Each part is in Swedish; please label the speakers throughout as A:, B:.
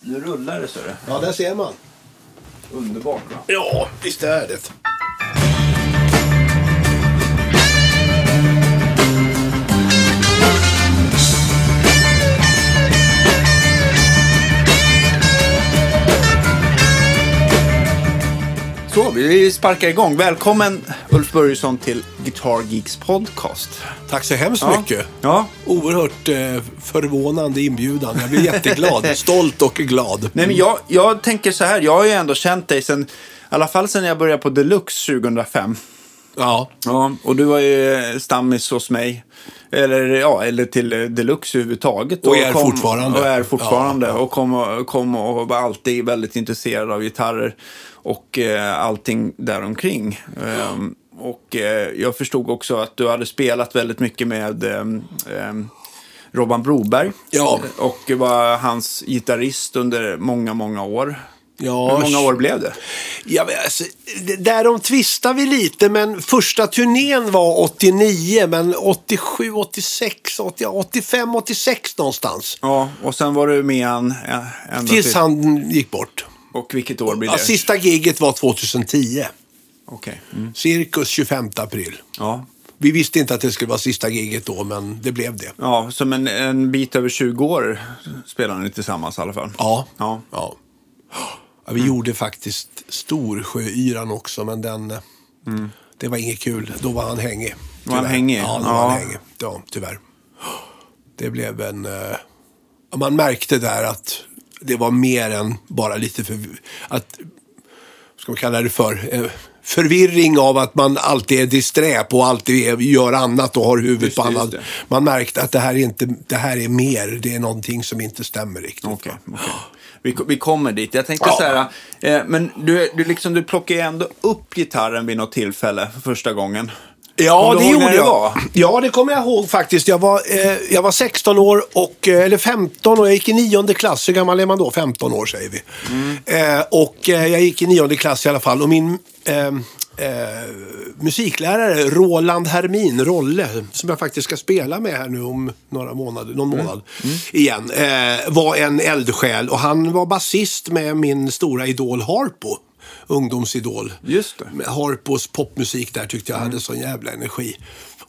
A: Nu rullar det, ser du.
B: Ja, där ser man.
A: Underbart, va?
B: Ja, visst är det.
A: Så, vi sparkar igång. Välkommen Ulf Börjesson till Guitar Geeks podcast.
B: Tack så hemskt
A: Ja.
B: mycket.
A: Ja.
B: Oerhört eh, förvånande inbjudan. Jag blir jätteglad. Stolt och glad.
A: Nej, men jag, jag tänker så här, jag har ju ändå känt dig sen, i alla fall sen jag började på Deluxe 2005.
B: Ja,
A: Ja, och du var ju stammis hos mig. Eller, ja, eller till eh, Deluxe överhuvudtaget.
B: Och är fortfarande.
A: Och är fortfarande. Och kom och, kom och var alltid väldigt intresserad av gitarrer och eh, allting däromkring. Ehm, och eh, jag förstod också att du hade spelat väldigt mycket med ehm, ehm, Robban Broberg.
B: Ja.
A: Och var hans gitarrist under många, många år.
B: Ja,
A: Hur många år blev det?
B: Ja, men alltså, d- därom tvistar vi lite, men första turnén var 89, men 87, 86, 80, 85, 86 någonstans.
A: Ja, och sen var du med han eh, ända
B: Tills han gick bort.
A: Och vilket år blir det?
B: Ja, sista giget var 2010,
A: Okej. mm.
B: cirkus 25 april.
A: Ja.
B: Vi visste inte att det skulle vara sista giget då, men det blev det.
A: ja, som en, en bit över 20 år spelar ni tillsammans i alla fall.
B: Ja.
A: Ja. Mm.
B: ja. ja vi gjorde faktiskt Storsjöyran också, men den... eh, Det var inget kul. Då var han hängig.
A: Mm. Var han
B: tyvärr.
A: hängig?
B: Ja, då
A: Ja.
B: var han hängig. Ja, tyvärr. Det blev en... eh, ja, Man märkte där att det var mer än bara lite för... Att, vad ska man kalla det för? Eh, Förvirring av att man alltid är disträ på och alltid är, gör annat och har huvudet
A: Just
B: på
A: det, just
B: annat.
A: det.
B: Man märkte att det här, är inte, det här är mer. Det är någonting som inte stämmer riktigt.
A: Okej,
B: va?
A: okej. Vi, ko- vi kommer dit. Jag tänkte
B: Ja.
A: så här, eh, men du, du, liksom, du plockade ju ändå upp gitarren vid något tillfälle för första gången.
B: Ja,
A: Kommer du
B: det
A: ihåg när
B: gjorde
A: det
B: jag.
A: var?
B: Ja, det kommer jag ihåg faktiskt. Jag var, eh, jag var 16 år, och, eh, eller 15 och jag gick i nionde klass. Hur gammal är man då? 15 år säger vi.
A: Mm.
B: Eh, och eh, jag gick i nionde klass i alla fall. Och min eh, eh, musiklärare Roland Hermin, Rolle, som jag faktiskt ska spela med här nu om några månader, någon
A: Mm.
B: månad igen, eh, var en eldsjäl. Och han var basist med min stora idol Harpo. Ungdomsidol.
A: Just det. Mm.
B: Med Harpos popmusik där tyckte jag hade sån jävla energi.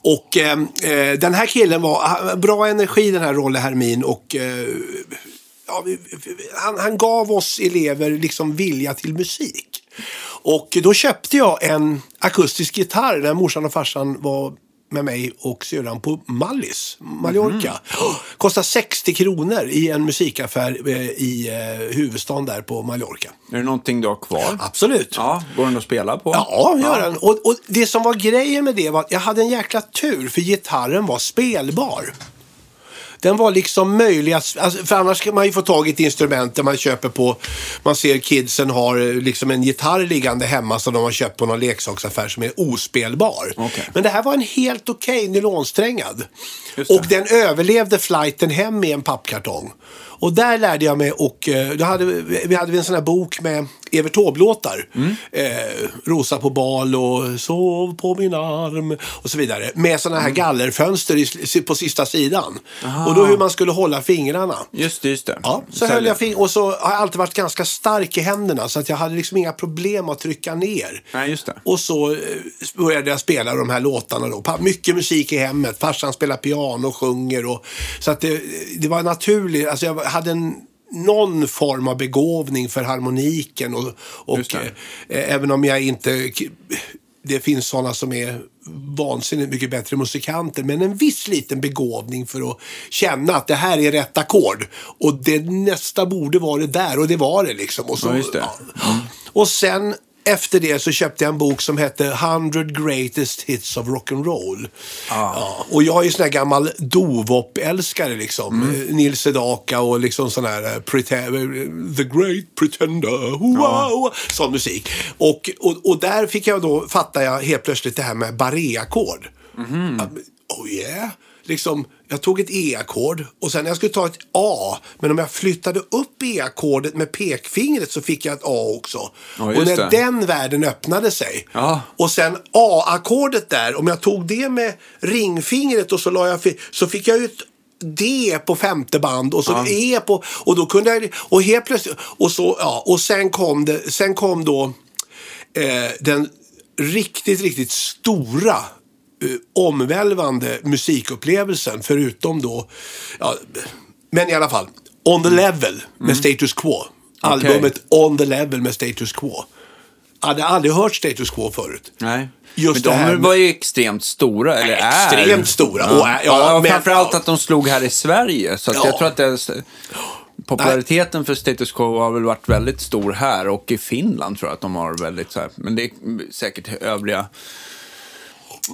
B: Och eh, eh, den här killen var ha- bra energi den här Rolle Hermin och eh, ja, vi, vi- han, han gav oss elever liksom vilja till musik. Och då köpte jag en akustisk gitarr när morsan och farsan var med mig och syrran på Mallis, Mallorca. Oh, kostade 60 kronor i en musikaffär eh, i eh, huvudstaden där på Mallorca.
A: Är det någonting du har kvar?
B: Absolut.
A: Ja, går den att spela på?
B: Ja, gör den. Och, och det som var grejen med det var att jag hade en jäkla tur för gitarren var spelbar. Den var liksom möjlig att... Alltså, för annars kan man ju få tag i ett instrument där man köper på... Man ser kidsen har eh, liksom en gitarr liggande hemma som de har köpt på någon leksaksaffär som är ospelbar.
A: Okej.
B: Men det här var en helt okej nylonsträngad.
A: Just det.
B: Och den överlevde flighten hem i en pappkartong. Och där lärde jag mig och eh, då hade vi, vi hade en sån här bok med Evert Taube-låtar.
A: Mm.
B: Eh, Rosa på bal och Sov på min arm och så vidare. Med såna här
A: Mm.
B: gallerfönster i, på sista sidan. Och då hur man skulle hålla fingrarna.
A: Just det, just det.
B: Ah. Ja, så höll jag fing- och så har jag alltid varit ganska stark i händerna så att jag hade liksom inga problem att trycka ner.
A: Nej, just det.
B: Och så eh, började jag spela de här låtarna då. Pa- Mycket musik i hemmet. Farsan spelar piano och sjunger. Och, så att det, det var naturligt. Alltså jag hade en, någon form av begåvning för harmoniken. Och,
A: Just
B: och
A: det.
B: eh, eh, även om jag inte... k- Det finns sådana som är vansinnigt mycket bättre musikanter. Men en viss liten begåvning för att känna att det här är rätt ackord. Och det nästa borde vara det där. Och det var det liksom. Och så,
A: Ja, just det.
B: och sen efter det så köpte jag en bok som hette 100 Greatest Hits of Rock'n'Roll.
A: Ah.
B: Ja, och jag är ju sån här gammal dovop-älskare liksom.
A: Mm.
B: Eh, Nils Sedaka och liksom sån här eh, prete- The Great Pretender. Wow, Sån musik. Och, och, och där fick jag då, fattade jag helt plötsligt det här med barré-ackord.
A: Mhm.
B: Att, Oh yeah. Liksom, jag tog ett E-ackord och sen när jag skulle ta ett A, men om jag flyttade upp E-ackordet med pekfingret så fick jag ett A också.
A: Ja,
B: och
A: just
B: när
A: det.
B: den världen öppnade sig.
A: Ja.
B: Och sen A-ackordet där, om jag tog det med ringfingret och så la jag, fi- så fick jag ju ett D på femte band och så E på... Och då kunde jag... Och helt plötsligt... Och, så, ja, och sen kom det... Sen kom då eh, den riktigt, riktigt stora eh, omvälvande musikupplevelsen förutom då... Ja, men i alla fall, On the Level med
A: Mm.
B: Status Quo. Albumet On the Level med Status Quo. Jag hade aldrig hört Status Quo förut.
A: Nej.
B: Just
A: men
B: det här
A: de
B: med-
A: var ju extremt stora, eller är.
B: Extremt stora.
A: Ja.
B: Och är- ja,
A: Ja, och
B: men-
A: framförallt att de slog här i Sverige. Så att
B: Ja.
A: jag tror att det är... Populariteten för Status Quo har väl varit väldigt stor här och i Finland tror jag att de har väldigt så här. Men det är säkert övriga,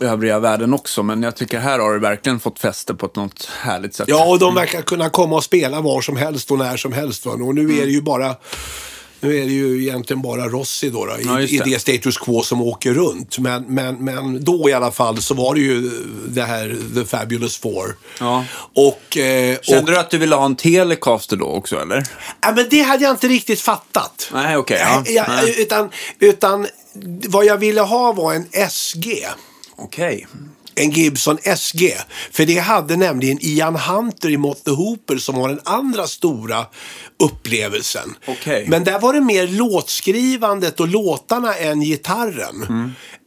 A: övriga världen också. Men jag tycker här har det verkligen fått fäste på ett något härligt sätt.
B: Ja, och de verkar kunna komma och spela var som helst och när som helst. Va? Och nu är det ju bara... Nu är det ju egentligen bara Rossi då, då i,
A: Ja, just
B: i
A: det.
B: det status quo som åker runt. Men, men, men då i alla fall så var det ju det här The Fabulous Four.
A: Ja.
B: Och, eh, och,
A: Kände du att du ville ha en Telecaster då också eller?
B: ja, men det hade jag inte riktigt fattat.
A: Nej, okej. ja.
B: Ja,
A: Nej.
B: utan, utan vad jag ville ha var en SG.
A: Okej.
B: en Gibson SG. För det hade nämligen Ian Hunter i Mott the Hooper som var den andra stora upplevelsen.
A: Okej.
B: Men där var det mer låtskrivandet och låtarna än gitarren.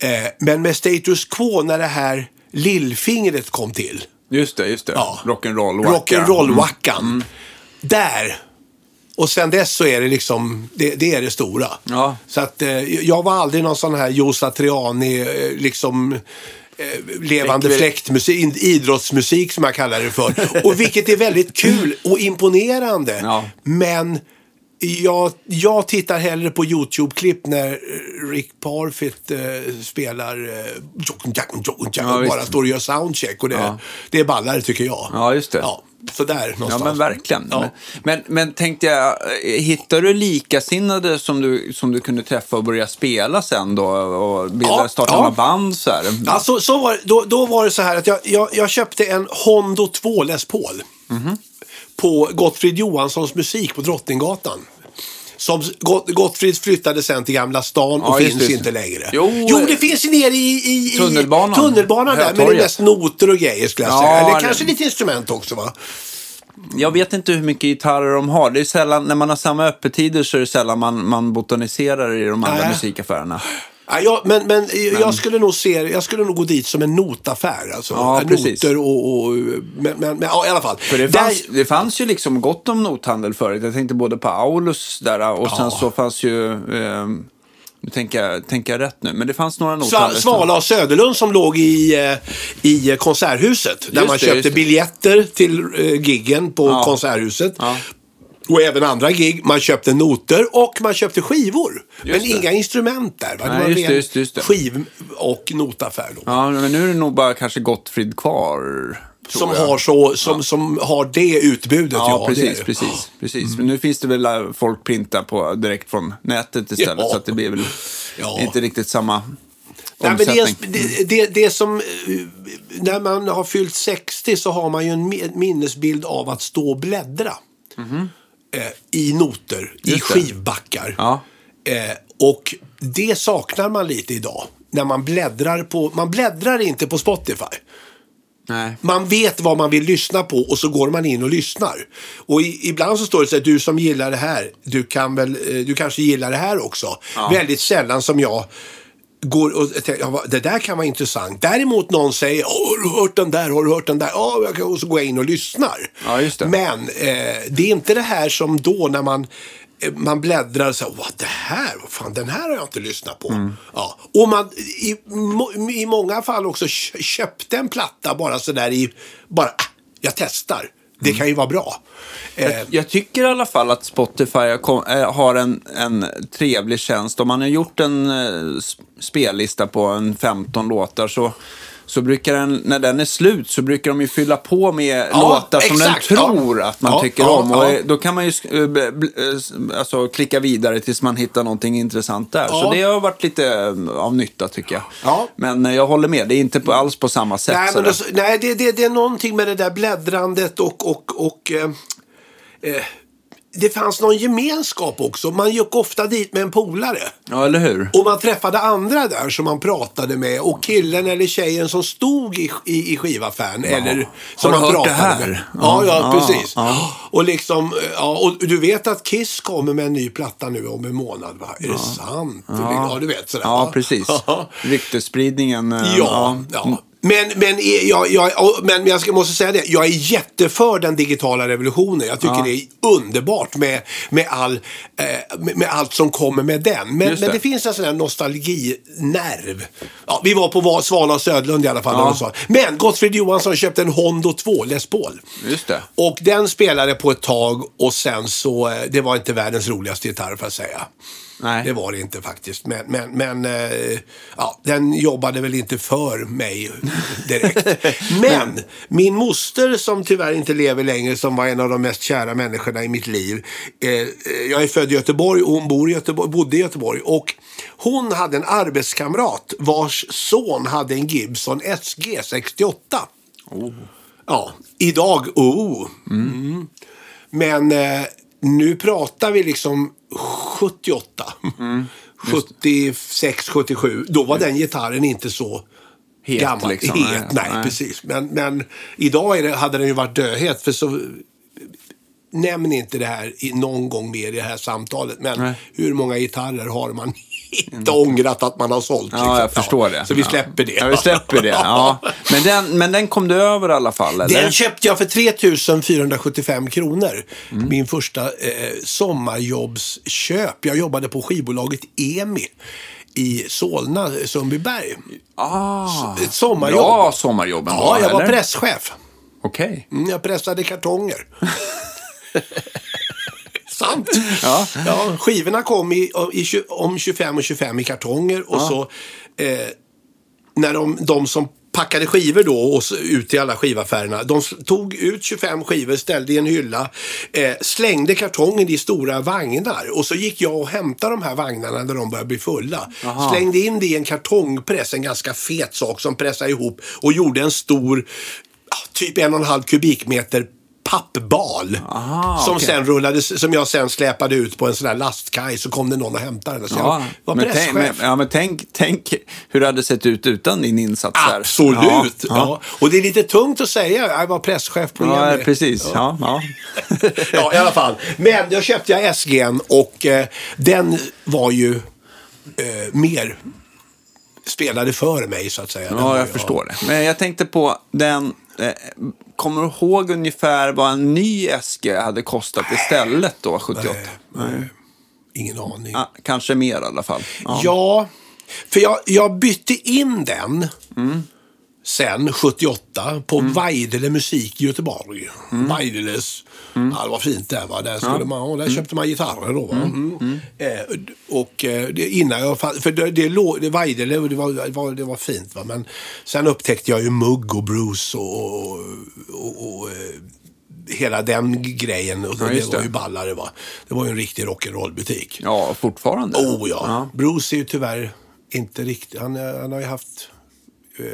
B: Eh, men med Status Quo när det här lillfingret kom till.
A: Just det, just det.
B: Ja.
A: Rock'n'roll. wacka.
B: Rock'n'roll-wackan.
A: Mm.
B: Där. Och sen dess så är det liksom, det, det är det stora.
A: Ja.
B: Så att eh, jag var aldrig någon sån här Joe Satriani, eh, liksom eh, levande
A: Fläkt-
B: fläktmusik, in- idrottsmusik som jag kallar det för. Och vilket är väldigt kul och imponerande.
A: Ja.
B: Men jag, jag tittar hellre på YouTube-klipp när eh, Rick Parfitt eh, spelar eh,
A: Ja,
B: och
A: visst.
B: bara står och gör soundcheck. Och det,
A: Ja.
B: det är ballare tycker jag.
A: Ja, just det.
B: Ja, sådär
A: Ja,
B: någonstans.
A: men verkligen.
B: Ja.
A: Men, men, men tänkte jag, eh, hittar du likasinnade som du, som du kunde träffa och börja spela sen då? Och bilda,
B: Ja,
A: starta
B: ja.
A: några band så här?
B: Ja, så, så var, då, då var det så här att jag, jag, jag köpte en Hondo 2 Les Paul.
A: Mhm.
B: På Gottfrid Johanssons musik på Drottninggatan. Som Gott, Gottfrid flyttade sen till Gamla stan
A: Ja,
B: och
A: just
B: finns
A: det.
B: inte längre.
A: Jo, eh,
B: det finns ju nere i, i, i
A: Tunnelbanan.
B: tunnelbanan där. Men det är
A: Hötorget.
B: mest noter och grejer skulle jag
A: Ja,
B: säga. Eller
A: det-
B: kanske lite instrument också va?
A: Jag vet inte hur mycket gitarrer de har. Det är sällan, när man har samma öppettider så är det sällan man, man botaniserar i de andra
B: Nej.
A: musikaffärerna.
B: Ja, jag, men, men, jag skulle nog se, jag skulle nog gå dit som en notaffär. Alltså.
A: Ja, precis.
B: Noter och, och men, men, men ja, i alla fall.
A: För det
B: Där-
A: fanns, det fanns ju liksom gott om nothandel förut. Jag tänkte både på Aulus där och sen så fanns ju... Eh, nu tänker jag, tänker jag rätt nu, men det fanns några
B: Sva-
A: nothandlar.
B: Svala och Söderlund som låg i, eh, i Konserthuset. Där
A: Just
B: man
A: det, just
B: köpte
A: det.
B: biljetter till eh, giggen på
A: Ja.
B: Konserthuset.
A: Ja.
B: Och även andra gig. Man köpte noter och man köpte skivor. men
A: det.
B: inga instrument där. Va?
A: Nej,
B: var
A: just
B: ren
A: det, just det, just det.
B: Skiv och notaffär då.
A: Ja, men nu är det nog bara kanske Gottfrid kvar. tror
B: Som
A: jag.
B: har, så, som, som har det utbudet.
A: Ja,
B: det är Mm.
A: precis,
B: det.
A: precis, precis. Men nu finns det väl äh, folk printar på direkt från nätet istället.
B: Ja.
A: Så att det blir väl
B: Ja.
A: inte riktigt samma
B: Nej, men det,
A: omsättning.
B: är- det, det, det är som, eh, när man har fyllt 60 så har man ju en mi- minnesbild av att stå och bläddra. Eh, I noter, i
A: Mhm. Just det.
B: skivbackar.
A: Ja.
B: Eh, och det saknar man lite idag. När man bläddrar på, man bläddrar inte på Spotify.
A: Nej.
B: Man vet vad man vill lyssna på och så går man in och lyssnar. Och i, ibland så står det så här, du som gillar det här, du, kan väl, eh, du kanske gillar det här också. Väldigt sällan som jag går och tänker, "Ja, vad- det där kan vara intressant. Däremot någon säger, "Åh, har du hört den där, har du hört den där? Ja, jag kan, och så går jag in och lyssnar.
A: Ja, just det.
B: Men eh, det är inte det här som då när man eh, man bläddrar och säger, vad det här, vad fan, den här har jag inte lyssnat på. Ja. Och man i, må- i många fall också kö- köpte en platta bara sådär i, bara, "Ah, jag testar. Det kan ju vara bra. Eh,
A: Jag tycker i alla fall att Spotify har kom, eh, har en, en trevlig tjänst. Om man har gjort en eh, s- spellista på en 15 låtar så, så brukar den, när den är slut, så brukar de ju fylla på med
B: Ja,
A: låtar som
B: exakt,
A: den
B: ja.
A: tror att man
B: Ja,
A: tycker
B: ja,
A: om. Och
B: ja.
A: eh, Då kan man ju sk- eh, b- bl- eh, s- alltså, klicka vidare tills man hittar någonting intressant där.
B: Ja.
A: Så det har varit lite eh, av nytta tycker jag.
B: Ja.
A: Men eh, jag håller med, det är inte på, alls på samma sätt.
B: Nej, men
A: sådär.
B: alltså, nej det, det, det är någonting med det där bläddrandet och, och, och eh, eh, det fanns någon gemenskap också. Man gick ofta dit med en polare.
A: Ja, eller hur?
B: Och man träffade andra där som man pratade med och killen eller tjejen som stod i, i, i skivaffären. Eller som
A: Har du
B: man
A: hört
B: pratade
A: det här?
B: med. Ja, ja,
A: Ja,
B: precis.
A: ja.
B: Och, liksom, ja, och du vet att Kiss kommer med en ny platta nu om en månad va? Är det sant? Ja, du vet sådär.
A: Ja,
B: va?
A: precis.
B: Ja.
A: Ryktesspridningen. eh,
B: Ja, ja. Men, men, eh, jag, jag, ja, men jag ska, måste säga det, jag är jätteför den digitala revolutionen. Jag tycker det är underbart med, med, all, eh, med, med allt som kommer med den. Men
A: Just
B: det,
A: det.
B: men det finns en sån här nostalginerv. Ja, vi var på Va- Svala och Södlund i alla fall. och så. Men Gottfrid Johansson köpte en Hondo 2 Les Paul.
A: Just det.
B: Och den spelade på ett tag och sen så, eh, det var inte världens roligaste gitarr för att säga.
A: Nej.
B: Det var det inte faktiskt. Men, men, men eh, ja, den jobbade väl inte för mig direkt. men min moster som tyvärr inte lever längre, som var en av de mest kära människorna i mitt liv. Eh, eh, jag är född i Göteborg och hon bor i Göteborg, bodde i Göteborg. Och hon hade en arbetskamrat vars son hade en Gibson SG 68. Ja, idag, oh. Mm. Men eh, nu pratar vi liksom 78.
A: Mm.
B: 76, 77. Då var den gitarren inte så
A: Het,
B: gammal.
A: liksom.
B: het, nej,
A: Nej.
B: precis. Men, men idag är det, hade den ju varit dödhet. För så, nämn inte det här i, någon gång mer i det här samtalet. Men
A: Nej. Mm.
B: hur många gitarrer har man inte ångrat att man har sålt? liksom?
A: Ja, jag förstår det.
B: Så vi släpper det.
A: Ja, vi släpper det. Ja. Men, den, men den kom du över i alla fall, eller?
B: Den köpte jag för 3475 kronor. Min första eh, sommarjobbsköp. Jag jobbade på skivbolaget EMI i Solna, Sundbyberg.
A: ah,
B: Ett sommarjobb.
A: bra sommarjobben
B: Ja, jag var
A: eller?
B: presschef.
A: Okej.
B: Mm, Jag pressade kartonger. Sant!
A: Ja.
B: Ja, skivorna kom i, i, tju- om 25 och 25 i kartonger och så eh, när de, de som packade skivor då och så ut i alla skivaffärerna. De s- tog ut 25 skivor, ställde i en hylla, eh, slängde kartongen i stora vagnar och så gick jag och hämtade de här vagnarna när de började bli fulla. Slängde in det i en kartongpress, en ganska fet sak som pressade ihop och gjorde en stor, ja, typ en och en halv kubikmeter pappbal. som,
A: okej.
B: sen rullades, som jag sen släpade ut på en sån där lastkaj så kom det någon och hämtade den. Så
A: Ja,
B: jag var
A: men, tänk,
B: presschef.
A: men, ja, men tänk, tänk hur det hade sett ut utan din insats där.
B: Absolut!
A: Ja,
B: Ja, Och det är lite tungt att säga. Jag var presschef på
A: ja.
B: Jenny.
A: ja precis. Ja, ja.
B: ja, i alla fall. Men då köpte jag SG'n och eh, den var ju eh, mer spelade för mig så att säga. Den var
A: ja,
B: ju-
A: jag förstår det. Men jag tänkte på den... Eh, kommer du ihåg ungefär vad en ny SG hade kostat istället då, 78?
B: Ingen aning.
A: Ja, kanske mer i alla fall. Ja.
B: Ja, för jag, jag bytte in den sen 78 på Weidele Musik i Göteborg. Weideles, ja, det var fint där va. Där, skulle man, ja, där köpte man gitarrer då. Va? Mm. Eh, och eh, det, innan jag fa- för det, det låg, det Weidele, och det var, det var, det var fint va. Men sen upptäckte jag ju Mugg och Bruce och, och, och, och eh, hela den grejen. Och det,
A: just
B: var
A: det.
B: ju ballare va. Det var ju en riktig rock'n'roll-butik.
A: Ja, fortfarande.
B: Oh ja. Bruce är ju tyvärr inte riktigt... Han, eh, han har ju haft eh,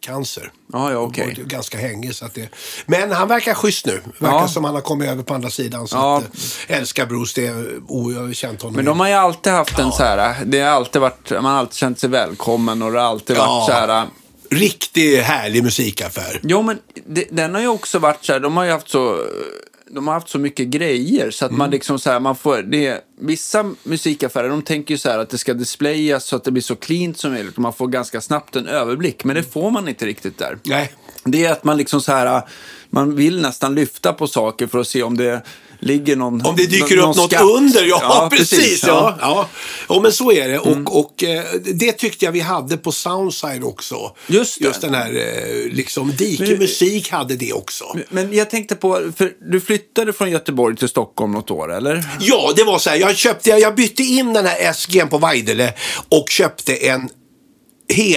B: cancer.
A: Ja, ja, okej.
B: Och varit Ganska hängig. Så att det... Men han verkar schysst nu. Verkar
A: Ja.
B: som han har kommit över på andra sidan. Så
A: Ja.
B: att, eh, älskar Bruce. Det är, oh, jag har känt honom.
A: Men
B: i-
A: de har ju alltid haft en så här, det har alltid varit, man har alltid känt sig välkommen och det har alltid
B: Ja.
A: varit så här.
B: Riktigt härlig musikaffär.
A: Jo, men det, den har ju också varit så här, de har ju haft så, de har haft så mycket grejer så att
B: Mm.
A: man liksom så här, man får, det, vissa musikaffärer de tänker ju så här att det ska displayas så att det blir så cleant som möjligt och man får ganska snabbt en överblick, men det
B: Mm.
A: får man inte riktigt där.
B: Nej.
A: Det är att man liksom så här, man vill nästan lyfta på saker för att se om det ligger någon
B: Om det dyker
A: någon
B: upp något
A: skatt.
B: under, ja, precis. ja. Ja. ja, men så är det.
A: Mm.
B: Och, och eh, det tyckte jag vi hade på Soundside också.
A: Just det.
B: Just den här, eh, liksom, Dike
A: Men-
B: Musik hade det också.
A: Men jag tänkte på, för du flyttade från Göteborg till Stockholm något år, eller?
B: Ja, det var så här. Jag, köpte, jag bytte in den här SG'n på Weidele och köpte en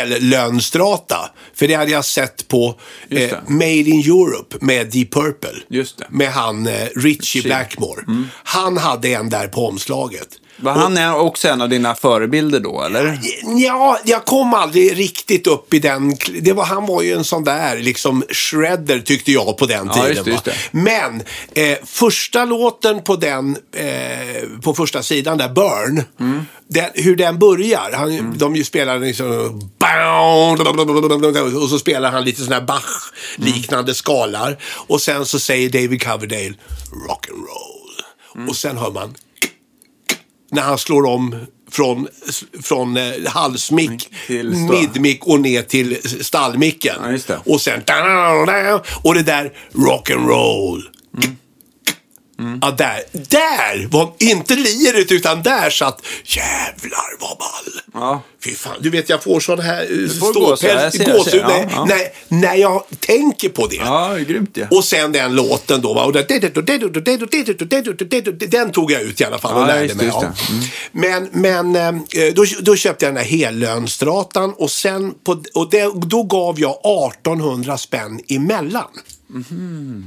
B: hellönstrata. För det hade jag sett på
A: Just
B: eh,
A: det.
B: Made in Europe med Deep Purple.
A: Just det. Mm.
B: Med han eh, Richie Blackmore. Han hade en där på omslaget.
A: Var han är också en av dina förebilder då, eller?
B: Ja, jag kom aldrig riktigt upp i den. kl- Det var, han var ju en sån där liksom shredder tyckte jag på den
A: Ja,
B: tiden.
A: just det,
B: va.
A: just det.
B: Men eh, första låten på den, eh, på första sidan där, Burn. Den, hur den börjar. Han,
A: Mm.
B: De ju spelar liksom... Och så spelar han lite sån här
A: Mm.
B: Bach-liknande skalar. Och sen så säger David Coverdale rock'n'roll.
A: Mm.
B: Och sen hör man när han slår om från, från eh, halsmick,
A: Till stå-
B: midmick och ner till s- stallmicken.
A: Ja, just det.
B: Och sen... Och det där rock'n'roll.
A: Mm.
B: Ja, där. Där var inte liret, utan där satt jävlar vad ball.
A: Ja.
B: Fy fan, du vet jag får sån här eh,
A: får gåshud, jag
B: ståpäls,
A: ser, jag
B: gåshud
A: ser. Ja,
B: när,
A: ja.
B: när, när jag tänker på det.
A: Ja, det är grymt ju.
B: Och sen den låten då. va? Och det- Den tog jag ut i alla fall och
A: Ja,
B: lärde
A: just det, Mm.
B: mig.
A: just
B: ja. Men, men eh, då, då köpte jag den här hellönstratan och, sen på, och det, då gav jag 1800 spänn emellan.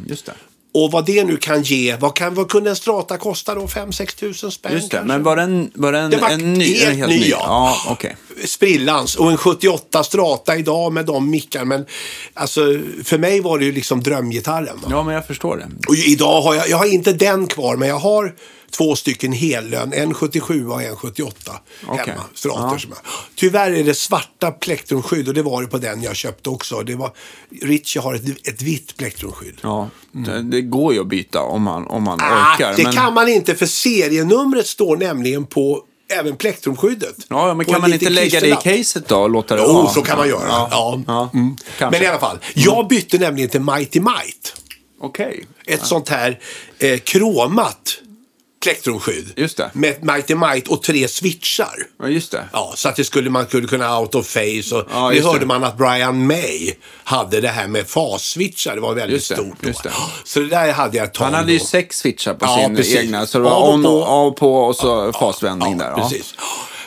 A: Just det.
B: Och vad det nu kan ge, vad, kan, vad kunde en strata kosta då? 5-6 tusen spänn
A: Just det.
B: kanske?
A: Men var den, var den
B: Det var
A: en ny?
B: helt
A: en helt
B: ny,
A: ny,
B: ja.
A: ja okej.
B: sprillans och en 78 strata idag med de mickarna. Men alltså, för mig var det ju liksom drömgitarren. Va?
A: Ja, men jag förstår det.
B: Och idag har jag, jag har inte den kvar, men jag har två stycken hellön. En 77 och en 78
A: Okej.
B: hemma. Strator
A: Ja.
B: som jag. Tyvärr är det svarta plektrumskydd och det var det på den jag köpte också. Det var, Ritchie har ett, ett vitt plektrumskydd.
A: Ja. Det, det går ju att byta om man, om man
B: Mm. Ah,
A: orkar.
B: det
A: men-
B: kan man inte för serienumret står nämligen på även plektrumskyddet.
A: Ja, men
B: På
A: kan
B: en
A: man
B: liten
A: inte lägga det i
B: klisterlapp.
A: caset då och låta det
B: Jo,
A: vara?
B: så kan man göra. Ja. Mm.
A: Kanske.
B: Men i alla fall, jag bytte nämligen till Mighty Might.
A: Okej.
B: Ett sånt här eh, kromat plektrumskydd.
A: Just det.
B: Med ett Mighty Might och tre switchar.
A: Ja, just det.
B: Ja, så att det skulle, man skulle kunna out of face. Och
A: Ja,
B: det
A: just
B: hörde
A: det.
B: man att Brian May hade det här med fas-switchar. Det var väldigt
A: Just det,
B: stort då.
A: just det.
B: Så det där hade jag ett tag
A: Han hade ju
B: då.
A: sex switchar på
B: Ja,
A: sin
B: precis.
A: egna. Så det var
B: Av och
A: on,
B: på.
A: och av och på och så fasvändning där.
B: Ja, precis.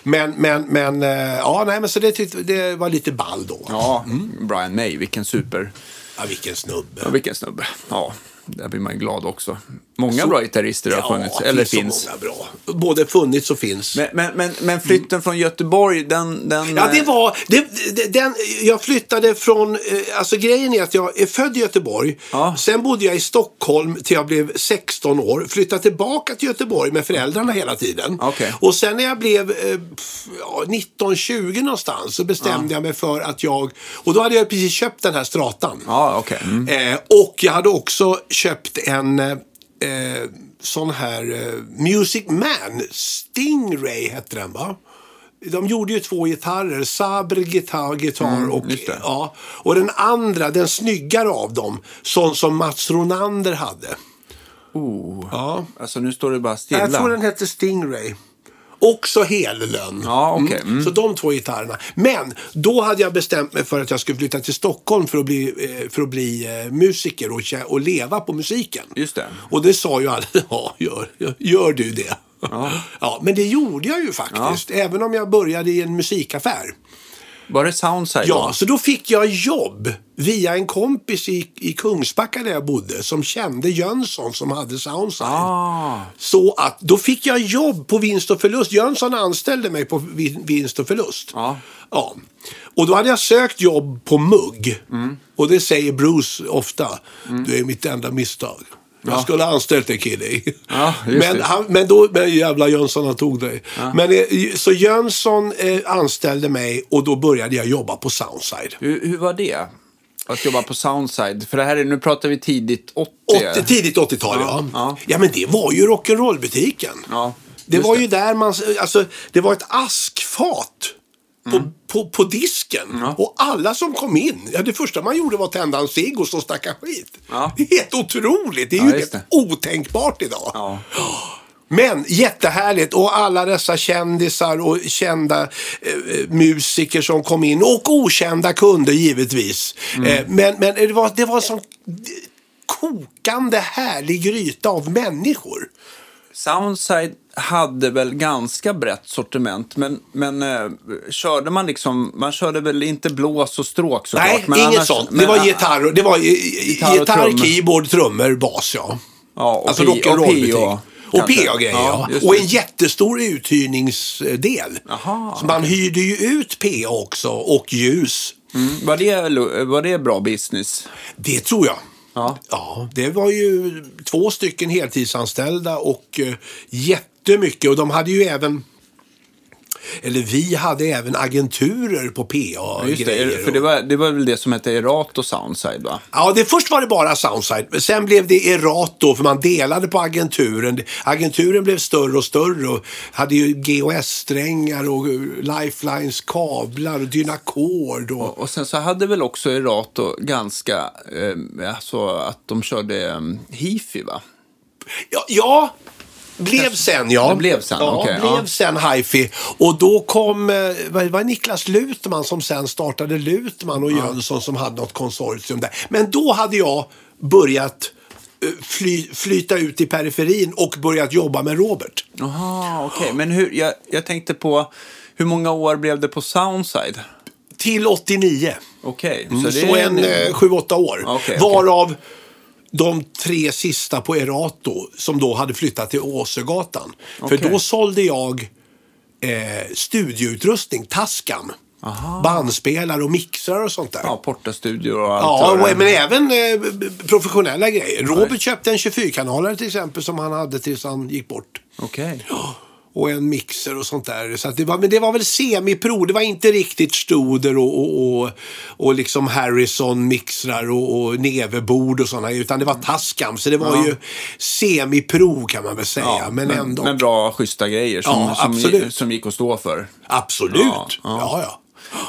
B: Men, men, men, eh, ja, nej, men så det, tyckte- det var lite ball då.
A: Ja, Brian May, vilken super...
B: Mm. Ja, vilken snubbe.
A: Ja, vilken snubbe. Ja, där blir man ju glad också. Många bra gitarrister har funnits,
B: det
A: eller
B: så
A: finns.
B: många bra. Både funnits och finns.
A: Men, men, men, men flytten från Göteborg, den... den
B: Mm.
A: eh,
B: Ja, det var... Det, det, den, jag flyttade från... eh, Alltså grejen är att jag är född i Göteborg.
A: Ja.
B: Sen bodde jag i Stockholm till jag blev 16 år. Flyttade tillbaka till Göteborg med föräldrarna hela tiden.
A: Okej.
B: Och sen när jag blev eh, pff, ja, 19-20 någonstans så bestämde jag mig för att jag... Och då hade jag precis köpt den här stratan.
A: Ja, okej. Mm.
B: Eh, och jag hade också köpt en eh, eh, sån här eh, Music Man. Stingray hette den va? De gjorde ju två gitarrer. Sabre gitarr, gitarr och,
A: Mm, just det.
B: ja, och den andra, den snyggare av dem, sån som Mats Ronander hade.
A: Oh.
B: Ja.
A: Alltså nu står det bara stilla.
B: Jag tror den hette Stingray. Också hellön.
A: Ja, okej. Mm.
B: Så de två gitarrerna. Men då hade jag bestämt mig för att jag skulle flytta till Stockholm för att bli, eh, för att bli eh, musiker och, tjä- och leva på musiken.
A: Just det.
B: Och det sa ju alla, ja gör, gör du det? Ja. men det gjorde jag ju faktiskt. Även om jag började i en musikaffär.
A: Var det Soundside
B: Ja, så då fick jag jobb via en kompis i, i Kungsbacka där jag bodde som kände Jönsson som hade Soundside.
A: då? Ah.
B: Så att då fick jag jobb på vinst och förlust. Jönsson anställde mig på vin- vinst och förlust.
A: Ja.
B: Ja. Och då hade jag sökt jobb på mugg.
A: Mm.
B: Och det säger Bruce ofta. Det är mitt enda misstag. Jag skulle ha anställt en kille. i."
A: Ja, just
B: men,
A: det.
B: han, men då, men jävla Jönsson han tog dig. Men, eh, så Jönsson eh, anställde mig och då började jag jobba på Soundside.
A: Hur, hur var det? Att jobba på Soundside? För det här är, nu pratar vi tidigt 80.
B: 80, tidigt 80-tal, ja. Ja.
A: ja.
B: men det var ju rock'n'roll-butiken.
A: Ja,
B: det
A: just
B: var
A: det.
B: ju där man... Alltså, det var ett askfat
A: Mm.
B: på, på, på disken. Och alla som kom in, ja, det första man gjorde var att tända en cigg och så snacka skit.
A: Ja.
B: Det är helt otroligt. Det är
A: Ja,
B: ju
A: just
B: helt
A: det.
B: otänkbart idag.
A: Ja.
B: Men jättehärligt och alla dessa kändisar och kända eh, musiker som kom in och okända kunder givetvis.
A: Mm.
B: Eh, men men det, var, det var en sån kokande härlig gryta av människor.
A: Soundside hade väl ganska brett sortiment, men, men eh, körde man liksom, man körde väl inte blås och stråk såklart.
B: Nej,
A: men
B: inget
A: annars-
B: sånt.
A: men
B: Det var
A: a-
B: gitarr, och- det var, i- i-
A: Gitarr och
B: gitarr
A: trummor.
B: keyboard, trummor, bas ja.
A: Ja, och
B: alltså
A: pi- och
B: rock'n'roll-butik.
A: pio.
B: Och
A: kanske.
B: PA-grejer,
A: Ja,
B: ja.
A: just
B: Och
A: det.
B: en jättestor uthyrningsdel.
A: Jaha,
B: så man hyrde ju ut PA också, och ljus.
A: Mm. Var, det, lo- var det bra business?
B: Det tror jag.
A: Ja.
B: Ja, det var ju två stycken heltidsanställda och eh, jättemycket. Och de hade ju även, eller vi hade även agenturer på
A: Just det,
B: PA-grejer.
A: för det var, det var väl det som hette Erato Soundside, va?
B: Ja, det, först var det bara Soundside. men Sen blev det Erato för man delade på agenturen. Agenturen blev större och större och hade ju GHS-strängar och lifelines, kablar och dynakord. Och...
A: Och sen så hade väl också Erato ganska, eh, alltså att de körde eh, hifi, va?
B: Ja, ja. Blev sen, ja.
A: Det blev sen,
B: ja,
A: okej,
B: blev
A: ja.
B: sen hifi. Och då kom, eh, vad- det var Niklas Lutman som sen startade Lutman och Jönsson som hade något konsortium där. Men då hade jag börjat eh, fly, flyta ut i periferin och börjat jobba med Robert.
A: Jaha, okej. Men hur, jag, jag tänkte på, hur många år blev det på Soundside?
B: Till 89.
A: Okej,
B: Så, en eh, sju, åtta år.
A: Okej, okej.
B: Varav de tre sista på Erato som då hade flyttat till Åsögatan.
A: Okej.
B: För då sålde jag eh, studioutrustning, Tascam. Bandspelare och mixar och sånt där.
A: Ja,
B: Ja.
A: portastudio och allt. vad det-
B: och- men även eh, b- b- professionella grejer. Robert köpte en 24-kanalare till exempel som han hade tills han gick bort.
A: Okej.
B: Och en mixer och sånt där. Så att det var, men det var väl semipro. Det var inte riktigt Studer och, och, och, och liksom Harrison-mixrar och, och Nevebord och sådana. Utan det var Tascam. Så det var ju semipro kan man väl säga.
A: Ja,
B: men, ändå.
A: men bra, schyssta grejer som,
B: Ja,
A: som,
B: absolut.
A: som gick att stå för.
B: Absolut.
A: Ja,
B: Ja,
A: ja.
B: ja.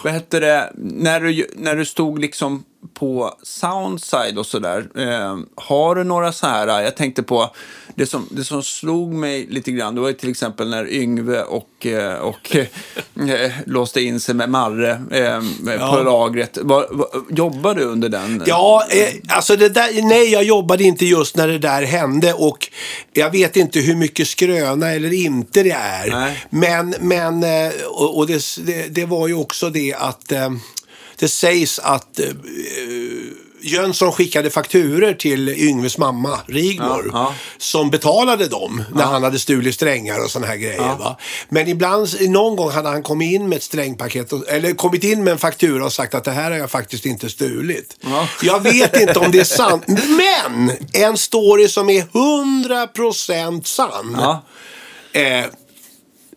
A: Vad hette det, när du, när du stod liksom på Soundside och sådär, eh, har du några så här, eh, jag tänkte på, det som, det som slog mig lite grann, det var ju till exempel när Yngve och, eh, och eh, låste in sig med Marre eh, på
B: Ja.
A: lagret. Var, var, jobbar du under den?
B: Ja, eh, alltså det där, nej jag jobbade inte just när det där hände och jag vet inte hur mycket skröna eller inte det är.
A: Nej.
B: Men, men eh, och, och det, det, det var ju också det att eh, det sägs att eh, Jönsson skickade fakturer till Yngves mamma Rigmor
A: Ja, ja.
B: som betalade dem när han hade stulit strängar och såna här grejer. Va? Men ibland, någon gång hade han kommit in med ett strängpaket och, eller kommit in med en faktura och sagt att det här har jag faktiskt inte stulit.
A: Ja.
B: Jag vet inte om det är sant, men en story som är 100% sann.
A: Ja.
B: Eh,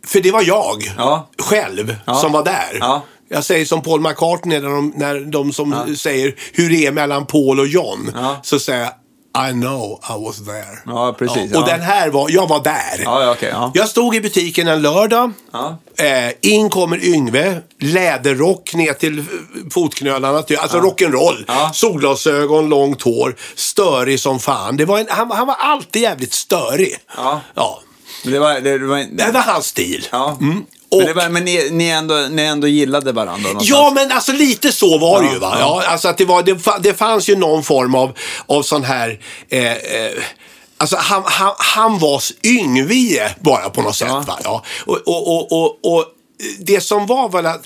B: för det var jag
A: Ja.
B: själv som var där.
A: Ja.
B: Jag säger som Paul McCartney när de, när de som säger hur det är mellan Paul och John.
A: Ja.
B: Så säger jag I know I was there.
A: Ja, precis,
B: Och
A: ja.
B: den här var, jag var där.
A: Ja, ja, okej, ja.
B: Jag stod i butiken en lördag.
A: Ja.
B: Eh, in kommer Yngve, läderrock ner till eh, fotknölarna, ty- alltså rock'n'roll.
A: Ja.
B: Solglasögon, långt hår, störig som fan. Det var en, han, han var alltid jävligt störig.
A: Ja.
B: ja.
A: Det var, det, var,
B: Det var hans stil.
A: ja.
B: Och-
A: men, det var, men ni, ni, ändå, ni ändå gillade varandra någonstans?
B: Ja, men alltså lite så var det ju. Va?
A: ja.
B: Ja, alltså att det, var, det, fa- det fanns ju någon form av, av sån här... Eh, eh, Alltså han, han, han var Yngvie bara på något sätt.
A: Ja.
B: Va? Ja. Och, och, och, och, och det som var väl att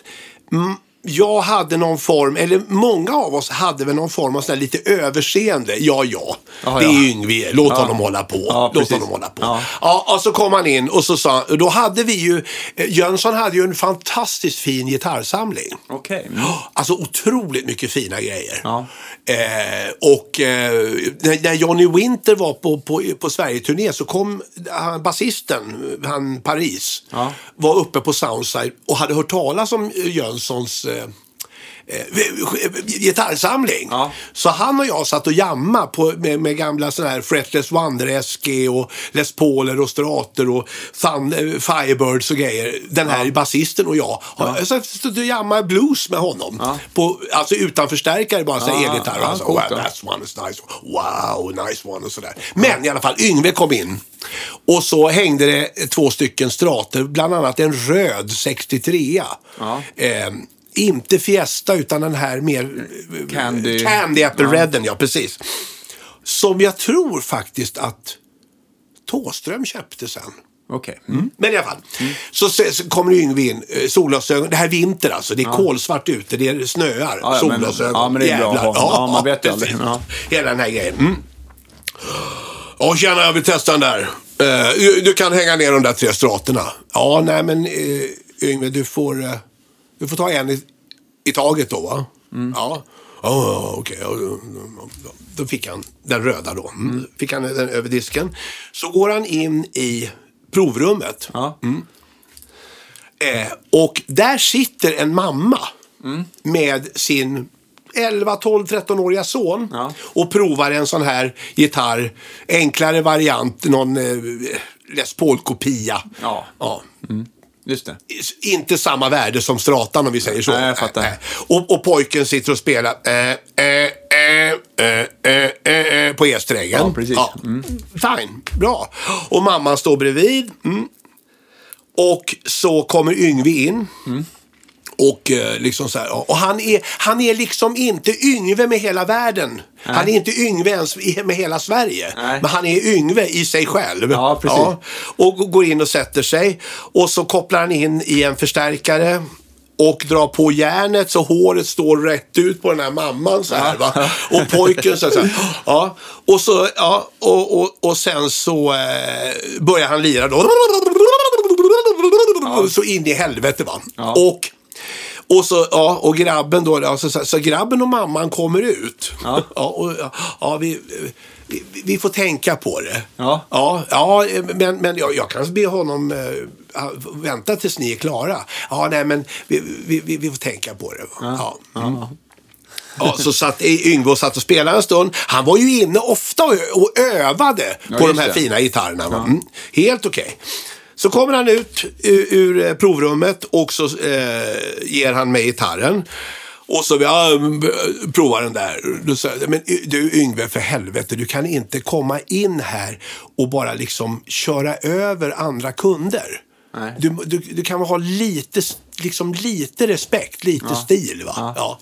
B: mm, jag hade någon form, eller många av oss hade väl någon form av sån här lite överseende. Ja, ja,
A: Ja,
B: det är
A: ja.
B: Yngvie. Låt honom hålla på.
A: Ja,
B: Låt
A: precis.
B: honom hålla på.
A: Ja.
B: Ja, och så kom han in och så sa och då hade vi ju, eh, Jönsson hade ju en fantastiskt fin gitarrsamling.
A: Okej. Mm.
B: Alltså otroligt mycket fina grejer.
A: Ja.
B: Eh, och eh, när, när Johnny Winter var på, på, på Sverige-turné så kom han, basisten, han Paris,
A: Ja.
B: var uppe på Soundside och hade hört talas om Jönssons eh, eh, gitarrsamling.
A: Ja.
B: Så han och jag satt och jamma på, med, med gamla sådana här Fretless Wonder SG och Les Pauler och Strater och Thun, eh, Firebirds och grejer. Den här basisten och jag. Ja. Så jag stod och jammade blues med honom. På, alltså utan förstärkare bara, så
A: Ja,
B: här elgitarr.
A: ja,
B: Ja, alltså,
A: Ah, coolt då.
B: wow, that's one is nice. Wow, nice one och sådär. Men i alla fall, Yngve kom in. Och så hängde det två stycken strater, bland annat en röd 63
A: Ja.
B: eh, Inte Fiesta utan den här mer eh,
A: Candy.
B: Candy Apple Redden, ja precis. Som jag tror faktiskt att Tåström köpte sen.
A: Okej. Mm.
B: Men i alla fall. Så, se- så kommer Yngve in, eh, solglasögon. Det här är vinter alltså. Det är kolsvart ute, det snöar.
A: Ja, ja, men-
B: solglasögon.
A: ja, men det är bra att ha. Ja, man vet ju aldrig.
B: precis.
A: Ja.
B: Hela den här grejen. Mm. Ja, tjena, jag vill testa den där. Eh, du, du kan hänga ner de där tre straterna. Ja, nej men uh, Yngve, du får, eh, du får ta en i, i taget då va? Ja. Ja, ja, okej. Ja, ja, ja, ja. Då fick han den röda då. Mm. Fick han den över disken. Så går han in i provrummet.
A: Ja.
B: Eh, och där sitter en mamma med sin 11, 12, 13-åriga son
A: Ja.
B: och provar en sån här gitarr. Enklare variant, någon eh, Les Paul-kopia.
A: Ja.
B: Ja.
A: Just det.
B: S- Inte samma värde som Stratan om vi säger så.
A: Nej, jag fattar.
B: Eh, eh. Och, och pojken sitter och spelar eh, eh, eh, eh, eh, eh, på E-strängen.
A: Ja, precis. Mm.
B: Fine, bra. Och mamman står bredvid. Mm. Och så kommer Yngve in.
A: Mm.
B: Och, eh, liksom så här, ja. och han, är, han är liksom inte Yngve med hela världen. Han är inte Yngve ens i- med hela Sverige.
A: Nej.
B: Men han är Yngve i sig själv.
A: Ja, precis.
B: Och g- går in och sätter sig. Och så kopplar han in i en förstärkare. Och drar på järnet så håret står rätt ut på den här mamman så här va. Och pojken så här, så här. Ja. Och, så, ja, och, och, och sen så eh, börjar han lira då. Så in i helvete va.
A: Ja.
B: Och, och, så, ja, och grabben då, ja, så, så, så grabben och mamman kommer ut.
A: Ja.
B: och, ja, ja, vi, vi, vi får tänka på det.
A: Ja.
B: Ja, ja men, men jag, jag kan alltså be honom eh, ha- vänta tills ni är klara. Ja, nej, men vi, vi, vi, vi får tänka på det. Ja.
A: Ja.
B: Ja, så satt Yngve och satt och spelade en stund. Han var ju inne ofta och, och övade på de
A: just
B: här
A: det.
B: fina gitarrerna. va? Mm. Helt okej. Så kommer han ut ur, ur eh, provrummet och så eh, ger han mig gitarren. Och så ja, mm, b- provar den där. Då sa jag, men y- du Yngve, för helvete, du kan inte komma in här och bara liksom köra över andra kunder.
A: Nej.
B: Du, du, du kan väl ha lite, s- liksom lite respekt, lite stil va? Ja.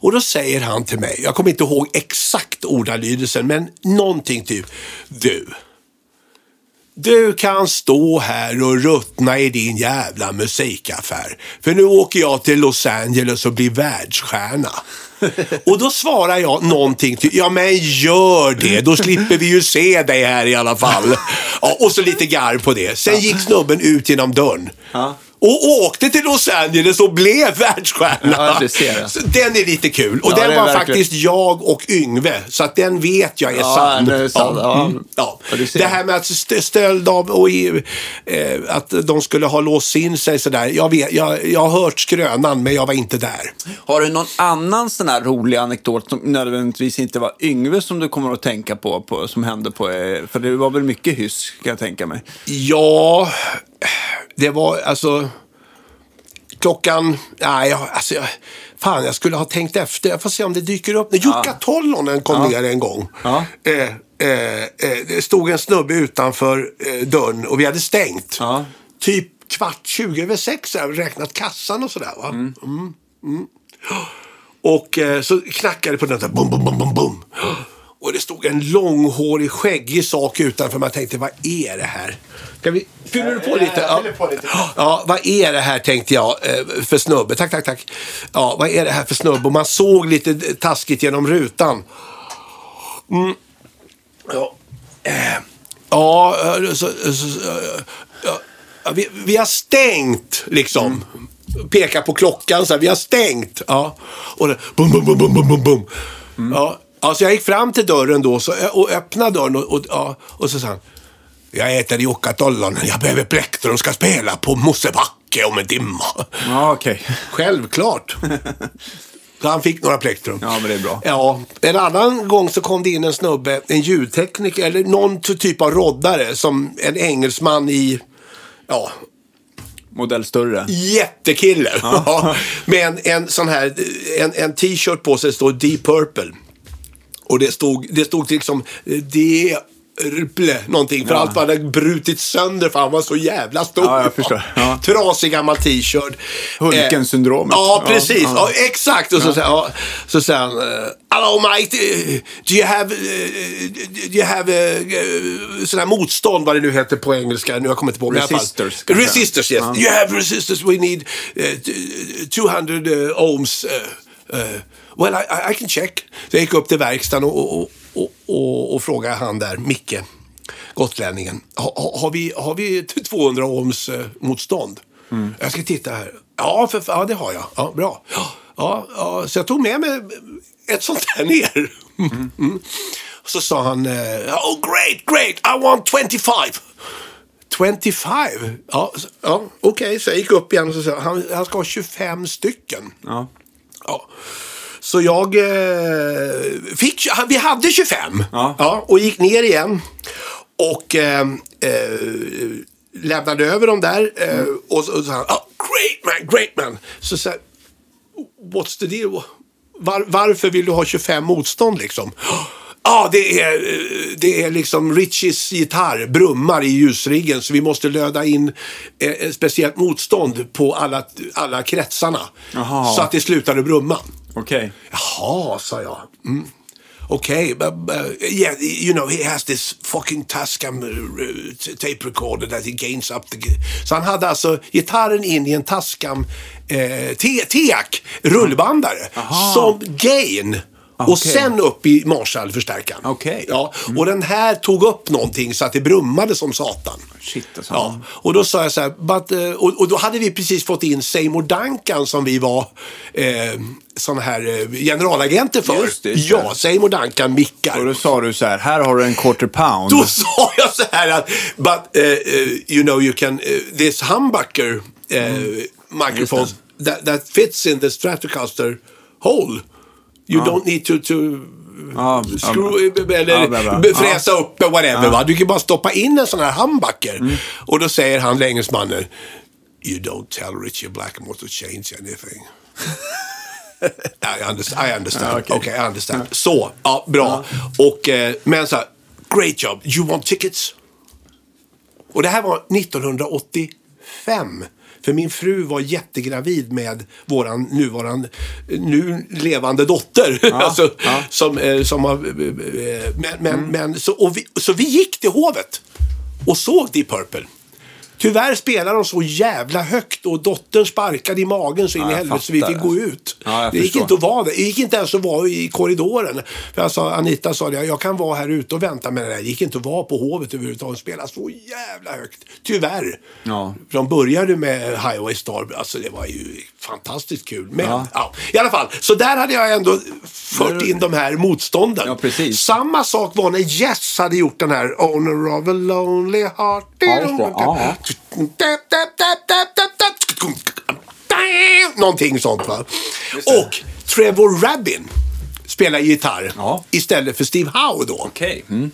B: Och då säger han till mig, jag kommer inte ihåg exakt ordalydelsen, men någonting typ. Du. Du kan stå här och ruttna i din jävla musikaffär. För nu åker jag till Los Angeles och blir världsstjärna. Och då svarar jag någonting till, ja men gör det, då slipper vi ju se dig här i alla fall. Ja, och så lite garv på det. Sen gick snubben ut genom dörren.
A: Ja.
B: Och åkte till Los Angeles och blev världsstjärna.
A: Ja, du ser det.
B: Så Alltså, den är lite kul. Och
A: Ja, det
B: den
A: är
B: var
A: verkligen-
B: faktiskt jag och Yngve. Så att den vet jag är
A: Ja,
B: sann.
A: den är sann. Ja.
B: mm, ja.
A: Ja, du ser.
B: Det här med att st- stöld av och i, eh, att de skulle ha låst in sig sådär. Jag, vet, jag, jag har hört skrönan men jag var inte där.
A: Har du någon annan sån här rolig anekdot som nödvändigtvis inte var Yngve som du kommer att tänka på, på som hände på eh, För det var väl mycket hyss kan jag tänka mig.
B: Ja, det var alltså... Klockan... Nej, jag, alltså, jag, fan, jag skulle ha tänkt efter. Jag får se om det dyker upp. När Jukka Tollonen kom ner en gång.
A: Ja.
B: Eh, eh, eh, det stod en snubbe utanför eh, dörren och vi hade stängt.
A: Ja.
B: Typ kvart 20 över sex, så här, räknat kassan och sådär. Va?
A: Mm.
B: Och eh, så knackade det på den där. Bum, bum, bum, bum, bum. Och det stod en långhårig skäggig sak utanför. Man tänkte, vad är det här? Ska vi, fyller du på lite? Ja. ja, vad är det här tänkte jag eh, för snubbe. Tack, tack, tack. Ja, vad är det här för snubbe? Och man såg lite taskigt genom rutan. Ja. Eh, Ja, eh, så, så, så, ja, ja, vi, vi har stängt liksom. Pekar på klockan så här, vi har stängt. Ja. Och det, bum, bum, bum, bum, bum, bum, bum. Ja. Alltså jag gick fram till dörren då så, och öppnade dörren och, och, ja, och så sa han. Jag heter Jukka Tollonen, jag behöver plektrum, ska spela på Mosebacke om en timma.
A: Ja, okej.
B: Självklart. Så han fick några plektrum.
A: Ja, men det är bra.
B: Ja, en annan gång så kom det in en snubbe, en ljudtekniker eller någon t- typ av roddare som en engelsman i, ja,
A: Modell större.
B: jättekille. Ja. Med en, en sån här, en, en t-shirt på sig det står Deep Purple. Och det stod, det stod liksom eh, Deep Purple någonting. För allt hade brutit sönder för han var så jävla stor.
A: Ja, jag förstår. Ja.
B: Trasig gammal t-shirt. Eh,
A: Hulken-syndromet.
B: Ja,
A: Ja,
B: precis.
A: ja.
B: Ja, exakt. Och så säger ja, så säger han, eh, Hello mate, eh, do you have, eh, do you have eh, eh, sån här motstånd, vad det nu heter på engelska, nu har jag kommit inte på. men i alla fall.
A: Resistors, kanske.
B: Resistors, yes. You have resistors, we need eh, t- 200 eh, ohms. eh, eh, well, I, I- I can check. Så jag gick upp till verkstaden och, och, och, och, och frågade han där, Micke. gotlänningen. Ha, ha, har, vi, har vi 200 ohms eh, motstånd? Jag ska titta här. Ja, för, ja det har jag. Ja, bra. Ja, ja, så jag tog med mig ett sånt här ner. Mm. Så sa han, eh, oh great, great, I want 25. 25? Ja, så- ja okej. Så jag gick upp igen och så sa han, han ska ha 25 stycken.
A: Ja.
B: Ja. Så jag eh, fick, vi hade 25
A: Ja.
B: och gick ner igen. Och eh, eh, lämnade över dem där. Eh, och så och så sa han, oh, great man, great man. Så sa jag, what's the deal? Var, varför vill du ha 25 motstånd liksom? Ja, ah, det, är, eh, det är liksom Richies gitarr brummar i ljusriggen så vi måste löda in eh, ett speciellt motstånd på alla, alla kretsarna.
A: Jaha.
B: Så att det slutade brumma.
A: Okej.
B: Jaha, sa jag. Mm. Okej, but, but, yeah, you know, he has this fucking Tascam uh, t- tape recorder that he gains up the... g- Så han hade alltså gitarren in i en Tascam eh, te- Teak rullbandare
A: Ah. Aha.
B: som gain. Och
A: Okej.
B: sen upp i Marshall-förstärkaren.
A: Okej. Mm.
B: Ja, och den här tog upp någonting så att det brummade som satan.
A: Shit alltså.
B: Ja, och då sa jag så här, but, eh, och, och då hade vi precis fått in Seymour Duncan som vi var eh, sån här eh, generalagenter för.
A: Just det, just
B: ja,
A: det.
B: Seymour Duncan
A: Och
B: mickar.
A: då sa du så här, här har du en quarter pound.
B: Då sa jag så här att, but eh, eh, you know you can, eh, this humbucker eh,
A: Mm.
B: microphones that, that fits in the Stratocaster hole. You don't need to, to
A: Ja,
B: Screw, eller
A: Ja, Mm. bra, bra.
B: be- fräsa upp och whatever. Va? Du kan bara stoppa in en sån här humbucker. Och då säger han, engelsmannen, You don't tell Richie Blackmore to change anything. I understand. I understand.
A: Ja,
B: okay.
A: okej.
B: I understand. Så, ja, bra. Och, eh, men så här, great job. You want tickets? Och det här var 1985. För min fru var jättegravid med våran nuvarande, nu levande dotter. alltså,
A: ja. Mm.
B: Som, eh, som har, eh, men, men, men, så, och vi, så vi gick till hovet och såg Deep Purple. Tyvärr spelade de så jävla högt och dottern sparkade i magen så in i
A: jag
B: helvete så vi
A: fattar.
B: fick gå ut.
A: Ja, jag
B: det gick
A: förstår.
B: inte att vara där. Det gick inte ens att vara i korridoren. För jag sa, Anita sa det, jag kan vara här ute och vänta men det där gick inte att vara på Hovet överhuvudtaget. Spela så jävla högt. Tyvärr.
A: Ja.
B: För de började med Highway Star. Alltså det var ju fantastiskt kul. Men ja.
A: Ja.
B: i alla fall. Så där hade jag ändå fört in de här motstånden.
A: Ja, precis.
B: Samma sak var när Yes hade gjort den här Owner of a Lonely Heart.
A: Ja, just det. Ja.
B: Någonting sånt va. Och Trevor Rabin spelar gitarr
A: Ja.
B: istället för Steve Howe då.
A: Okej. Mm.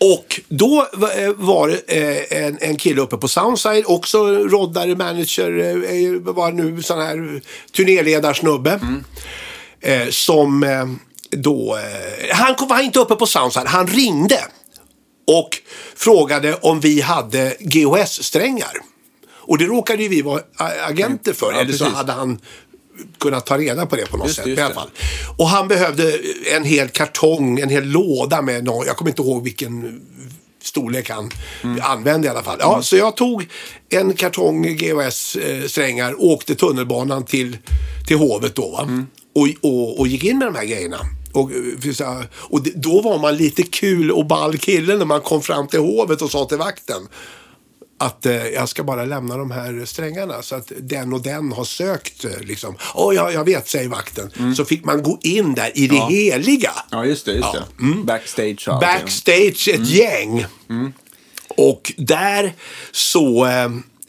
B: Och då va- eh, var det eh, en, en kille uppe på Soundside, också roddare, manager, eh, eh, vad var det nu sån här turnéledarsnubbe. Eh, Som eh, då, eh, han kom- var inte uppe på Soundside, han ringde. Och frågade om vi hade GHS-strängar. Och det råkade ju vi vara a- agenter för,
A: Mm. Ja,
B: eller så
A: precis.
B: hade han kunnat ta reda på det på något
A: Just det,
B: sätt.
A: just
B: i alla
A: det.
B: fall. Och han behövde en hel kartong, en hel låda med någon, jag kommer inte ihåg vilken storlek han
A: Mm.
B: använde i alla fall. Ja, Så jag tog en kartong GHS-strängar och åkte tunnelbanan till, till hovet då. Va?
A: Mm.
B: Och, och, och gick in med de här grejerna. Och, eh, för så här- och det, då var man lite kul och ball kille när man kom fram till hovet och sa till vakten att eh, jag ska bara lämna de här strängarna så att den och den har sökt. eh, Liksom. Oh, ja, jag vet, säger vakten. Så fick man gå in där i det heliga.
A: Ja, Mm. just det. Just det. Backstage och allting.
B: Backstage, ett gäng. Och där så eh,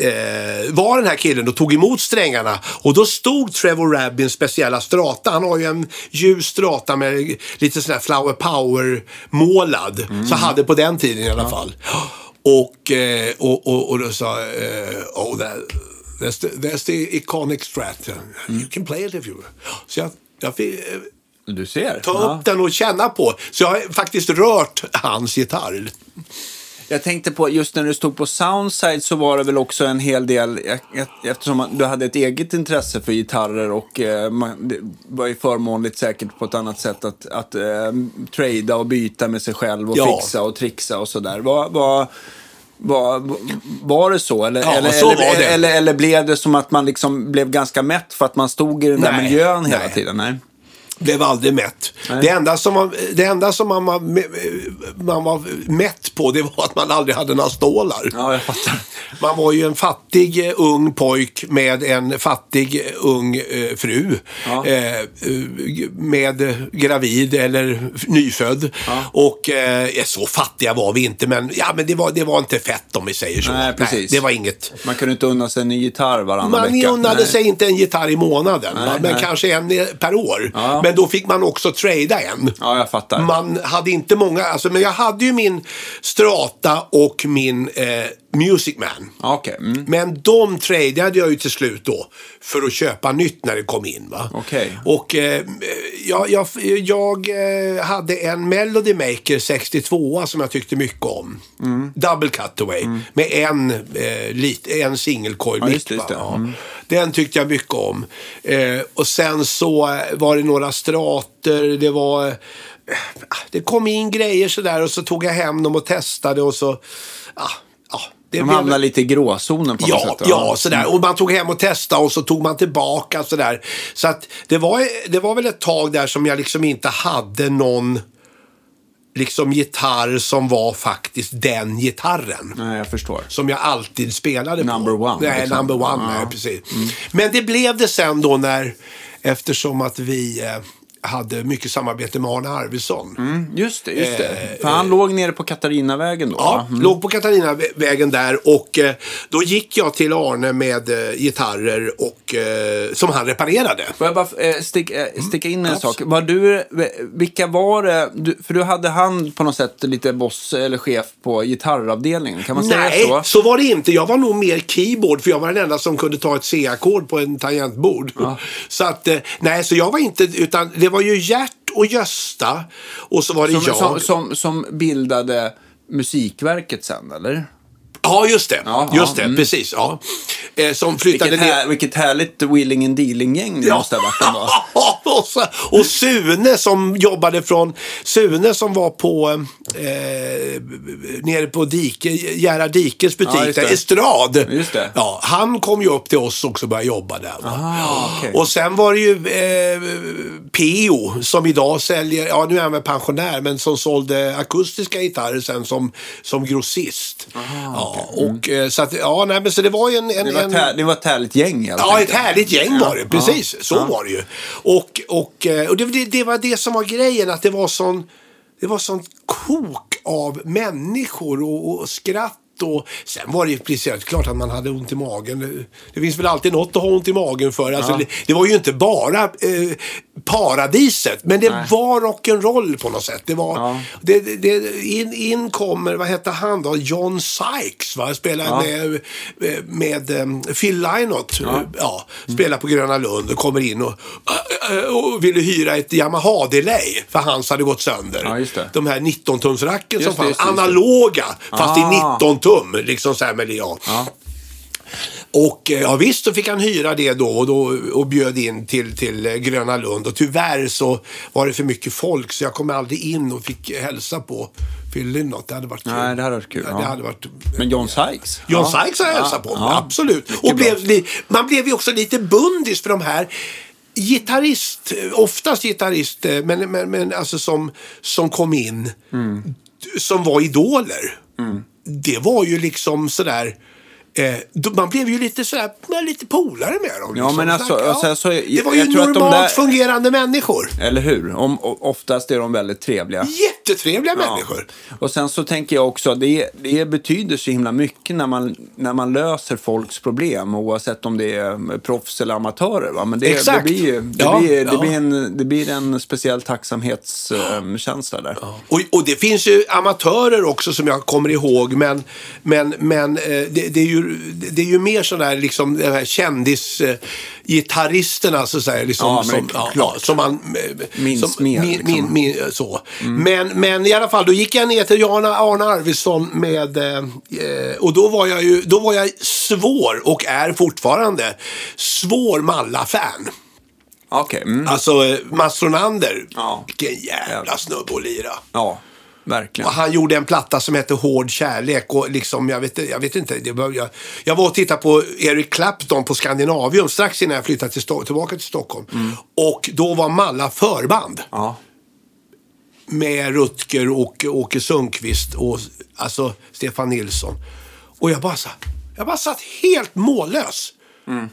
B: eh, var den här killen och tog emot strängarna. Och då stod Trevor Rabins speciella strata. Han har ju en ljus strata med lite sån här flower power målad. Så hade på den tiden i alla fall. Och, eh, och, och, och då sa eh, oh, that, that's, the, that's the iconic strat. You can play it if you... Så jag, jag fick, eh,
A: Du ser.
B: ta
A: Ja.
B: upp den och känna på. Så jag har faktiskt rört hans gitarr.
A: Jag tänkte på, just när du stod på Soundside så var det väl också en hel del, e- e- eftersom man- du hade ett eget intresse för gitarrer och eh, man, det var ju förmånligt säkert på ett annat sätt att, att eh, trada och byta med sig själv och
B: Ja.
A: fixa och trixa och sådär. Var, var, var, var det så? Eller,
B: Ja,
A: eller,
B: så
A: eller,
B: var det.
A: Eller, eller blev det som att man liksom blev ganska mätt för att man stod i den där
B: Nej,
A: miljön hela
B: nej.
A: tiden? Nej.
B: blev aldrig mätt. Det enda som, man, det enda som man, var, man var mätt på det var att man aldrig hade några stålar.
A: Ja, jag fattar.
B: Man var ju en fattig eh, ung pojk med en fattig eh, ung eh, fru.
A: Ja.
B: Eh, eh, g- med eh, gravid eller f- nyfödd. Och eh, ja, så fattiga var vi inte, men, ja, men det, var, det var inte fett om vi säger så.
A: Nej, precis.
B: det var inget.
A: Man kunde inte unna sig en ny gitarr varannan
B: Man
A: vecka.
B: unnade
A: Nej.
B: sig inte en gitarr i månaden, va, men
A: nej.
B: kanske en eh, per år.
A: Ja.
B: Men då fick man också trada en.
A: Ja, jag fattar.
B: Man hade inte många, alltså, men jag hade ju min Strata och min eh, Music Man.
A: Ja, Okej. Mm.
B: Men de tradeade jag ju till slut då för att köpa nytt när det kom in. Va?
A: Okej.
B: Och eh, jag, jag, jag eh, hade en Melody Maker 62 som jag tyckte mycket om.
A: Mm.
B: Double Cutaway med en, eh, lit, en singelcoil
A: Ja,
B: mitt.
A: just det, Mm. just
B: va?
A: det.
B: Ja. Den tyckte jag mycket om. Eh, och sen så eh, var det några strater, det var... eh, Det kom in grejer sådär och så tog jag hem dem och testade och så... Ah, ah, det
A: De
B: blev-
A: hamnar lite i gråzonen på något
B: Ja,
A: sätt. Mm.
B: ja, sådär. Och man tog hem och testade och så tog man tillbaka sådär. Så att det var, det var väl ett tag där som jag liksom inte hade någon liksom gitarr som var faktiskt den gitarren.
A: Nej, jag förstår.
B: Som jag alltid spelade
A: Number
B: på.
A: one,
B: Nej,
A: liksom. Mm.
B: number one. Nej, precis. Men det blev det sen då när, eftersom att vi eh, hade mycket samarbete med Arne Arvidsson.
A: Mm, just det, just det. För han låg nere på Katarinavägen då,
B: Eh, Ja,
A: va?
B: låg på Katarinavägen där och eh, då gick jag till Arne med eh, gitarrer och, eh, som han reparerade.
A: Får jag bara eh, stick, eh,
B: Mm,
A: sticka in en sak? Var du, vilka var det? Du, för du hade han på något sätt lite boss eller chef på gitarravdelningen. Kan man
B: Nej,
A: säga så?
B: så var det inte. Jag var nog mer keyboard för jag var den enda som kunde ta ett C-ackord på en tangentbord. Så att, eh, nej, så jag var inte, utan det var ju Gert och Gösta och så var det
A: Som,
B: jag.
A: som, som, som bildade musikverket sen, eller?
B: Ja, just det.
A: Ja,
B: just
A: ja, mm.
B: det, precis. Ja. Eh, som flyttade
A: Vilket, här, vilket härligt wheeling and dealing-gäng det måste ha varit ändå.
B: och, så, och Sune som jobbade från, Sune som var på, eh, nere på dike, Gerhard Dikes butik,
A: Ja, just
B: där,
A: det.
B: Estrad.
A: Just det.
B: Ja, han kom ju upp till oss också och började jobba där. va.
A: Ah, okej.
B: Och sen var det ju eh, P.O. som idag säljer, ja nu är han väl pensionär, men som sålde akustiska gitarrer sen som, som grossist. ja, och, eh, så, att, ja, nej, men så det var ju en... en,
A: Det var,
B: en
A: ett här, det var ett härligt gäng helt
B: Ja, ett
A: enkelt.
B: härligt gäng var det. Precis, så
A: ja.
B: var det ju. Och, och, eh, och det, det, det var det som var grejen, att det var sån, det var sån kok av människor och, och skratt. Och, sen var det ju speciellt klart att man hade ont i magen. Det finns väl alltid något att ha ont i magen för. Alltså, det, det var ju inte bara eh, paradiset, men det var rock'n'roll på något sätt. Det var,
A: Ja.
B: det, det, det, in, in kommer, vad hette han då, John Sykes, va? spelade
A: Ja.
B: med med, med em, Phil Lynott. Ja. spelar på Gröna Lund och kommer in och, äh, äh, och ville hyra ett Yamaha-delay för hans hade gått sönder.
A: Ja, just det.
B: De här 19-tumsracken som
A: Just det, just
B: fanns,
A: det, just det.
B: analoga fast
A: Ah.
B: i 19 tum. Liksom så här med, ja.
A: Ja.
B: Och eh, ja, visst så fick han hyra det då och, då, och bjöd in till, till eh, Gröna Lund. Och tyvärr så var det för mycket folk så jag kom aldrig in och fick hälsa på Phil Lynott. Det hade varit kul.
A: Nej, det hade varit kul.
B: Ja,
A: Ja.
B: det hade varit
A: Men John Sykes?
B: John
A: Ja.
B: Sykes har jag hälsat på mig,
A: Ja.
B: absolut.
A: Mycket
B: Och blev,
A: bra.
B: li- man blev ju också lite bundis för de här gitarrist, oftast gitarrist, eh, men, men, men alltså som, som kom in,
A: Mm.
B: d- som var idoler. Det var ju liksom sådär, eh, då- man blev ju lite sådär, man är lite polare med dem.
A: Ja,
B: liksom.
A: men alltså,
B: Snack-
A: alltså, så-
B: det var ju
A: jag tror att
B: normalt
A: de där-
B: fungerande människor.
A: Eller hur? Om, o- oftast är de väldigt trevliga.
B: Jättetrevliga
A: Ja.
B: människor.
A: Och sen så tänker jag också, det, det betyder så himla mycket när man, när man löser folks problem oavsett om det är proffs eller amatörer. Va? Men det,
B: Exakt.
A: det blir ju det
B: Ja,
A: blir,
B: ja.
A: det blir en, det blir en speciell tacksamhetskänsla där.
B: Och, och det finns ju amatörer också som jag kommer ihåg. Men, men, men eh, det, det, är ju, det är ju mer sådär liksom de här kändisgitarristerna så att säga. Liksom,
A: Ja, men
B: som,
A: det är
B: ja,
A: klart.
B: ja, som man eh,
A: Minns
B: som,
A: mer,
B: Min,
A: liksom. Mm.
B: min, min, eh, så. Men, men i alla fall, då gick jag ner till Jana Arne Arvidsson med, eh, eh, och då var jag ju, då var jag svår och är fortfarande svår Malla-fan.
A: Okej. mm.
B: Alltså eh, Mats Ronander,
A: Ja.
B: vilken jävla snubbe att lira.
A: Ja. Verkligen.
B: Och han gjorde en platta som hette Hård kärlek. Och liksom, jag, vet, jag vet inte. Det var, jag, jag var och tittade på Eric Clapton på Skandinavium strax innan jag flyttade till, Sto- tillbaka till Stockholm. Och då var Malla förband
A: Ja.
B: med Rutger och Åke Sundqvist och alltså Stefan Nilsson. Och jag bara, sa, jag bara satt helt mållös. Mm.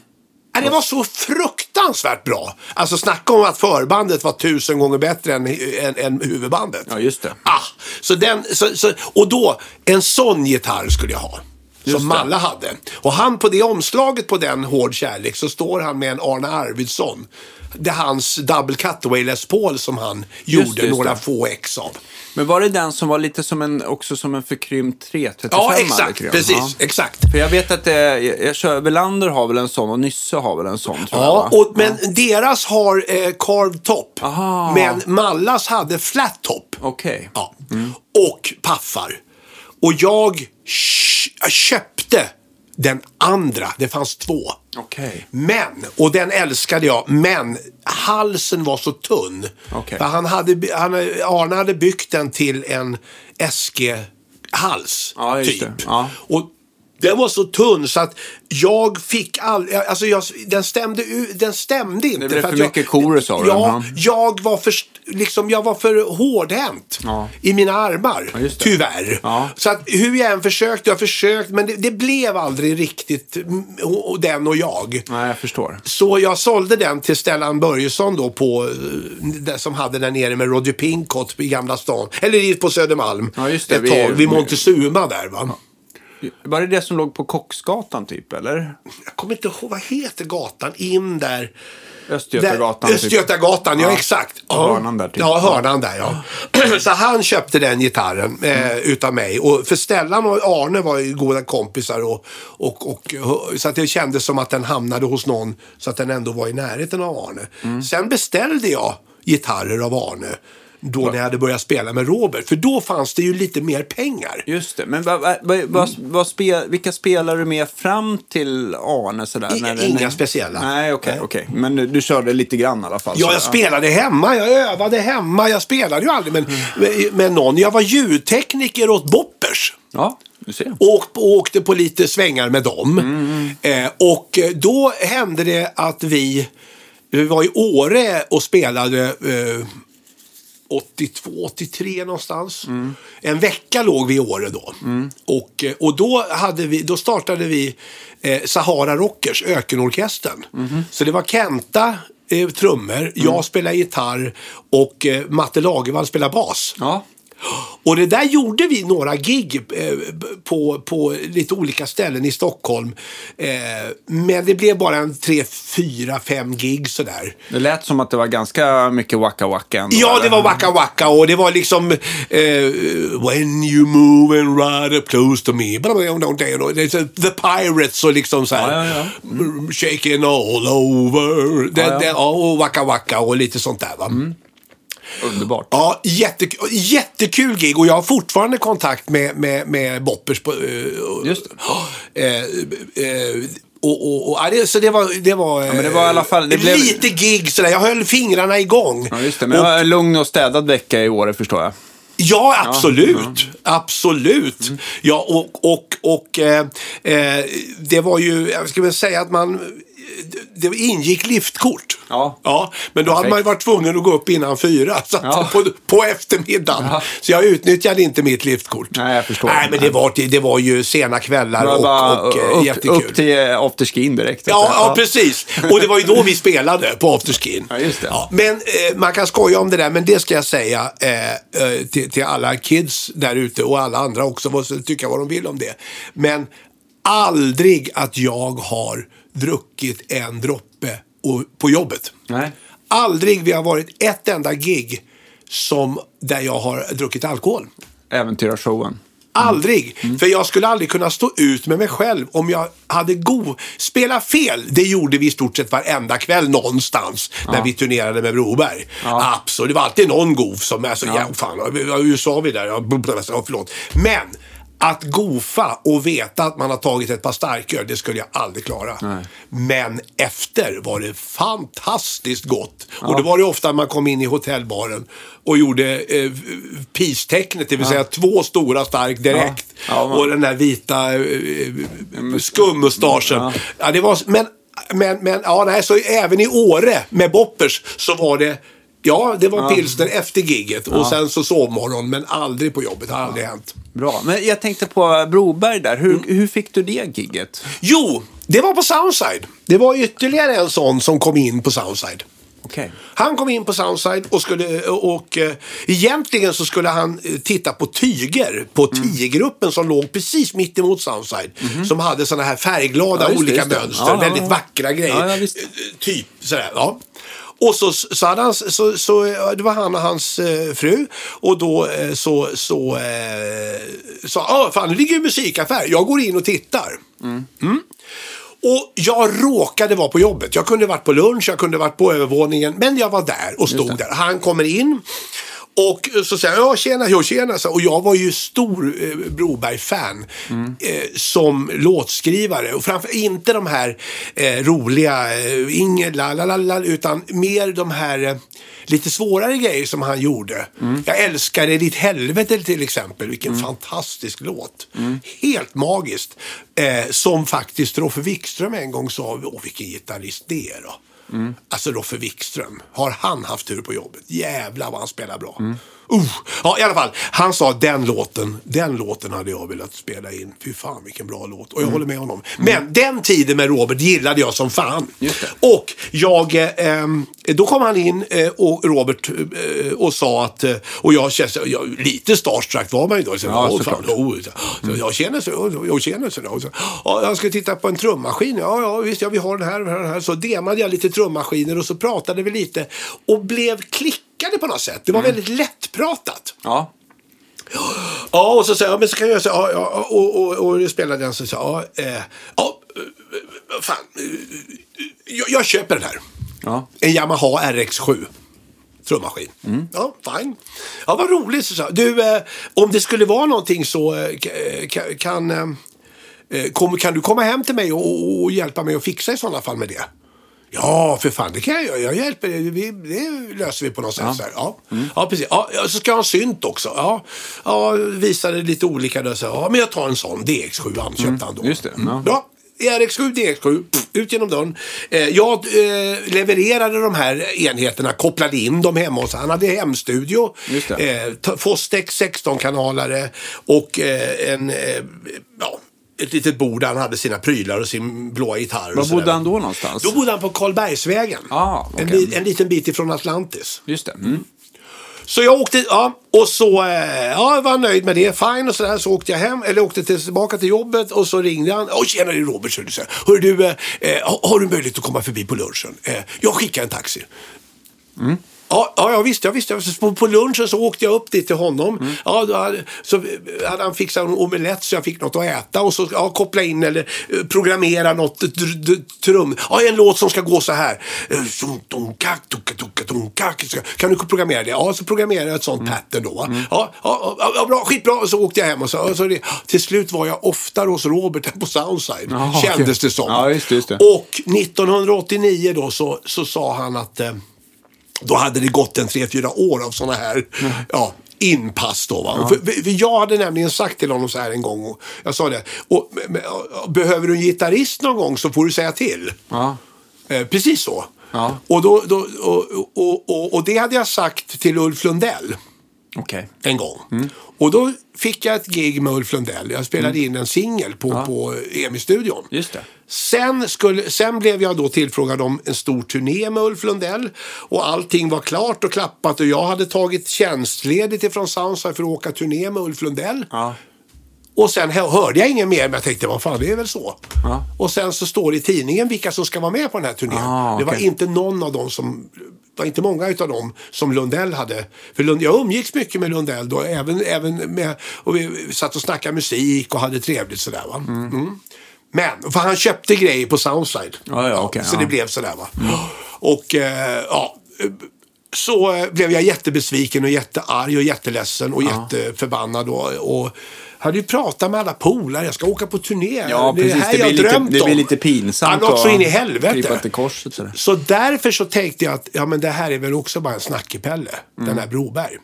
B: Det var så fruktansvärt bra. Alltså snacka om att förbandet var tusen gånger bättre än, än, än huvudbandet.
A: ja, just det.
B: Ah, så den, så, så, och då, en sån gitarr skulle jag ha.
A: Just
B: Som
A: det.
B: Malla hade. Och han på det omslaget på den Hård kärlek så står han med en Arne Arvidsson. Det är hans Double Cutaway Les Paul som han gjorde
A: det, just
B: några
A: det.
B: få ex av.
A: Men var det den som var lite som en, också som en förkrympt 335?
B: Ja,
A: -are,
B: exakt.
A: tror jag?
B: Precis,
A: Ja.
B: exakt.
A: För jag vet att eh, jag, jag kör, Welander har väl en sån och Nysse har väl en sån tror jag.
B: Ja,
A: va?
B: och, men deras har eh, carved top.
A: Aha.
B: Men Mallas hade flat top.
A: Okej.
B: Ja. Och paffar. Och jag sh- jag köpte den andra. Det fanns två.
A: Okej.
B: Men, och den älskade jag, men halsen var så tunn.
A: Okej.
B: För Han hade, by- han, Arne hade byggt den till en SG-hals.
A: Ja, just
B: typ.
A: det. Ja.
B: Och den var så tunn så att jag fick all, alltså jag, den stämde u- den stämde inte.
A: blev för
B: att jag-
A: mycket chorus av den,
B: Ja,
A: ja.
B: jag var för, liksom, jag var för hårdhänt
A: Ja.
B: i mina armar.
A: just det.
B: tyvärr.
A: Ja.
B: Så att hur jag än försökte, jag försökt, men det, det blev aldrig riktigt mm, och- och den och jag.
A: Nej, jag förstår.
B: Så jag sålde den till Stellan Börjesson då på, eh, det som hade den nere med Roger Pincott i Gamla stan. Eller i- på Södermalm.
A: Ja, just det,
B: ett
A: vi-
B: tag, vid Montezuma där va.
A: Var det det som låg på Kocksgatan typ, eller?
B: Jag kommer inte ihåg, vad heter gatan in där?
A: Östgötagatan? typ.
B: Där, Östgötagatan, ja,
A: Ja.
B: exakt.
A: Hörnan där, typ.
B: Ja, hörnan där ja. Så han köpte den gitarren eh,
A: Mm.
B: utav mig. Och för Stellan och Arne var ju goda kompisar. Och, och, och, så att det kändes som att den hamnade hos någon så att den ändå var i närheten av Arne.
A: Mm.
B: Sen beställde jag gitarrer av Arne. Då när jag hade börjat spela med Robert. För då fanns det ju lite mer pengar.
A: Typ. Just det. Men vad- vad- vad- vad- vad spe, vilka spelar du med fram till Arne? Sådär,
B: Inga-
A: det-
B: inga speciella.
A: Nej, okej. okej. Men du, du körde lite grann i alla fall?
B: Ja,
A: så-
B: jag spelade hemma, jag övade hemma. Jag spelade ju aldrig med,
A: Mm.
B: med, med någon. Jag var ljudtekniker åt Boppers.
A: Ja, du ser.
B: och, och åkte på lite svängar med dem. Eh, och eh, då hände det att vi, vi var i Åre och spelade eh, 82, 83 någonstans. En vecka låg vi i Åre då. Och, eh, och då, hade vi, då startade vi eh, Sahara Rockers, Ökenorkestern. Så det var Kenta eh, trummor, jag spelade gitarr och eh, Matte Lagervall spelade bas.
A: Ja.
B: Och det där gjorde vi några gig eh, b- på, på lite olika ställen i Stockholm. Eh, men det blev bara en tre, fyra, fem gig sådär.
A: Det lät som att det var ganska mycket wacka-wacka ändå.
B: Ja,
A: eller?
B: det var Waka Waka och det var liksom eh, When you move and ride up close to me. Det är så- The Pirates och liksom så här. Mm,
A: Ja, ja,
B: Shaking all over. Det,
A: Ja, Mm. ja.
B: Det, ja, och Waka Waka och lite sånt där. Va?
A: Underbart.
B: Ja, jättekul, jättekul gig och jag har fortfarande kontakt med, med, med Boppers. På, eh,
A: Just det.
B: eh, eh, och, och, och, ja, det, så det var, det var,
A: men det var i alla fall- det
B: eh,
A: blev-
B: lite gig sådär. Jag höll fingrarna igång.
A: Ja, just det. Men det var en lugn och städad vecka i år, förstår jag.
B: Ja, absolut.
A: Mm.
B: Absolut. Ja, och, och, och eh, eh, det var ju, jag ska väl säga att man, det ingick liftkort.
A: Ja.
B: ja men då hade
A: Perfekt.
B: man ju varit tvungen att gå upp innan fyra, så att,
A: Ja.
B: på, på eftermiddagen. Så jag utnyttjade inte mitt liftkort.
A: Nej, jag förstår.
B: Nej, men det var, det var ju sena kvällar
A: Det var
B: och,
A: bara
B: och, eh,
A: upp,
B: jättekul.
A: upp till eh, afterskin direkt. alltså.
B: Ja, ja, precis. Och det var ju då vi spelade på afterskin.
A: Ja, just det.
B: men eh, man kan skoja om det där, men det ska jag säga eh, eh, till, till alla kids där ute och alla andra också, vad som tycka vad de vill om det. Men aldrig att jag har druckit en droppe och, på jobbet.
A: Nej.
B: Aldrig vi har varit ett enda gig som, där jag har druckit alkohol.
A: Äventyrarshowen.
B: Aldrig. För jag skulle aldrig kunna stå ut med mig själv om jag hade go... Spela fel, det gjorde vi i stort sett varenda kväll någonstans när vi turnerade med Broberg. Absolut, det var alltid någon gov som... Alltså, ja. fan, vad- vad- USA vi där, ja, blub, blub, alltså, ja, förlåt. Men Att gofa och veta att man har tagit ett par starköl, det skulle jag aldrig klara. Men efter var det fantastiskt gott. Och det var det ofta man kom in i hotellbaren och gjorde eh, pistecknet, det vill säga två stora stark direkt.
A: Ja. Ja, man-
B: och den där vita eh, skummustaschen. Ja. det var, men, men, men ja, nej, så även i Åre med Boppers så var det Ja, det var pilsner efter gigget och sen så sovmorgon, men aldrig på jobbet. Det har aldrig hänt.
A: Bra. Men jag tänkte på Broberg där. Hur,
B: Mm.
A: hur fick du det gigget?
B: Jo, det var på Soundside. Det var ytterligare en sån som kom in på Soundside.
A: Okej.
B: Han kom in på Soundside och skulle och eh, egentligen så skulle han eh, titta på tyger på
A: Mm.
B: tigergruppen som låg precis mitt emot Soundside. Som hade såna här färgglada
A: Mhm. Ja, just det,
B: olika
A: just det.
B: mönster,
A: Ja, ja,
B: väldigt
A: ja.
B: vackra grejer.
A: Ja, ja, visst.
B: Eh, Typ sådär, ja. Och så, så, hade han, så, så eh, det var han och hans eh, fru och då eh, så så eh, sa ah, fan det ligger ju en musikaffär, jag går in och tittar. Och jag råkade vara på jobbet. Jag kunde varit på lunch, jag kunde varit på övervåningen. Men jag var där och stod där. Han kommer in. Och så säger jag, ja tjena, jo tjena. Så- Och jag var ju stor eh, Broberg-fan. Eh, som låtskrivare. Och framför inte de här eh, roliga, eh, Inger, la, la, la, la, utan mer de här eh, lite svårare grejer som han gjorde. Jag älskar det ditt helvete till exempel. Vilken fantastisk låt. Helt magiskt. Eh, som faktiskt Roffe Wikström en gång sa, åh vilken gitarrist det är då. Alltså Roffe Wikström, har han haft tur på jobbet? Jävlar vad han spelar bra. Uh, ja, i alla fall. Han sa den låten, den låten hade jag velat spela in. Fy fan vilken bra låt. Och jag håller med honom. Men den tiden med Robert gillade jag som fan.
A: Mm. Just det.
B: Och jag, eh, ehm, då kom han in eh, och Robert eh, och sa att, eh, och jag kände, sig- jag, lite starstruck var man ju då. Så,
A: Ja,
B: "Åh,
A: såklart.
B: fan, oh, så, så, jag känner så, oh, jag känner så. Och så ja, jag ska titta på en trummaskin. Ja, ja visst, ja, vi har den här och den här, den här. Så demade jag lite trummaskiner och så pratade vi lite. Och blev klickade på något sätt. Det var väldigt lättpratat.
A: Ja.
B: Ja, och så sa jag, men så kan jag göra så ja, ja, och, och, och det spelade den så sa jag, ja, eh, ja, eh, fan, eh, jag, jag köper den här.
A: Ja.
B: En Yamaha RX7. Trummaskin.
A: Mm.
B: Ja, fine. Ja, vad roligt. Så sa jag. Du, eh, om det skulle vara någonting så eh, ka- ka- kan, eh, eh, kom, kan du komma hem till mig och, och, och hjälpa mig att fixa i sådana fall med det? Ja, för fan, det kan jag göra. Jag hjälper dig. Vi, det löser vi på något sätt. Ja, så här. ja.
A: Mm.
B: ja precis. Ja, ja, så ska jag ha en synt också. Ja, ja visade lite olika. Där, så här. ja, men jag tar en sån. DX7 han köpte han då.
A: Mm, just det. Ja.
B: Bra. RX7, DX7, pff, ut genom dörren. Eh, jag eh, levererade de här enheterna, kopplade in dem hemma hos Han hade hemstudio.
A: Just det.
B: Eh, ta- Fostex 16-kanalare och eh, en, eh, ja, ett litet bord där han hade sina prylar och sin blåa gitarr. och
A: Var
B: sådär.
A: bodde han då någonstans?
B: Då bodde han på Karlbergsvägen.
A: Ah, okej.
B: en, li- en liten bit ifrån Atlantis.
A: Just det. Mm.
B: Så jag åkte, ja, och så eh, ja, jag var nöjd med det, fine och sådär. Så åkte jag hem, eller åkte till, tillbaka till jobbet och så ringde han. Åh, tjena det är Robert, så du. Hör du, eh, eh, har- har du möjlighet att komma förbi på lunchen? Eh, jag skickar en taxi. Ja, ja, ja visst, ja, visst. ja. Så På, på lunchen så åkte jag upp dit till honom.
A: Mm.
B: Ja, då hade, så eh, hade han fixat en omelett så jag fick något att äta. Och så ja, koppla in eller eh, programmera något dr- dr- trum. Ja, en låt som ska gå så här. Eh, som dunkak, tuka, tuka, dunkak. Så- Kan du programmera det? Ja, så programmerade jag ett sånt
A: Mm.
B: pattern då. Va? Ja, ja, ja, ja, bra, skitbra. Och så åkte jag hem och så, och så det, till slut var jag oftare hos Robert än på Soundside.
A: Jaha,
B: kändes
A: okej.
B: det som.
A: Ja, just det, just det.
B: Och 1989 då så, så sa han att eh, då hade det gått en tre fyra år av sådana här ja, inpass. Då, va? För, för jag hade nämligen sagt till honom så här en gång. Och jag sa det. Och, men, men, och, och, behöver du en gitarrist någon gång så får du säga till.
A: Ja.
B: Eh, precis så.
A: Ja.
B: Och, då, då, och, och, och, och det hade jag sagt till Ulf Lundell
A: Okej.
B: en gång.
A: Mm.
B: Och då fick jag ett gig med Ulf Lundell. Jag spelade in en singel på, på EMI-studion.
A: Just det.
B: Sen, skulle, sen blev jag då tillfrågad om en stor turné med Ulf Lundell. Och allting var klart och klappat och jag hade tagit tjänstledigt ifrån Soundside för att åka turné med Ulf Lundell.
A: Ja.
B: Och sen hö- hörde jag ingen mer men jag tänkte vad fan det är väl så. Och sen så står det i tidningen vilka som ska vara med på den här turnén.
A: Ah,
B: Det var
A: okej.
B: inte någon av dem som det var inte många av dem som Lundell hade. För Lund, jag umgicks mycket med Lundell då. Även, även med, och vi satt och snackade musik och hade trevligt sådär va. Mm. Men, för han köpte grejer på Soundside.
A: Ja, ja, okej,
B: så
A: ja. Mm.
B: det blev sådär va. Och eh, ja, så eh, blev jag jättebesviken och jättearg och jätteledsen och jätteförbannad. Och, och hade ju pratat med alla polare. Jag ska åka på turné.
A: Ja,
B: det är
A: precis.
B: här
A: Det
B: jag
A: blir, lite,
B: drömt
A: det blir
B: om.
A: lite pinsamt
B: Han åkt så
A: att
B: in i helvete.
A: krypa till korset. Sådär.
B: Så därför så tänkte jag att ja, men det här är väl också bara en snackepelle, den här Broberg.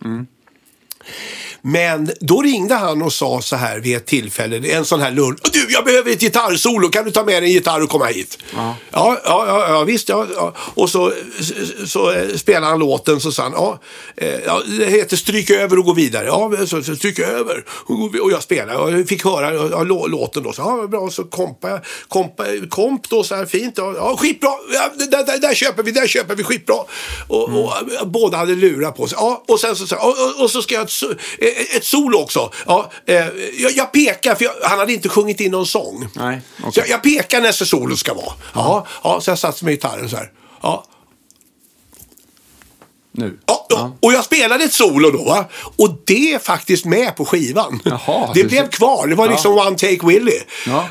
B: Men då ringde han och sa så här vid ett tillfälle, det är en sån här lunch. Du, jag behöver ett gitarrsolo, kan du ta med dig en gitarr och komma hit? Ja, ja, ja, ja visst. Ja, ja. Och så, så, så eh, spelade han låten så sa han, ja, eh, ja, det heter Stryk över och gå vidare. Ja, men så, så stryk över. Och gå vi- Och jag spelade och jag fick höra ja, lå- låten då. Så, ja, bra, så kompa, jag- kompa, komp då så här fint. Ja, ja skitbra, ja, det där, där, där köper vi, där köper vi, skitbra. Och,
A: Mm.
B: och, eh, båda hade lurar på sig. Ja, och sen så, så här, och, och, och så ska jag ha ett, so- eh, ett solo också. Ja, eh, jag, jag pekar, för jag, han hade inte sjungit in någon sång.
A: Nej, okej. Mm.
B: Så jag, jag pekar nästa solo ska vara. Ja, ja, så jag satte mig i gitarren så här. Ja,
A: Nu.
B: Ja, ja. Och jag spelade ett solo då. Va? Och det är faktiskt med på skivan.
A: Jaha,
B: det
A: du
B: blev
A: ser-
B: kvar. Det var liksom One Take Willy.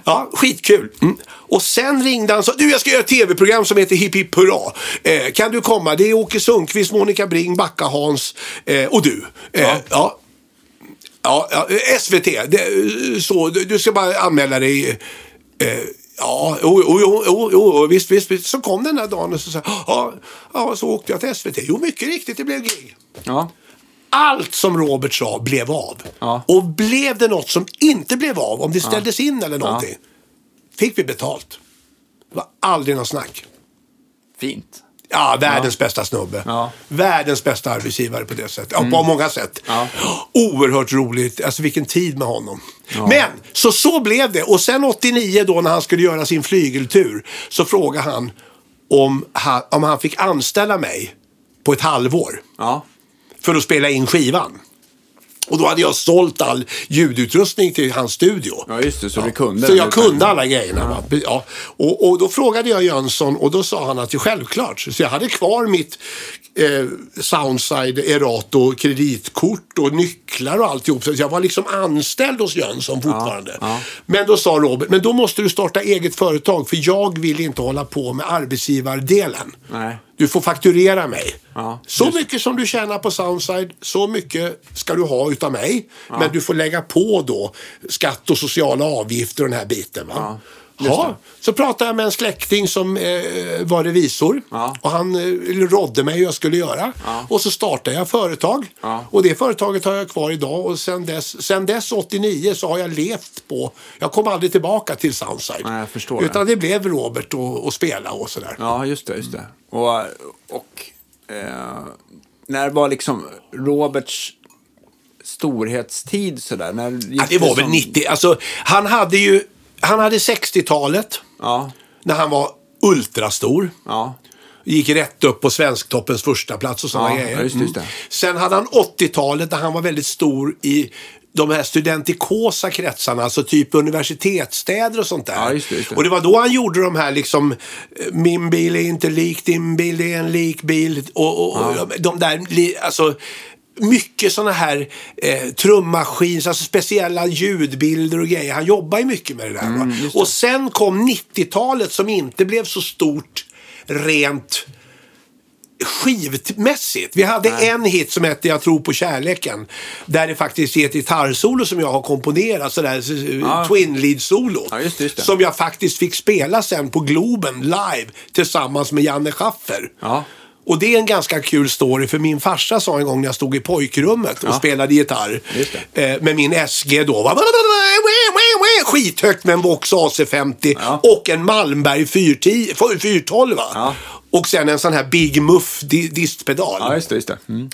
A: Ja.
B: skitkul. Mm. Och sen ringde han och sa, du jag ska göra ett tv-program som heter Hipp Hipp Hurra. Eh, kan du komma? Det är Åke Sundqvist, Monica Bring, Backa-Hans eh, och du. Eh,
A: Ja.
B: ja. Ja, ja, SVT. Det, eh, så, du, du ska bara anmäla dig. Eh, ja, jo, jo, jo, jo, jo visst, visst, visst. Så kom den där dagen och så sa jag, ja, ja, så åkte jag till SVT. Jo, mycket riktigt, det blev gig.
A: Ja.
B: Allt som Robert sa blev av.
A: Ja.
B: Och blev det något som inte blev av, om det ställdes in eller någonting, fick vi betalt. Det var aldrig något snack.
A: Fint.
B: Ja, världens bästa snubbe.
A: Ja. Mm.
B: Världens bästa arbetsgivare på det sättet. Ja, På många sätt.
A: Ja.
B: Oerhört roligt. Alltså vilken tid med honom. Men, så så blev det. Och sen 89 då när han skulle göra sin flygeltur så frågade han om han, om han fick anställa mig på ett halvår
A: Ja.
B: för att spela in skivan. Och då hade jag sålt all ljudutrustning till hans studio.
A: Ja, just det. Så du kunde.
B: Så jag
A: den.
B: kunde alla grejerna. va? Be- Ja. Och, och då frågade jag Jönsson och då sa han att det är självklart. Så jag hade kvar mitt eh, Soundside Erato kreditkort och nycklar och alltihop. Så jag var liksom anställd hos Jönsson fortfarande.
A: ja.
B: Men då sa Robert, men då måste du starta eget företag för jag vill inte hålla på med arbetsgivardelen.
A: Nej.
B: Du får fakturera mig.
A: Ja,
B: så mycket som du tjänar på Soundside, så mycket ska du ha utav mig. Men du får lägga på då skatt och sociala avgifter och den här biten. Va? Ja. så pratade jag med en släkting som eh, var revisor
A: Ja.
B: och han eh, rådde mig hur jag skulle göra. Och så startade jag företag
A: Ja.
B: och det företaget har jag kvar idag och sen dess, sen dess 89 så har jag levt på, jag kom aldrig tillbaka till Soundside.
A: Nej, jag förstår det.
B: utan det. blev Robert och, och spela och sådär.
A: Ja, just det. Just det. Och, och eh, när var liksom Roberts storhetstid sådär? När gick
B: Ja, det var väl
A: som-
B: 90. Alltså, han hade ju han hade 60-talet
A: Ja,
B: när han var ultrastor.
A: ja,
B: Gick rätt upp på Svensktoppens första plats och sådana
A: Ja,
B: grejer.
A: ja, just det, just det.
B: Mm. Sen hade han 80-talet där han var väldigt stor i de här studentikosa kretsarna, alltså typ universitetsstäder och sånt där.
A: Ja, just det, just det.
B: Och det var då han gjorde de här liksom, eh, min bil är inte lik din bil, det är en likbil. Och, och, och de där, li- alltså, mycket sådana här eh, trummaskins, alltså speciella ljudbilder och grejer. Han jobbar ju mycket med det där.
A: Mm,
B: va? Och sen kom 90-talet som inte blev så stort rent skivmässigt. Vi hade en hit som hette Jag tror på kärleken. Där det faktiskt är ett gitarrsolo som jag har komponerat. Sådär,
A: Ja.
B: Twin lead-solot.
A: Ja, just det, just det.
B: Som jag faktiskt fick spela sen på Globen live tillsammans med Janne Schaffer.
A: Ja.
B: Och det är en ganska kul story för min farsa sa en gång när jag stod i pojkrummet och spelade gitarr
A: Just
B: eh, med min SG då. Va? Skithögt med en Vox AC50
A: Ja.
B: och en Malmberg 410 412. va?
A: Ja.
B: Och sen en sån här Big Muff di- distpedal.
A: ja, just det. Just det. Mm.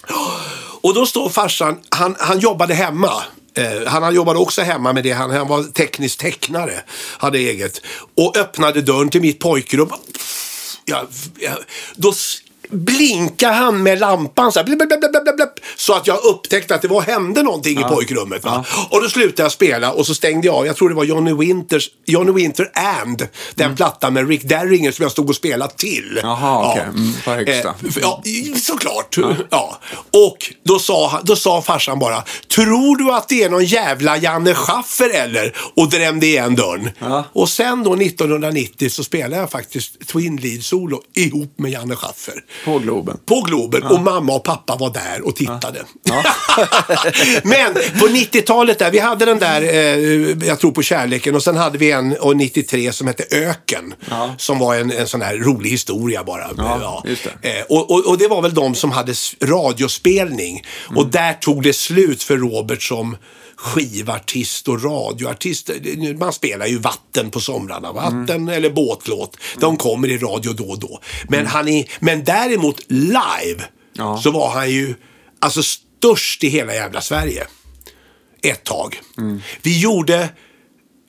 B: Och då står farsan, han, han jobbade hemma. Eh, han jobbade också hemma med det. Han, han var teknisk tecknare. Hade eget. Och öppnade dörren till mitt pojkrum. Jag, jag, då s- blinkade han med lampan så här. Blip, blip, blip, blip, blip, blip, så att jag upptäckte att det var, hände någonting i pojkrummet. Va? Och då slutade jag spela och så stängde jag av. Jag tror det var Johnny Winters, Johnny Winter and. Den plattan med Rick Derringer som jag stod och spelade till.
A: Mm. Jaha, okej. Mm, på högsta.
B: Eh, för- Ja, i- såklart. Ja. Och då sa, han- då sa farsan bara, tror du att det är någon jävla Janne Schaffer eller? Och drämde igen dörren.
A: Ja.
B: Och sen då 1990 så spelade jag faktiskt Twin Lead Solo ihop med Janne Schaffer.
A: På Globen.
B: På Globen och mamma och pappa var där och tittade. Men på 90-talet där, vi hade den där, eh, jag tror på kärleken och sen hade vi en och 93 som hette Öken. Som var en, en sån här rolig historia bara. Ja,
A: just det.
B: Eh, och, och, och det var väl de som hade s- radiospelning. Och där tog det slut för Robert som skivartist och radioartist. Det- Man spelar ju vatten på somrarna. Vatten eller båtlåt. De kommer i radio då och då. Men, han är, men däremot live
A: Ja.
B: så var han ju alltså störst i hela jävla Sverige. Ett tag. Vi, gjorde,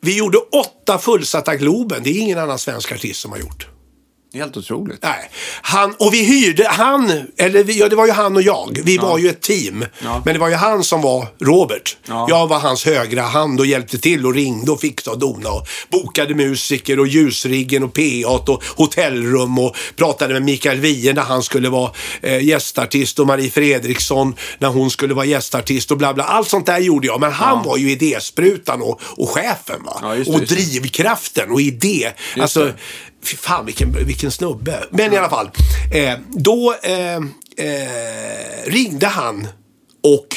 B: vi gjorde åtta fullsatta Globen. Det är ingen annan svensk artist som har gjort.
A: Helt otroligt.
B: Nej. Han, och vi hyrde, han, eller vi, ja, det var ju han och jag. Vi var ju ett team.
A: Ja.
B: Men det var ju han som var Robert.
A: Ja.
B: Jag var hans högra hand och hjälpte till och ringde och fixade och donade. Och bokade musiker och ljusriggen och PA och hotellrum och pratade med Mikael Wiehe när han skulle vara eh, gästartist och Marie Fredriksson när hon skulle vara gästartist och bla bla. Allt sånt där gjorde jag. Men han var ju idésprutan och, och chefen va.
A: Ja, just det,
B: och
A: just det.
B: drivkraften och idé. alltså,
A: det.
B: Fy fan vilken, vilken snubbe. Men i alla fall. Eh, då eh, eh, ringde han och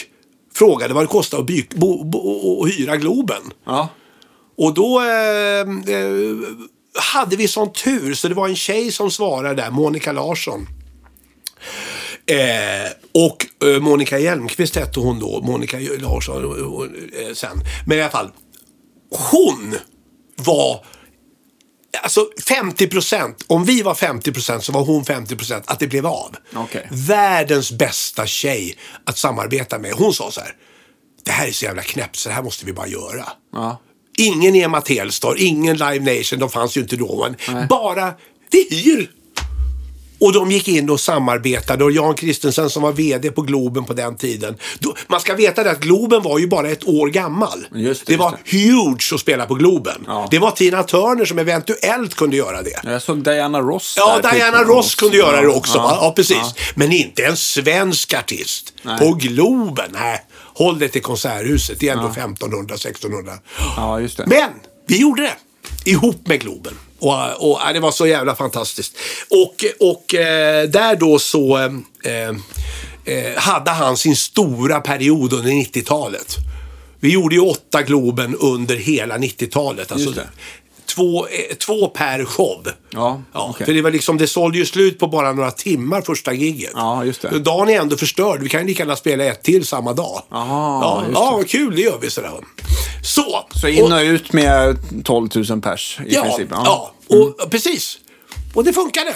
B: frågade vad det kostade att by, bo, bo, och hyra Globen.
A: Ja.
B: Och då eh, eh, hade vi sån tur så det var en tjej som svarade där, Monica Larsson. Eh, och eh, Monica Hjelmqvist hette hon då, Monica Larsson och, och, eh, sen. Men i alla fall, hon var Alltså 50 procent, om vi var 50 procent så var hon 50 procent att det blev av.
A: Okej.
B: Världens bästa tjej att samarbeta med. Hon sa så här, det här är så jävla knäppt så det här måste vi bara göra.
A: Ja.
B: Ingen EMA Telstar, ingen Live Nation, de fanns ju inte då. Men bara, vi hyr! Och de gick in och samarbetade och Jan Kristensen som var VD på Globen på den tiden. Då, man ska veta det att Globen var ju bara ett år gammal.
A: Just det,
B: det var
A: just
B: huge att spela på Globen.
A: Ja.
B: Det var Tina Turner som eventuellt kunde göra det.
A: Jag såg Diana Ross
B: Ja,
A: där,
B: Diana
A: typ.
B: Ross kunde göra det också.
A: Ja.
B: va? ja precis.
A: Ja.
B: Men inte en svensk artist.
A: Nej.
B: På Globen, nej. Håll det till Konserthuset, det är ändå 1500-1600.
A: Ja, just det.
B: Men vi gjorde det. Ihop med Globen. Och, och ja, det var så jävla fantastiskt. Och, och eh, där då så eh, eh, hade han sin stora period under 90-talet. Vi gjorde ju åtta Globen under hela 90-talet. Alltså,
A: Just det.
B: Två, eh, två per show.
A: Ja, okej.
B: För det var liksom, det sålde ju slut på bara några timmar första giget.
A: Ja, just det.
B: Så Dagen är ändå förstörd. Vi kan ju lika gärna spela ett till samma dag.
A: Aha,
B: ja,
A: just
B: ja, vad kul, det gör vi sådär. Så!
A: Så in och ut med 12 000 pers i
B: ja,
A: princip. Mm.
B: Ja, Och, precis. Och det funkade.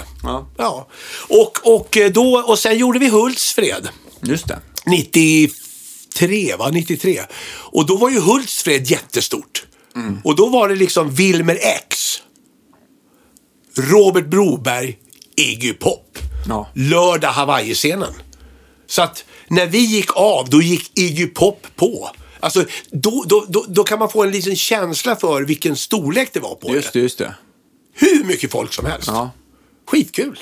A: Ja.
B: Och, och, eh, då, och sen gjorde vi Hultsfred.
A: Just det.
B: 93, va? 93. Och då var ju Hultsfred jättestort.
A: Mm.
B: Och då var det liksom Wilmer X, Robert Broberg, Iggy Pop.
A: Ja.
B: Lördag Hawaii-scenen. Så att när vi gick av, då gick Iggy Pop på. Alltså, då, då, då, då kan man få en liten känsla för vilken storlek det var på
A: Just det, just det.
B: det. Hur mycket folk som helst.
A: Ja.
B: Skitkul.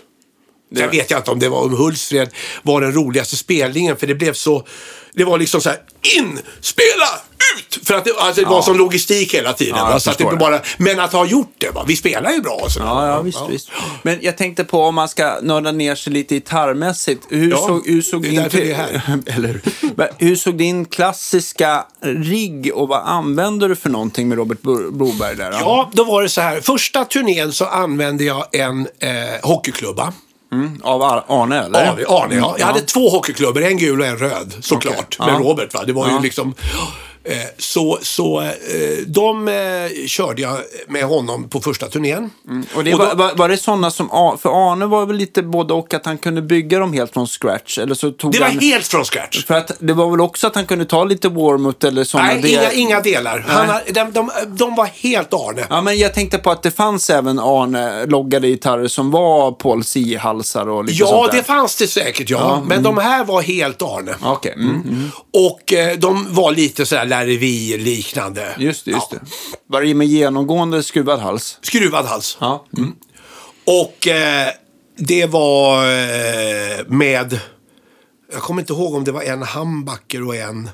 A: Det-
B: Sen vet jag inte om det var om Hultsfred var den roligaste spelningen för det blev så... Det var liksom så här in, spela, ut! För att det, alltså, det var som logistik hela tiden.
A: Ja, jag
B: va? så att det
A: förstår
B: bara, men att ha gjort det, va? vi spelar ju bra. Och sådär,
A: Ja, ja,
B: va?
A: visst, visst. Men jag tänkte på om man ska nörda ner sig lite gitarrmässigt. Hur
B: Ja,
A: såg, hur såg
B: det är
A: din,
B: därför vi är här.
A: Eller, hur? Men hur såg din klassiska rigg och vad använde du för någonting med Robert Bro- Broberg där? då?
B: Ja, då var det så här. Första turnén så använde jag en eh, hockeyklubba.
A: Mm, av Ar- Arne, eller?
B: Arne, Arne ja. Jag
A: Ja.
B: hade två hockeyklubbor, en gul och en röd såklart.
A: Okej.
B: Med
A: Ja.
B: Robert va. Det var
A: Ja.
B: ju liksom... eh, Så, så eh, de eh, körde jag med honom på första turnén.
A: Mm, Och det
B: Och
A: var, var, var det sådana som, A- för Arne var väl lite både och att han kunde bygga dem helt från scratch eller så tog
B: Det var
A: han...
B: helt från scratch.
A: För att det var väl också att han kunde ta lite warmut eller sådana
B: Nej, inga, inga delar. Han,
A: Nej.
B: har- de, de, de var helt Arne.
A: Ja, men jag tänkte på att det fanns även Arne-loggade gitarrer som var Paul C-halsar och lite
B: Ja,
A: sånt där. mm.
B: det fanns det säkert ja. Men de här var helt Arne.
A: Okej, mm. mm.
B: Och eh, de var lite sådär Larry liknande
A: just det. Just det. Var det med genomgående skruvad hals?
B: Skruvad hals.
A: Ja. Mm.
B: Och eh, det var eh, med... Jag kommer inte ihåg om det var en humbucker och en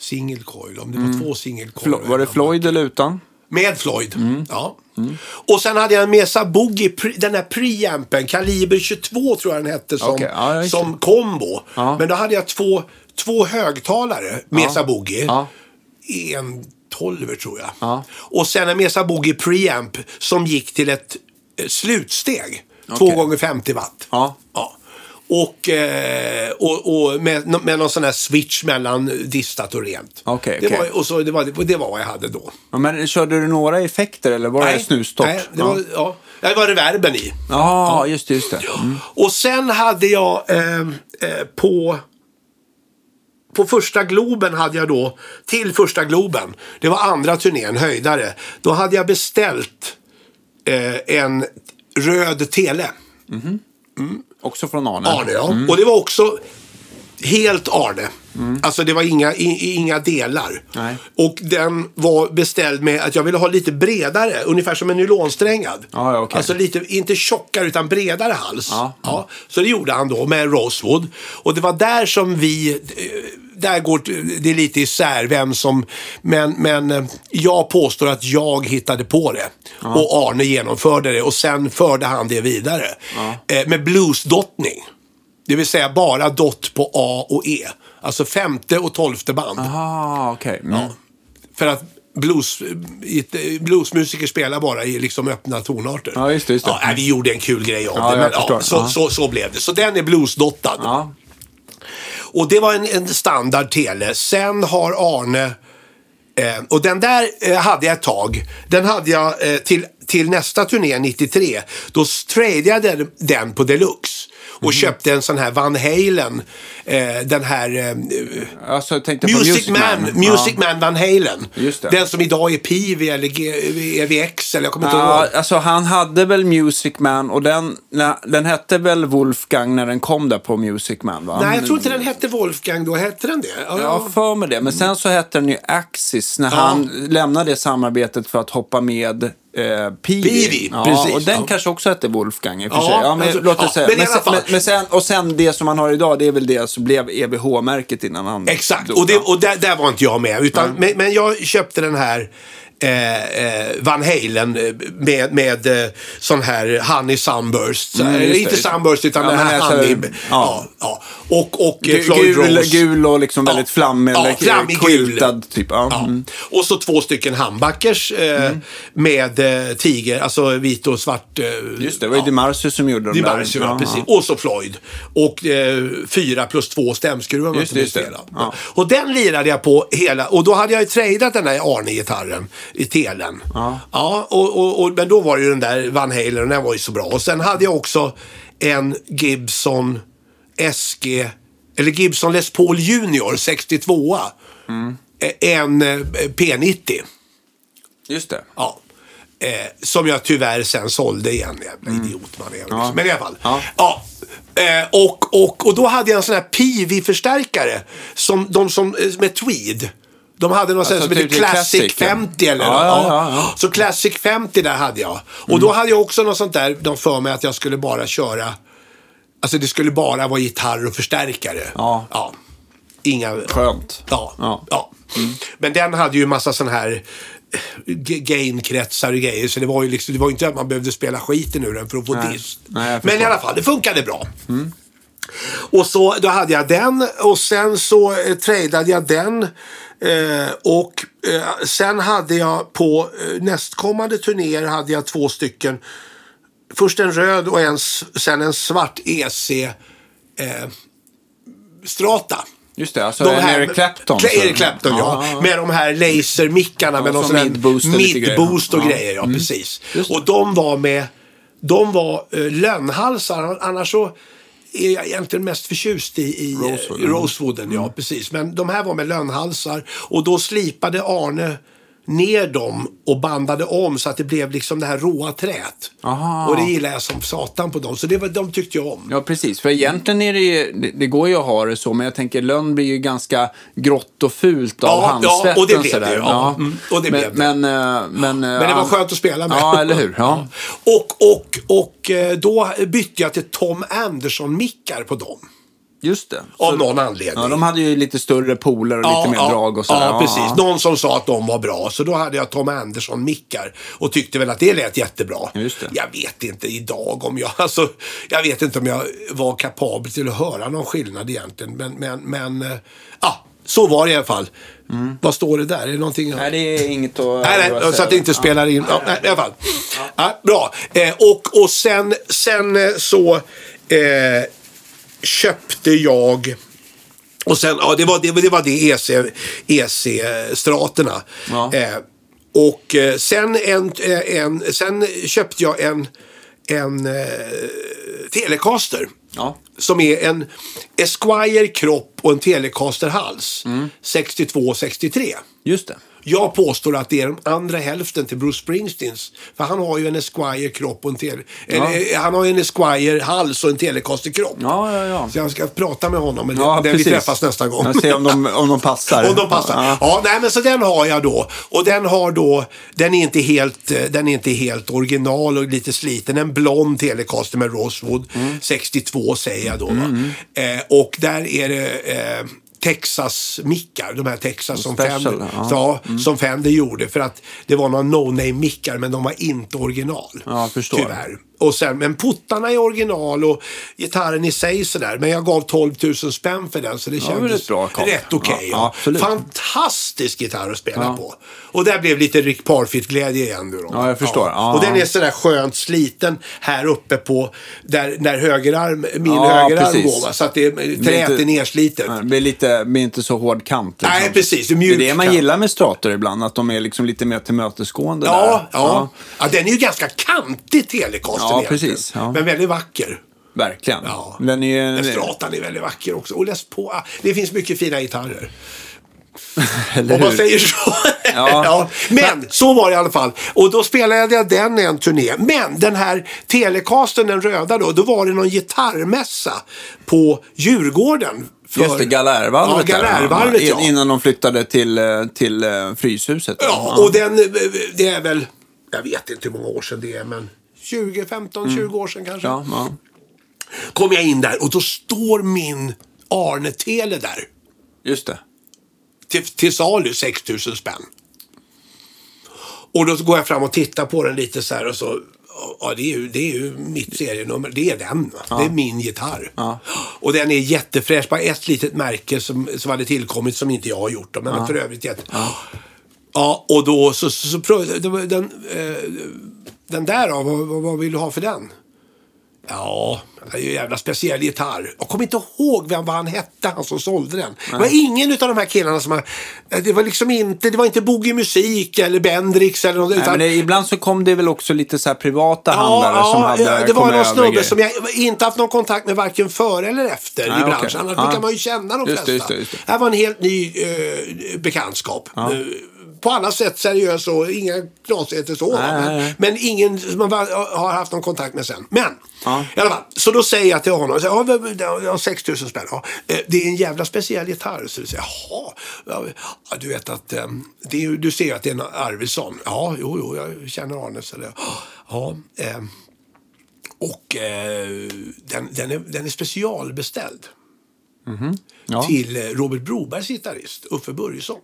B: single coil. Om det var två single coil.
A: Flo-
B: och
A: Mm. var
B: en
A: det Mm.
B: humbucker.
A: Floyd eller utan?
B: Med Floyd. Ja. Och sen hade jag en Mesa Boogie, pre- den här preampen, Kaliber 22 tror jag den hette som,
A: Okej, ja, just det.
B: som kombo.
A: Ja.
B: Men då hade jag två, två högtalare, Mesa Boogie.
A: Ja.
B: En 12 E tror jag.
A: Ja.
B: Och sen en Mesa Boogie preamp som gick till ett eh, slutsteg. 2 gånger 50 watt.
A: Ja.
B: Ja. Och, eh, och, och med, med någon sån här switch mellan distat och rent.
A: Okej,
B: Det,
A: okej.
B: var, och så, det, var, det var vad jag hade då.
A: Ja, men körde du några effekter eller var det snustopp?
B: nej, det var, ja. Ja, det var reverben i.
A: Ja, just det. Just det. Mm.
B: Och sen hade jag eh, eh, på... På första Globen hade jag då, till första Globen, det var andra turnén, höjdare. Då hade jag beställt eh, en röd tele.
A: Också från Arne.
B: Arne, ja.
A: Mm.
B: Och det var också helt Arne. Alltså det var inga, i, inga delar.
A: Nej.
B: Och den var beställd med att jag ville ha lite bredare, ungefär som en nylonsträngad.
A: Ja, ja, okej.
B: Alltså lite, inte tjockare utan bredare hals.
A: Ja.
B: Ja, så det gjorde han då med Rosewood. Och det var där som vi... eh, Där går det lite isär vem som... Men, men eh, jag påstår att jag hittade på det. Och Arne genomförde det och sen förde han det vidare. Eh, med bluesdottning. Det vill säga bara dott på A och E. Alltså femte och tolfte band.
A: Ah, okej. Mm.
B: För att blues, eh, bluesmusiker spelar bara i liksom öppna tonarter.
A: Ja, just det, just det.
B: Ja, nej, vi gjorde en kul grej av
A: Ja,
B: det.
A: jag
B: Men,
A: förstår.
B: ja, så,
A: Ja.
B: så, så blev det. Så den är bluesdottad.
A: Ja.
B: Och det var en, en standard tele. Sen har Arne... Eh, och den där eh, hade jag ett tag. Den hade jag eh, till, till nästa turné 93. Då s- tradeade jag den, den på deluxe. Och
A: Mhm.
B: köpte en sån här Van Halen. Eh, den här... Eh,
A: Alltså, jag tänkte på
B: Music, Man, Music
A: ja.
B: Man Van Halen.
A: Just det.
B: Den som idag är Pivi eller G- EVX eller jag kommer inte ihåg.
A: Ja, alltså han hade väl Music Man och den, nej, den hette väl Wolfgang när den kom där på Music Man va?
B: Nej, jag tror inte den hette Wolfgang då. Hette den det? Ja,
A: Jag har för mig det. Men sen så hette den ju Axis när han lämnade det samarbetet för att hoppa med eh, Pivi.
B: Pivi,
A: ja,
B: precis,
A: Och den
B: ja.
A: kanske också hette Wolfgang i och för
B: Ja,
A: sig. Ja, men,
B: alltså,
A: låt det
B: ja,
A: säga.
B: men i
A: men,
B: alla
A: sen,
B: fall.
A: men, men sen, och sen det som man har idag, det är väl det som blev EBH-märket innan han
B: Exakt,
A: dog,
B: och, det,
A: va?
B: och där, där var inte jag med. Utan, men, men jag köpte den här eh, eh, Van Halen eh, med, med eh, sån här Honey Sunburst. Så,
A: Mm,
B: här,
A: just det,
B: inte
A: just det.
B: Sunburst utan
A: Ja,
B: den
A: men
B: här
A: alltså,
B: Honey...
A: ja.
B: Ja, ja. Och, och eh,
A: Gu-
B: Floyd
A: gul,
B: Rose.
A: gul och liksom
B: Ja.
A: väldigt flammig,
B: Ja,
A: eller
B: flammig gul.
A: quiltad typ. Ja.
B: Ja.
A: Mm.
B: Och så två stycken handbackers eh, med eh, tiger, alltså vit och svart. Eh,
A: Just det, det var ju Di Marzio som gjorde
B: Di
A: de där.
B: Marzio,
A: Ja,
B: ja, precis. Och så Floyd. Och eh, fyra plus två stämskruvar. om jag
A: Just
B: inte
A: det, just det.
B: minns fel.
A: Ja.
B: Och den lirade jag på hela. Och då hade jag ju tradeat den där Arne-gitarren i telen. Ja. och, och, och, men då var det ju den där Van Halen och den var ju så bra. Och sen hade jag också en Gibson SG, eller Gibson Les Paul Junior 62a.
A: Mm.
B: Eh, En eh, P90.
A: Just det.
B: Ja. Eh, som jag tyvärr sen sålde igen. Jävla idiot man är. Liksom. Men i alla fall.
A: Mm. Ja.
B: Ja. Eh, och, och, och då hade jag en sån här Pivi-förstärkare. Som, de som, eh, med tweed. De hade någon sån här
A: Alltså,
B: som hette
A: typ till
B: Classic
A: Classic, ja.
B: 50 eller
A: Ja,
B: något.
A: ja, ja, ja. Mm.
B: Så Classic 50 där hade jag. Och då hade jag också något sånt där. De för mig att jag skulle bara köra. Alltså det skulle bara vara gitarr och förstärkare.
A: Ja.
B: Inga...
A: Skönt.
B: Ja.
A: Ja.
B: ja. Men den hade ju massa sån här eh, g- gainkretsar och grejer. Så det var ju liksom, det var ju inte att man behövde spela skiten ur den för att få
A: Nej.
B: dist.
A: Nej, jag förstår. Mm.
B: Men i alla fall, det funkade bra. Och så, då hade jag den och sen så eh, tradeade jag den. Eh, och eh, sen hade jag på eh, nästkommande turnéer hade jag två stycken. Först en röd och en, s- sen en svart EC eh, Strata.
A: Just det, alltså en Eric Clapton.
B: Cla-
A: så-
B: Eric Clapton, ja. Med de här lasermickarna med
A: som
B: någon sån här
A: mid-boost och lite grejer.
B: mid-boost och
A: Ja. Mm.
B: grejer. Ja, Mm. precis.
A: Just det.
B: Och de var med... De var uh, lönnhalsar, annars så är jag egentligen mest förtjust i, i eh,
A: Rosewood, Mm. ja.
B: Rosewooden. Ja, precis. Men de här var med lönnhalsar och då slipade Arne ner dem och bandade om så att det blev liksom det här råa träet.
A: Aha.
B: Och det gillar jag som satan på dem. Så det var, de tyckte jag om.
A: Ja, precis. För egentligen är det ju, det, det går ju att ha det så, men jag tänker lönn blir ju ganska grått och fult av
B: Ja,
A: handsvetten.
B: ja, och det blev
A: sådär.
B: det, ja. Mm, och det
A: men,
B: blev det.
A: Men, eh, men, eh,
B: Men det var
A: an-
B: skönt att spela med.
A: Ja, eller hur. Ja.
B: Och, och, och eh, då bytte jag till Tom Anderson-mickar på dem.
A: Just det.
B: Av
A: Så-
B: någon anledning.
A: Ja, de hade ju lite större pooler och lite mer drag och så.
B: ja,
A: där.
B: precis. Någon som sa att de var bra. Så då hade jag Tom Andersson-mickar och tyckte väl att det lät jättebra.
A: Just det.
B: Jag vet inte idag om jag... Alltså, jag vet inte om jag var kapabel till att höra någon skillnad egentligen. Men, men, men eh, ja, så var det i alla fall.
A: Mm.
B: Vad står det där? Är det någonting? jag-
A: Nej, det är inget att...
B: Nej, nej, så att det inte spelar in. Ja, nej, I alla fall. Ja, bra. Eh, och, och sen, sen eh, så eh, köpte jag... Och sen, ja, det var det, var- det, E var det EC, EC-straterna.
A: Ja.
B: Eh, och eh, sen, en, eh, en, sen köpte jag en, en eh, Telecaster.
A: Ja.
B: Som är en Esquire-kropp och en Telecaster-hals.
A: Mm.
B: 62-63.
A: Just det.
B: Jag påstår att det är den andra hälften till Bruce Springsteens. För han har ju en Esquire-kropp och en tele... Eller, eh, han har ju en Esquire-hals och en Telecaster-kropp.
A: Ja, ja, ja.
B: Så jag ska prata med honom men
A: Ja,
B: när vi
A: precis.
B: träffas nästa gång.
A: Jag ser om de, om de passar.
B: Om de passar. Ja.
A: Ja.
B: nej, men så den har jag då. Och den har då, den är inte helt, eh, den är inte helt original och lite sliten. En blond Telecaster med Rosewood, 62 säger jag då.
A: Mm.
B: Va? Eh, och där är det eh, Texas-mickar, de här Texas som
A: Special,
B: Fender,
A: ja. Mm.
B: ja, som Fender gjorde. För att det var några no-name-mickar men de var inte original.
A: Ja, jag förstår.
B: Tyvärr. Och sen, men puttarna är original och gitarren i sig sådär. Men jag gav 12 000 spänn för den så det
A: det var
B: kändes
A: ett bra kap.
B: rätt okej.
A: Ja,
B: ja.
A: absolut.
B: Fantastisk gitarr att spela
A: Ja.
B: på. Och där blev lite Rick Parfitt-glädje igen nu då.
A: Ja, jag förstår. Ja.
B: Och den är sådär skönt sliten här uppe på där, där högerarm, min
A: Ja,
B: högerarm
A: precis.
B: går. va. Så att det är,
A: Det är
B: träet
A: inte-
B: är nerslitet.
A: Det blir, lite, blir inte så hård kant. Liksom.
B: Nej, precis. Det är
A: Det är
B: mjuk
A: det man
B: kant.
A: gillar med strator ibland, att de är liksom lite mer tillmötesgående
B: Ja,
A: där.
B: ja. Ja. den är ju ganska kantig Telecaster
A: Ja,
B: egentligen.
A: precis. Ja.
B: Men väldigt vacker.
A: Verkligen.
B: Ja.
A: Den är ju...
B: Men Stratan är väldigt vacker också. Och läs på. Ah, Det finns mycket fina gitarrer.
A: Eller
B: Om man
A: hur?
B: säger så.
A: Ja.
B: Ja. Men så var det i alla fall. Och då spelade jag den i en turné. Men den här Telecasten, den röda då, då var det någon gitarrmässa på Djurgården. För...
A: Just det, Galärvarvet.
B: Ja,
A: där.
B: Galärvarvet,
A: In-
B: ja.
A: Innan de flyttade till, eh, till eh, Fryshuset.
B: Ja, och den, eh, det är väl, jag vet inte hur många år sedan det är, men 20, 15, 20 år sedan kanske.
A: Mm. Ja, ja.
B: Kom jag in där och då står min Arne Tele där.
A: Just det.
B: till, till salu 6 000 spänn. Och då går jag fram och tittar på den lite så här och så. Ja, det är ju, det är ju mitt serienummer. Det är den. va? Det är min gitarr. Och den är jättefräsch. Bara ett litet märke som, som hade tillkommit som inte jag har gjort. Då, men för övrigt jätte... Ja. och då så, så, så prö- det var den, eh, den där då, vad, vad, vad vill du ha för den? Ja, det är ju en jävla speciell gitarr. Jag kommer inte ihåg vem vad han hette, han som sålde den. Det var ingen av de här killarna som... har- Det var liksom inte, det var inte Boogie Musik eller Bendrix eller något.
A: Nej, men det, ibland så kom det väl också lite så här privata handlare som hade
B: ja, det var
A: kommit
B: någon
A: över
B: snubbe
A: grejer.
B: som jag inte haft någon kontakt med varken före eller efter
A: Nej,
B: i branschen.
A: okej.
B: Annars
A: Ja.
B: brukar man ju känna de
A: Just det,
B: flesta.
A: just det, just det.
B: här var en helt ny eh, bekantskap. Eh, på alla sätt seriös och inga knasigheter så.
A: Nej,
B: men,
A: nej, nej.
B: men ingen som man var- har haft någon kontakt med sen. Men
A: Ja.
B: i alla fall, så då säger jag till honom. så här, Ja, men, jag har 6 000 spänn. Ja, eh, det är en jävla speciell gitarr. Så du säger, jaha. Ja, ja, du vet att eh, det är, ju- du ser ju att det är en Arvidsson. Ja, jo, jo, jag känner Arne. Så det, ja, eh, och eh, den, den, är, den är specialbeställd
A: Ja.
B: till eh, Robert Brobergs gitarrist Uffe Börjesson.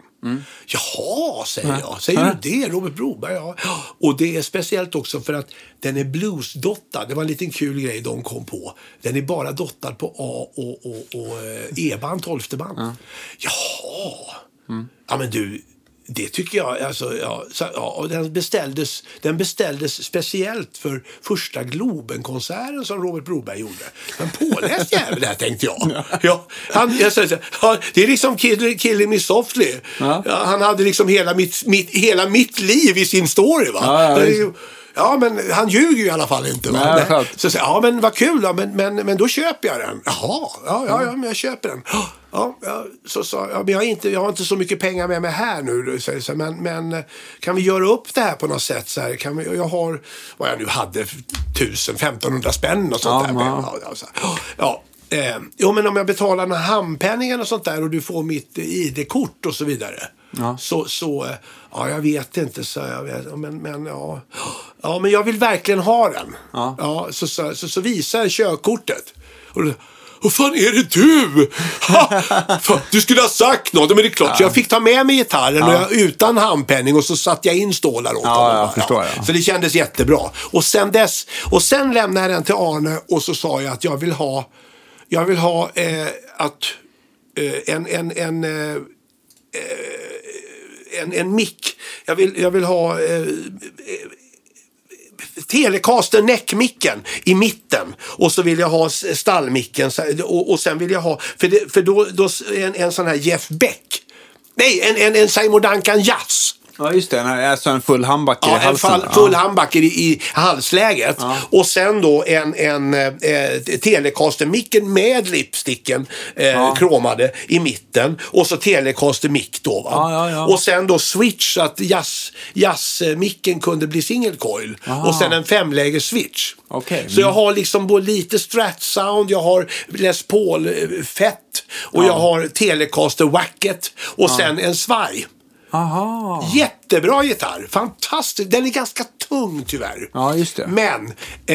B: Jaha, säger jag. Säger du det? Robert Broberg, ja. Och det är speciellt också för att den är bluesdottad. Det var en liten kul grej de kom på. Den är bara dottad på A och, och, och eh, E-band, tolfte band. Jaha. Ja, men du. Det tycker jag. Alltså, ja, så, ja, och den, beställdes, den beställdes speciellt för första Globenkonserten som Robert Broberg gjorde. Men påläst jävel där tänkte jag. Ja, han, jag säger så här, ja, det är liksom Kill, Killing Me Softly.
A: Ja.
B: Ja, han hade liksom hela mitt, mitt, hela mitt liv i sin story. Va?
A: Ja, ja,
B: Det är
A: visst.
B: ju- Ja, men han ljuger ju i alla fall inte. Va?
A: Nej,
B: Nej.
A: skönt.
B: Så säger jag, ja men vad kul då, men, men, men då köper jag den. Jaha, ja, ja, ja
A: Mm.
B: men jag köper den. Ja, ja, så sa jag, men jag, har inte, jag har inte så mycket pengar med mig här nu. då, säger jag så här, men, men kan vi göra upp det här på något sätt? Så här, kan vi, jag har, vad jag nu hade, 1000, 1500 spänn och sånt
A: Ja,
B: där.
A: ja.
B: Ja, ja, så här. ja. Eh, jo men om jag betalar den här handpenningen och sånt där och du får mitt eh, ID-kort och så vidare. Så, så, eh, ja jag vet inte så jag vet, Ja, men, men ja. Ja men jag vill verkligen ha den.
A: Ja.
B: så, så, så, så visar jag körkortet. Och då, Vad fan är det du? Ha, fan, du skulle ha sagt något. Men det är klart, så jag fick ta med mig gitarren och jag, utan handpenning och så satte jag in stålar åt honom.
A: jag
B: bara.
A: förstår, ja.
B: Så det kändes jättebra. Och sen dess, och sen lämnade jag den till Arne och så sa jag att jag vill ha, jag vill ha eh, att eh, en, en, en eh, en, en mick. Jag vill, jag vill ha eh, eh, Telecaster näckmicken i mitten och så vill jag ha s- stallmicken så- och, och sen vill jag ha, för, det, för då, då s- en, en sån här Jeff Beck. Nej, en, en, en Simon Duncan Jazz.
A: Ja, just det. Nej, Alltså en full handback i
B: Ja, en
A: halsen.
B: fall, full handbacker i, i halsläget. Och sen då en, en eh, eh, Telecaster-micken med lipsticken eh, kromade i mitten. Och så Telecaster-mick då. Va?
A: Ja, ja, ja.
B: Och sen då switch så att jazz- jazz-micken kunde bli single coil. Och sen en femläge switch.
A: Okej.
B: Så jag har liksom både lite Strat-sound, jag har Les Paul-fett och jag har Telecaster-wacket och sen en svaj.
A: Aha.
B: Jättebra gitarr. Fantastisk. Den är ganska tung tyvärr.
A: Ja, just det.
B: Men,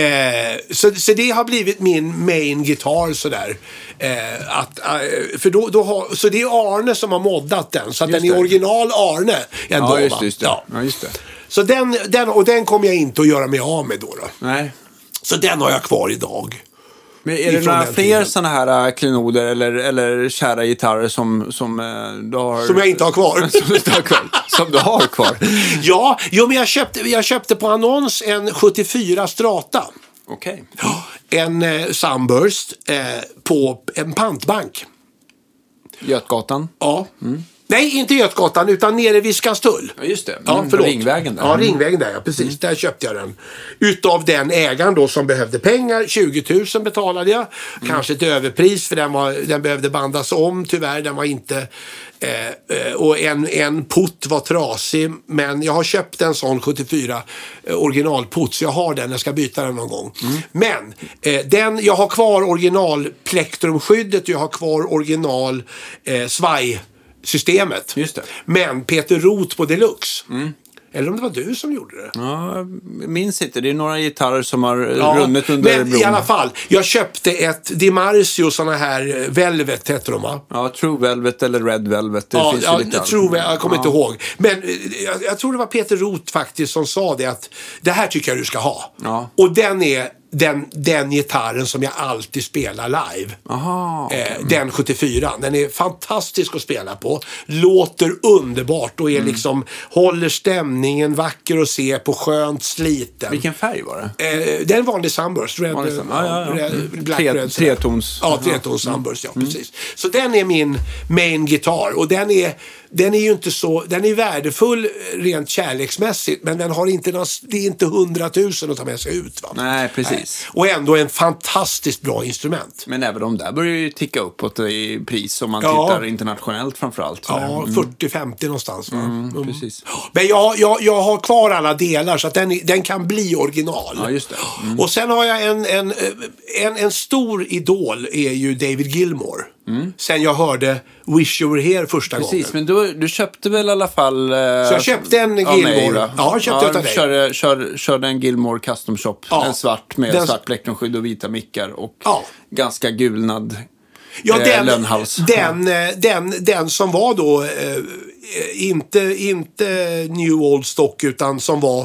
B: eh, så, så det har blivit min main gitarr sådär. Eh, att, eh, för då, då har, så det är Arne som har moddat den. Så att
A: Just
B: den är
A: det.
B: original Arne. Ändå,
A: Ja, just
B: va?
A: det. Just det.
B: Ja.
A: Ja. just det.
B: Så den, den, och den kommer jag inte att göra mig av med då. då.
A: Nej.
B: Så den har jag kvar idag.
A: Men är det
B: Ifrån
A: några
B: den
A: fler
B: tiden.
A: sådana här äh, klenoder eller, eller kära gitarrer som, som äh, du har...
B: Som jag inte har kvar.
A: som, du inte har kvar. som du har kvar?
B: ja, jo, men jag köpte, jag köpte på annons en 74 Strata.
A: Okej.
B: en eh, Sunburst eh, på en pantbank.
A: Götgatan?
B: Ja. Nej, inte Götgatan utan nere vid Skanstull.
A: Ja, just det.
B: Ja,
A: Mm,
B: förlåt.
A: Ringvägen där. Mm.
B: Ja, Ringvägen där ja, precis. Där köpte jag den. Utav den ägaren då som behövde pengar, 20 000 betalade jag.
A: Mm.
B: Kanske ett överpris för den, var, den behövde bandas om tyvärr. Den var inte... Eh, eh, och en, en putt var trasig. Men jag har köpt en sån 74 eh, originalputt så jag har den. Jag ska byta den någon gång.
A: Mm.
B: Men eh, den, jag har kvar originalplektrumskyddet och jag har kvar original eh, svaj systemet.
A: Just det.
B: Men Peter Roth på Deluxe.
A: Mm.
B: Eller om det var du som gjorde det.
A: Ja, jag minns inte. Det är några gitarrer som har äh,
B: Ja,
A: runnit under
B: men
A: bron.
B: i alla fall, jag köpte ett DiMarzio sådana här eh, Velvet heter de va?
A: Ja, True Velvet eller Red Velvet. Det
B: Ja,
A: finns ju
B: ja,
A: lite
B: jag,
A: allt.
B: tror, jag jag kommer
A: Ja.
B: inte ihåg. Men eh, jag, jag tror det var Peter Roth faktiskt som sa det att det här tycker jag du ska ha.
A: Ja.
B: Och den är den, den gitarren som jag alltid spelar live.
A: Aha.
B: Eh, Den 74. Den är fantastisk att spela på. Låter underbart och är
A: Mm.
B: liksom, håller stämningen, vacker att se på, skönt sliten.
A: Vilken färg var det?
B: Eh, det är en vanlig Sunburst. Red,
A: Vanlig Sunburst, ja, ja, ja.
B: Red,
A: Mm.
B: Black
A: Tre- Mm.
B: Red. sådär.
A: tretons.
B: Ja, tretons Sunburst. Ja, precis. Så den är min main gitarr. Och den är, den är ju inte så... Den är värdefull eh, rent kärleksmässigt. Men den har inte någon, det är inte hundratusen att ta med sig ut. Va?
A: Nej, precis.
B: Och ändå en fantastiskt bra instrument.
A: Men även de där börjar ju ticka uppåt i pris om man
B: Ja.
A: tittar internationellt framförallt.
B: Ja, 40-50 någonstans. Va? Mm.
A: Precis.
B: Men jag, jag, jag har kvar alla delar så att den, är- den kan bli original.
A: Ja, just det. Mm.
B: Och sen har jag en, en, eh, en, en stor idol är ju David Gilmore. Sen jag hörde Wish You Were Here första
A: Mm. Precis,
B: gången.
A: men du, du köpte väl i alla fall... eh, Så
B: Så jag köpte en Gilmore. Ja, jag köpte utav dig.
A: Körde, kör, körde en Gilmore Custom Shop.
B: Ja.
A: En svart med
B: Den-
A: svart plektrumskydd och vita mickar och
B: Ja.
A: ganska gulnad
B: Ja,
A: eh,
B: den,
A: lönnhals.
B: den, eh, den, den som var då eh, inte, inte New Old Stock utan som var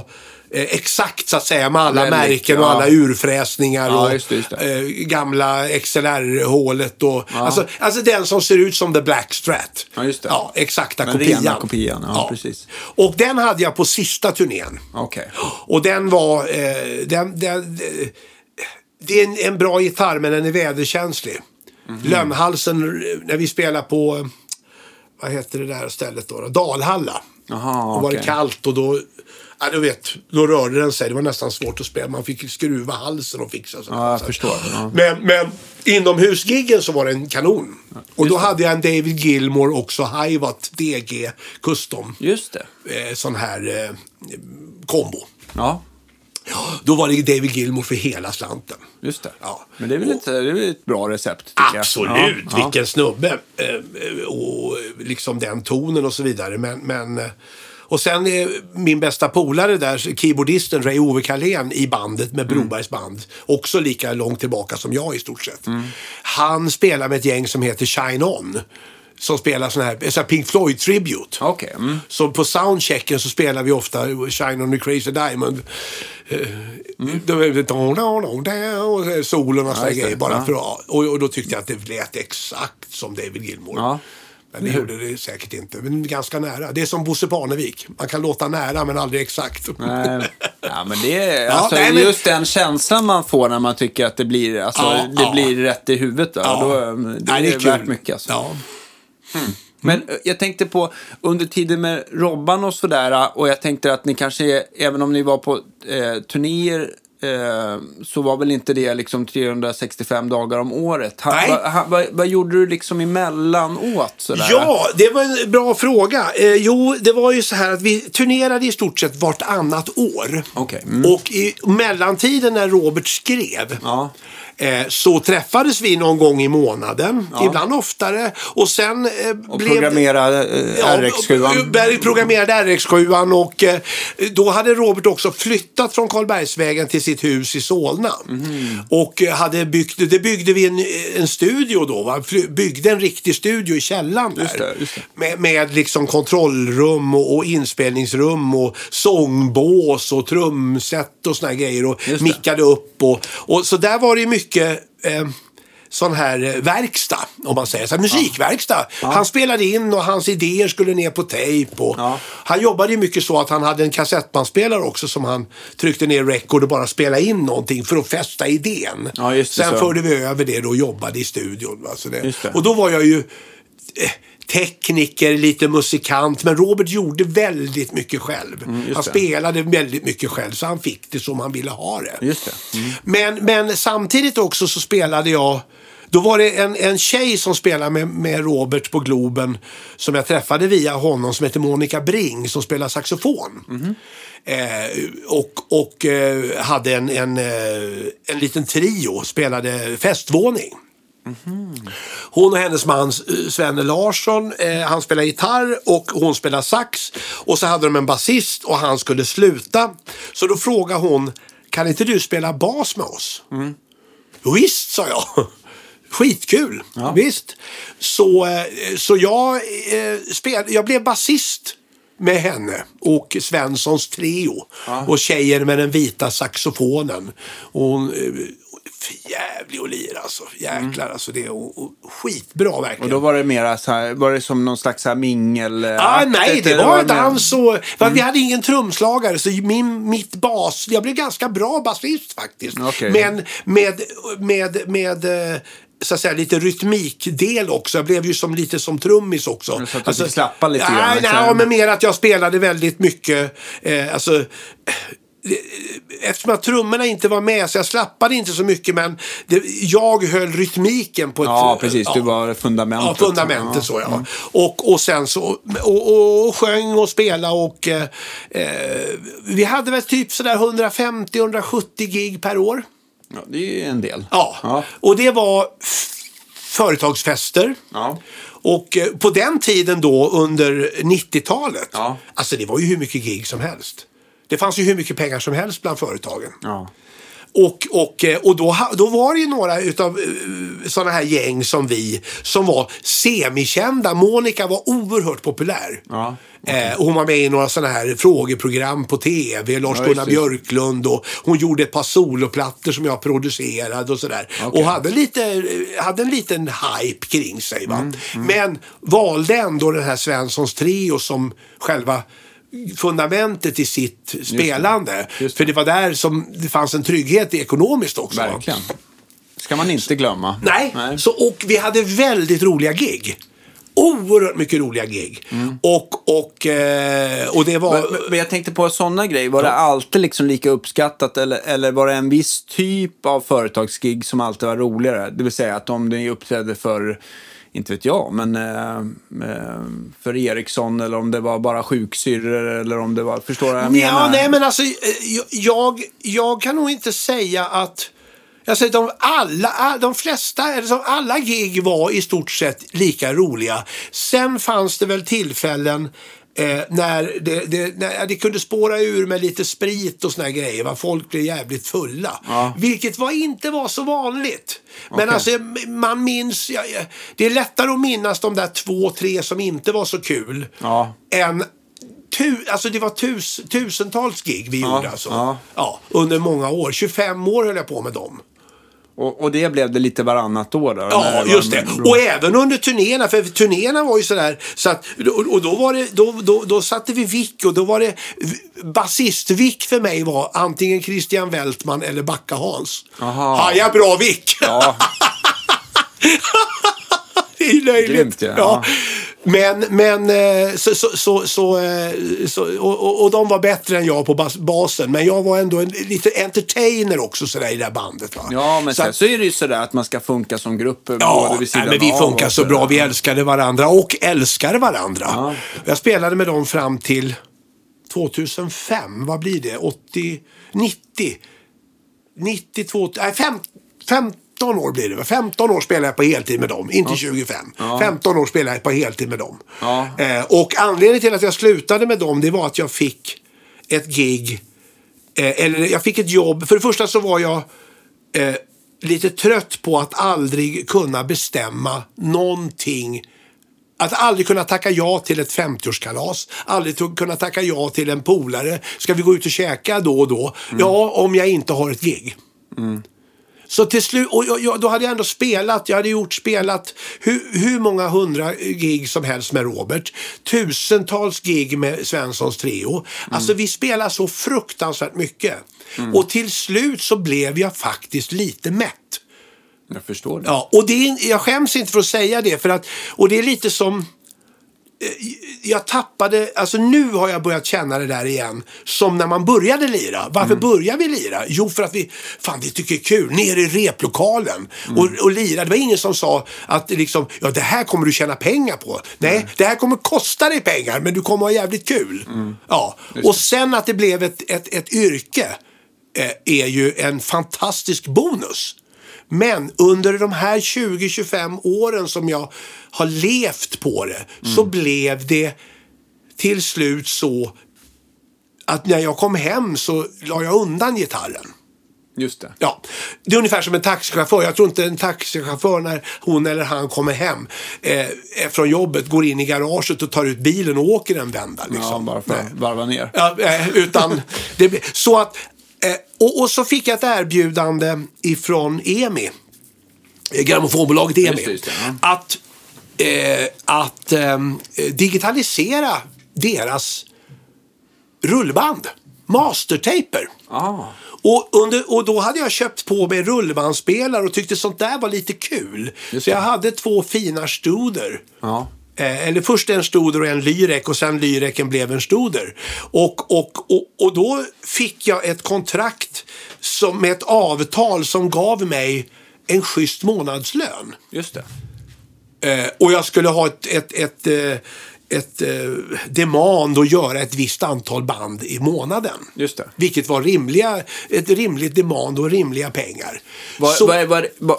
B: eh, exakt så att säga med alla
A: Relic,
B: märken och
A: ja.
B: alla urfräsningar
A: Ja,
B: och
A: just det, just det.
B: Eh, gamla XLR-hålet. Och, alltså, alltså den som ser ut som The Black Strat.
A: Ja, just det.
B: Ja, exakta
A: Den
B: kopian.
A: rena kopian, ja, precis.
B: Och den hade jag på sista turnén.
A: Okej.
B: Och den var... Eh, den, den, eh, det är en, en bra gitarr men den är väderkänslig.
A: Mhm.
B: Lönnhalsen, eh, när vi spelar på, eh, vad heter det där stället då? då? Dalhalla.
A: Jaha,
B: då var det
A: okej.
B: kallt och då, ja du vet, då rörde den sig. Det var nästan svårt att spela. Man fick skruva halsen och fixa sådär.
A: Ja, jag
B: Så-
A: förstår. Ja.
B: Men, men inomhusgiggen så var det en kanon. Och då hade jag en David Gilmore också, Hivat DG Custom.
A: Just det.
B: Eh, sån här eh, kombo.
A: Ja,
B: Då var det David Gilmore för hela slanten.
A: just det.
B: Ja.
A: Men det är väl ett, det är väl ett bra recept, tycker jag.
B: Absolut,
A: Ja,
B: eh, vilken snubbe. Eh, Och liksom den tonen och så vidare. Men, men, eh, Och sen är min bästa polare där, keyboardisten Ray Ove Carlén i bandet med
A: Mm.
B: Brobergs band. Också lika långt tillbaka som jag i stort sett.
A: Mm.
B: Han spelar med ett gäng som heter Shine On. Som spelar sån här, sån här Pink Floyd-tribute.
A: Okej. Mm.
B: Så på soundchecken så spelar vi ofta Shine on the crazy diamond. Eh, Då är det dong, dong, dong, dong, och så här solen och såna
A: just det.
B: grejer. Bara
A: Ja.
B: för att, och, och då tyckte jag att det lät exakt som David Gilmour.
A: Ja.
B: Men det gjorde det säkert inte. Men ganska nära. Det är som Bosse Parnevik. Man kan låta nära men aldrig exakt.
A: Nej. Ja, men det är
B: Ja,
A: alltså,
B: nej, men-
A: just den känslan man får när man tycker att det blir, alltså,
B: Ja,
A: det
B: ja.
A: blir rätt i huvudet. Då. Då, eh, det,
B: Nej,
A: är,
B: kul.
A: värt mycket. Alltså.
B: Ja. Mm.
A: Men eh, jag tänkte på under tiden med Robban och sådär eh, och jag tänkte att ni kanske, även om ni var på eh, turnéer eh, så var väl inte det liksom 365 dagar om året. Ha,
B: Nej.
A: Va, ha, vad- vad gjorde du liksom emellanåt? Sådär?
B: Ja, det var en bra fråga. Eh, jo, det var ju så här att vi turnerade i stort sett vartannat år.
A: Okej.
B: Och i mellantiden när Robert skrev
A: Mm. Ja.
B: eh, så träffades vi någon gång i månaden, ibland oftare. Och sen eh,
A: Och
B: blev det-
A: programmera eh,
B: Ja,
A: RX7.
B: Berg programmerade RX7 och eh, då hade Robert också flyttat från Karlbergsvägen till sitt hus i Solna.
A: Mhm.
B: Och eh, hade byggt, det byggde vi en, en studio då, va? Fly- byggde en riktig studio i källaren där.
A: Just det, just det.
B: Med, med liksom kontrollrum och, och inspelningsrum och sångbås och trumset och såna här grejer. Och
A: Just det.
B: mickade upp och, och så där var det mycket eh, sån här eh, verkstad, om man säger så. Här, musikverkstad. Han spelade in och hans idéer skulle ner på tejp. Och
A: Ja.
B: Han jobbade ju mycket så att han hade en kassettbandspelare också som han tryckte ner record och bara spelade in någonting för att fästa idén.
A: Ja, just det,
B: Sen
A: så.
B: förde vi över det då och jobbade i studion. va, så det.
A: Just det.
B: Och då var jag ju eh, tekniker, lite musikant. Men Robert gjorde väldigt mycket själv.
A: Mm, just
B: han
A: det.
B: spelade väldigt mycket själv så han fick det som han ville ha det.
A: Just det. Mm.
B: Men, men samtidigt också så spelade jag då var det en, en tjej som spelade med, med Robert på Globen som jag träffade via honom som heter Monica Bring som spelar saxofon.
A: Mhm.
B: Eh, och och eh, hade en, en, eh, en liten trio, spelade festvåning. Hon och hennes man eh, Svenne Larsson, eh, han spelar gitarr och hon spelar sax. Och så hade de en basist och han skulle sluta. Så då frågade hon, kan inte du spela bas med oss? Visst, sa jag. Skitkul, visst. Så, eh, så jag, eh, spel, jag blev basist med henne och Svenssons trio. Och tjejer med den vita saxofonen. Och hon, eh, för jävlig att lira alltså. Jäklar alltså. Det, och, och, skitbra verkligen.
A: Och då var det mera så här, var det som någon slags så här mingel... eh,
B: Ah, nej, det var
A: mer-
B: dans och... va,
A: Mm.
B: Vi hade ingen trumslagare, så min, mitt bas... Jag blev ganska bra basist faktiskt.
A: Okej.
B: Men med, med, med eh, så att säga, lite rytmikdel också. Jag blev ju som, lite som trummis också. Alltså-
A: Men så att du fick slappa lite grann,
B: Nej,
A: liksom.
B: nej, men mer att jag spelade väldigt mycket. Eh, alltså, eftersom att trummorna inte var med så jag slappade inte så mycket men det, jag höll rytmiken på ett...
A: Ja, precis. Du
B: ja.
A: var fundamentet.
B: Ja, fundamentet så ja. Och, och sen så och, och, och sjöng och spelade och eh, eh, vi hade väl typ sådär 150-170 gig per år.
A: Ja, det är ju en del.
B: Ja.
A: ja.
B: och det var f- företagsfester.
A: Ja.
B: Och eh, på den tiden då under 90-talet,
A: Ja.
B: alltså det var ju hur mycket gig som helst. Det fanns ju hur mycket pengar som helst bland företagen.
A: Ja.
B: Och, och, eh, och då, ha- då var det ju några utav eh, sådana här gäng som vi som var semikända. Monica var oerhört populär.
A: Ja,
B: Eh, och hon var med i några sådana här frågeprogram på tv. Lars-Gunnar
A: just det.
B: Björklund och hon gjorde ett par soloplattor som jag producerade och sådär.
A: Okej.
B: Och hade, lite, hade en liten hype kring sig. Va?
A: Mm,
B: Men valde ändå den här Svenssons trio som själva fundamentet i sitt spelande.
A: Just det.
B: För det var där som det fanns en trygghet i ekonomiskt också. va?
A: Verkligen. ska man inte glömma.
B: Nej, Så, och vi hade väldigt roliga gig. Oerhört mycket roliga gig. Och, och, eh, och det var...
A: Mm. Men- men- Men jag tänkte på sådana grejer. Var det alltid liksom lika uppskattat eller, eller var det en viss typ av företagsgig som alltid var roligare? Det vill säga att om ni uppträdde för, inte vet jag, men eh, eh, för Ericsson eller om det var bara sjuksyrror eller om det var, förstår du vad jag
B: Ja,
A: menar?
B: nej men alltså eh, jag, jag kan nog inte säga att... Jag säger de alla, all- de flesta, eller som alla gig var i stort sett lika roliga. Sen fanns det väl tillfällen Eh, när det, det, när det kunde spåra ur med lite sprit och såna här grejer. Va? Folk blev jävligt fulla.
A: Ja.
B: Vilket var, inte var så vanligt. Men
A: Okej.
B: alltså man minns... ja, ja, det är lättare att minnas de där två, tre som inte var så kul.
A: Ja.
B: Än tu, alltså det var tus, tusentals gig vi gjorde alltså.
A: ja.
B: Ja, under många år. 25 år höll jag på med dem.
A: Och, och det blev det lite varannat år då?
B: Ja,
A: eller?
B: just det. Och även under turnéerna, för turnéerna var ju sådär. Så att, och och då, var det, då, då, då satte vi vick och då var det basist-vick för mig var antingen Christian Weltman eller Backa Hans.
A: Aha.
B: Haja bra vick!
A: Ja,
B: Det är ju löjligt.
A: Grymt ju, ja.
B: Men, men eh, så, så, så, så, eh, så och, och, och de var bättre än jag på bas, basen. Men jag var ändå en lite entertainer också sådär i det här bandet. Va?
A: ja men
B: Så
A: sen
B: att-
A: så är det ju sådär att man ska funka som grupp.
B: Ja,
A: både vid
B: nej,
A: sidan
B: men vi
A: av
B: funkar
A: och
B: så
A: sådär.
B: bra. Vi älskade varandra och älskar varandra. Jag spelade med dem fram till 2005. Vad blir det? 80? 90? 92? Nej, fem, 15 år blir det. va? 15 år spelade jag på heltid med dem. Inte 25. 15 år spelade jag på heltid med dem.
A: Ja.
B: Eh, och anledningen till att jag slutade med dem det var att jag fick ett gig. Eh, eller jag fick ett jobb. För det första så var jag eh, lite trött på att aldrig kunna bestämma någonting. Att aldrig kunna tacka ja till ett 50-årskalas. Aldrig to- kunna tacka ja till en polare. Ska vi gå ut och käka då och då? Ja, om jag inte har ett gig. Så till slut, och jag, jag, då hade jag ändå spelat, jag hade gjort spelat hur, hur många hundra gig som helst med Robert. Tusentals gig med Svenssons Trio. Alltså vi spelar så fruktansvärt mycket. Och till slut så blev jag faktiskt lite mätt.
A: Jag förstår det.
B: Ja, och det är, jag skäms inte för att säga det. För att, och det är lite som... eh, Jag tappade, alltså nu har jag börjat känna det där igen. Som när man började lira. Varför började vi lira? Jo, för att vi, fan vi tycker det är kul. Ner i replokalen och, och lira. Det var ingen som sa att liksom, ja det här kommer du tjäna pengar på. Nej, det här kommer kosta dig pengar men du kommer ha jävligt kul. Ja, och sen att Mm. det blev ett, ett, ett yrke eh, är ju en fantastisk bonus. Men under de här 20-25 åren som jag har levt på det
A: Mm.
B: så blev det till slut så att när jag kom hem så la jag undan gitarren.
A: Just det.
B: Ja, det är ungefär som en taxichaufför. Jag tror inte en taxichaufför när hon eller han kommer hem eh, från jobbet går in i garaget och tar ut bilen och åker en vända. Liksom.
A: Ja, bara för
B: Nej.
A: att varva ner.
B: Ja, eh, utan det, blir- så att, eh, och, och så fick jag ett erbjudande ifrån EMI, eh, grammofonbolaget EMI,
A: Just det, just det,
B: att, eh, att ehm, eh, digitalisera deras rullband, mastertaper.
A: Ah.
B: Och, under, och då hade jag köpt på mig rullbandspelare och tyckte sånt där var lite kul.
A: Just
B: Så jag
A: det.
B: hade två fina studer.
A: Ja.
B: Eh, eller först en stoder och en lyrek och sen lyreken blev en stoder. Och, och, och, och då fick jag ett kontrakt som, med ett avtal som gav mig en schysst månadslön.
A: Just det.
B: Eh, och jag skulle ha ett, ett, ett, eh, ett eh, demand att göra ett visst antal band i månaden.
A: Just det.
B: Vilket var rimliga, ett rimligt demand och rimliga pengar.
A: Vad,
B: Så-
A: vad är, vad är, vad,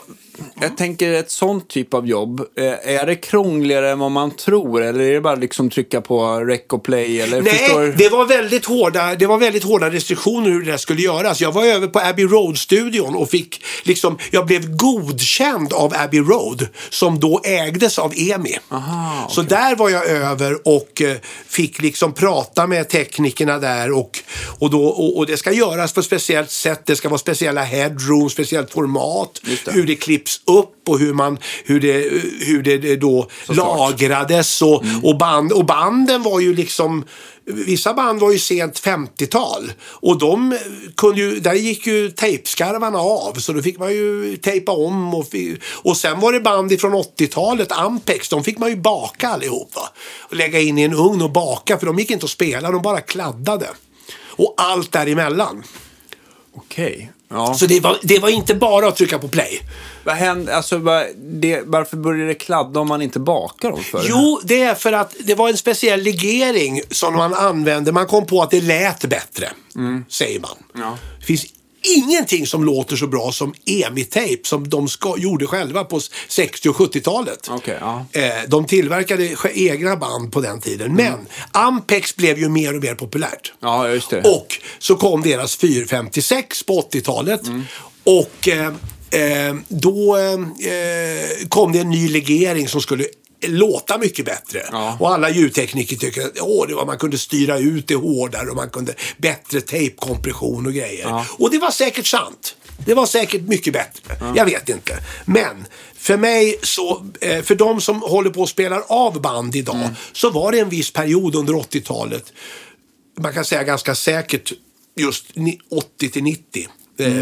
A: jag tänker ett sånt typ av jobb, eh, är det krångligare än vad man tror? Eller är det bara liksom trycka på rec och play? Eller,
B: Nej,
A: förstår...
B: det, var väldigt hårda, det var väldigt hårda restriktioner hur det där skulle göras. Jag var över på Abbey Road-studion och fick liksom, jag blev godkänd av Abbey Road som då ägdes av EMI.
A: Aha,
B: Så där var jag över och eh, fick liksom prata med teknikerna där och, och, då, och, och det ska göras på ett speciellt sätt. Det ska vara speciella headroom, speciellt format,
A: Just det.
B: hur det klipps upp och hur, man, hur, det, eh, hur det då
A: Såklart. Mm.
B: lagrades och, och, band, och banden var ju liksom Vissa band var ju sent 50-tal och de kunde ju, där gick ju tejpskarvarna av så då fick man ju tejpa om och, fi- och sen var det band ifrån 80-talet, Ampex, de fick man ju baka allihop. Va? Och lägga in i en ugn och baka för de gick inte att spela, de bara kladdade. Och allt däremellan.
A: Okej. Ja.
B: Så det var, det var inte bara att trycka på play.
A: Vad händer, alltså, vad, det, varför börjar det kladda om man inte bakar dem för?
B: Jo, det är för att det var en speciell legering som man använde. Man kom på att det lät bättre, säger man.
A: Ja.
B: Det finns ingenting som låter så bra som EMI-tape som de ska, gjorde själva på 60 och 70-talet.
A: Okej, ja.
B: Eh, de tillverkade sj- egna band på den tiden. Men Ampex blev ju mer och mer populärt.
A: Mm. Ja, just det.
B: Och så kom deras 456 på 80-talet. Och eh, eh, då eh, kom det en ny legering som skulle låta mycket bättre.
A: Ja.
B: Och alla ljudtekniker tycker att åh, det var, man kunde styra ut det hårdare och man kunde bättre tejpkompression och grejer. Och det var säkert sant. Det var säkert mycket bättre. Jag vet inte. Men för mig så, eh, för de som håller på och spelar av band idag så var det en viss period under 80-talet man kan säga ganska säkert just ni- 80 till 90. Eh,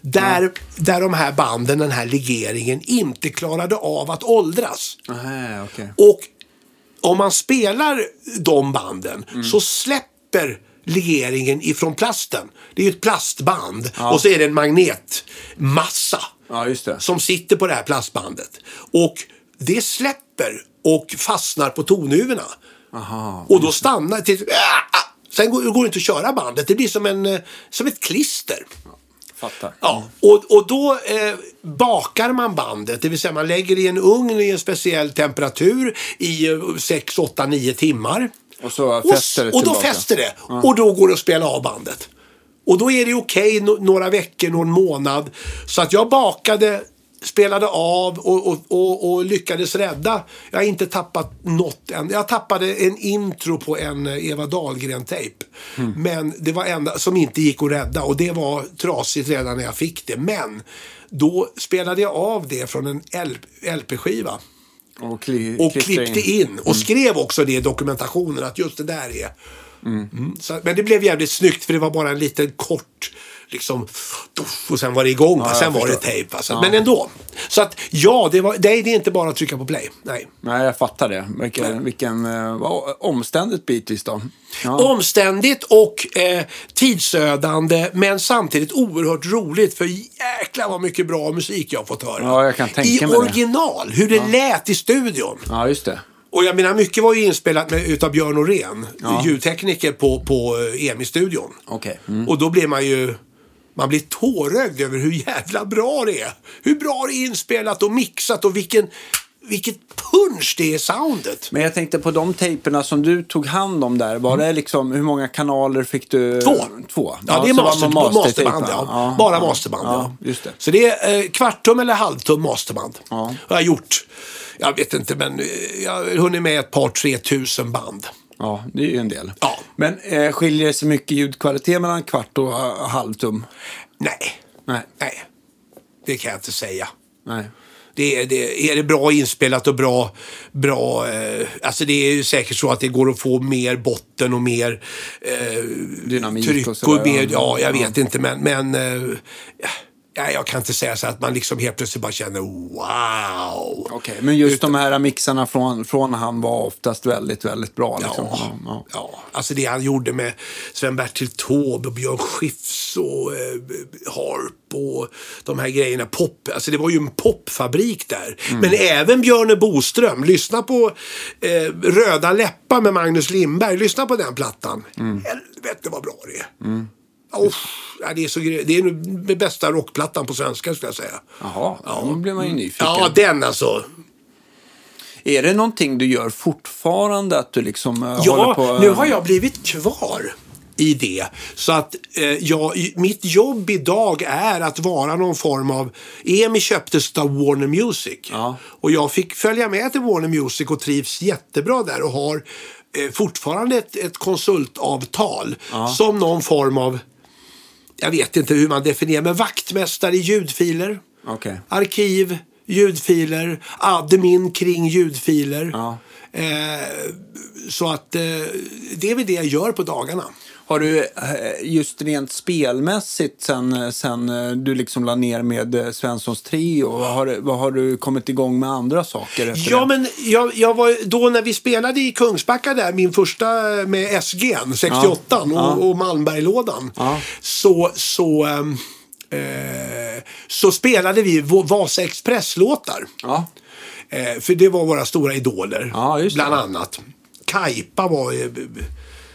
B: Där, där de här banden, den här legeringen, inte klarade av att åldras.
A: Nej, okej.
B: Och om man spelar de banden så släpper legeringen ifrån plasten. Det är ju ett plastband och så är det en magnetmassa
A: Ja, just det.
B: som sitter på det här plastbandet. Och det släpper och fastnar på tonhuvorna. och då stannar till... Ah, ah. Sen går, går det inte att köra bandet. Det blir som, en, eh, som ett klister.
A: Fattar.
B: Ja, och, och då eh, bakar man bandet, det vill säga man lägger i en ugn i en speciell temperatur i eh, 6, 8, 9 timmar.
A: Och så
B: Och,
A: fäster det
B: och då
A: tillbaka.
B: fäster det. Och då går det att spela av bandet. Och då är det okej no- några veckor, någon månad. Så att jag bakade, spelade av och, och, och, och lyckades rädda. Jag har inte tappat något än. Jag tappade en intro på en eh, Eva Dahlgren-tejp.
A: Mm.
B: Men det var enda som inte gick att rädda. Och det var trasigt redan när jag fick det. Men då spelade jag av det från en LP- LP-skiva.
A: Och, kli,
B: Och klippte in. Och
A: Mm.
B: skrev också det i dokumentationen att just det där är. Mm, så, men det blev jävligt snyggt för det var bara en liten kort liksom, doff, och sen var det igång. va?
A: jag
B: sen var det
A: förstår.
B: tejp. Alltså. Men ändå. Så att ja, det, var, nej, det är inte bara att trycka på play. Nej.
A: Nej, jag fattar det. Vilken, vilken eh, vad omständigt bitvis då. Ja.
B: Omständigt och eh, tidsödande men samtidigt oerhört roligt för jäklar vad mycket bra musik jag har fått höra.
A: Ja, jag kan tänka
B: I
A: mig det.
B: original, hur det lät i studion.
A: ja, just det.
B: Och jag menar, mycket var ju inspelat med, utav Björn Norén, ljudtekniker på, på eh, EMI-studion.
A: Okej. Mm.
B: Och då blir man ju... Man blir tårögd över hur jävla bra det är. Hur bra det är inspelat och mixat och vilken, vilket punch det är i soundet.
A: Men jag tänkte på de tejperna som du tog hand om där. Var det liksom, hur många kanaler fick du?
B: Mm. Två.
A: Två.
B: Ja, det är
A: så var
B: master,
A: man mastertejpar.
B: masterband. Ja. Bara masterband.
A: Ja, just det.
B: Så det är eh, kvarttum eller halvtum masterband.
A: Ja.
B: Har jag gjort. Jag vet inte, men eh, jag har hunnit med ett par, tre tusen band.
A: Ja, det är ju en del.
B: Ja.
A: Men eh, skiljer det sig mycket ljudkvalitet mellan kvart och eh, halvtum?
B: Nej,
A: Nej.
B: nej. Det kan jag inte säga.
A: Nej.
B: Det är, det, är det bra inspelat och bra... bra eh, alltså det är ju säkert så att det går att få mer botten och mer eh,
A: Dynamik
B: tryck.
A: och
B: Och,
A: sådär.
B: mer, ja, jag vet inte men... men eh, ja, jag kan inte säga så att man liksom helt plötsligt bara känner wow.
A: Okej, men just de här mixarna från, från han var oftast väldigt, väldigt bra. Liksom.
B: Ja.
A: Ja.
B: Ja, alltså det han gjorde med Sven-Bertil Taube och Björn Skifs och eh, Harp och de här grejerna. Pop, alltså det var ju en popfabrik där. Men även Björne Boström. Lyssna på eh, Röda läppar med Magnus Lindberg. Lyssna på den plattan. Helvete vad bra det är. Uff, ja, det är, så, gre- det är nog den bästa rockplattan på svenska skulle jag säga.
A: Jaha, ja. då blir man ju nyfiken.
B: Mm. Ja, den alltså.
A: Är det någonting du gör fortfarande? Att du liksom eh, håller
B: Ja,
A: på...
B: nu har jag blivit kvar i det. Så att eh, jag, i- mitt jobb idag är att vara någon form av... EMI köptes av Warner Music.
A: Ja.
B: Och jag fick följa med till Warner Music och trivs jättebra där och har eh, fortfarande ett, ett konsultavtal som någon form av... Jag vet inte hur man definierar, men vaktmästare i ljudfiler.
A: Okej.
B: Arkiv, ljudfiler, admin kring ljudfiler.
A: Ja.
B: Eh, så att eh, det är väl det jag gör på dagarna.
A: Har du eh, just rent spelmässigt sen, eh, sen eh, du liksom la ner med eh, Svenssons Trio? Vad har, vad har du kommit igång med andra saker efter
B: Ja,
A: det?
B: men jag, jag var då när vi spelade i Kungsbacka där, min första eh, med SG, 68 och,
A: Ja.
B: och Malmberglådan.
A: Ja.
B: Så, så, ehm, eh, så spelade vi vår Vasa Express-låtar.
A: Ja.
B: Eh, för det var våra stora idoler,
A: Ja, just det.
B: bland annat. Kaipa var eh, b- b-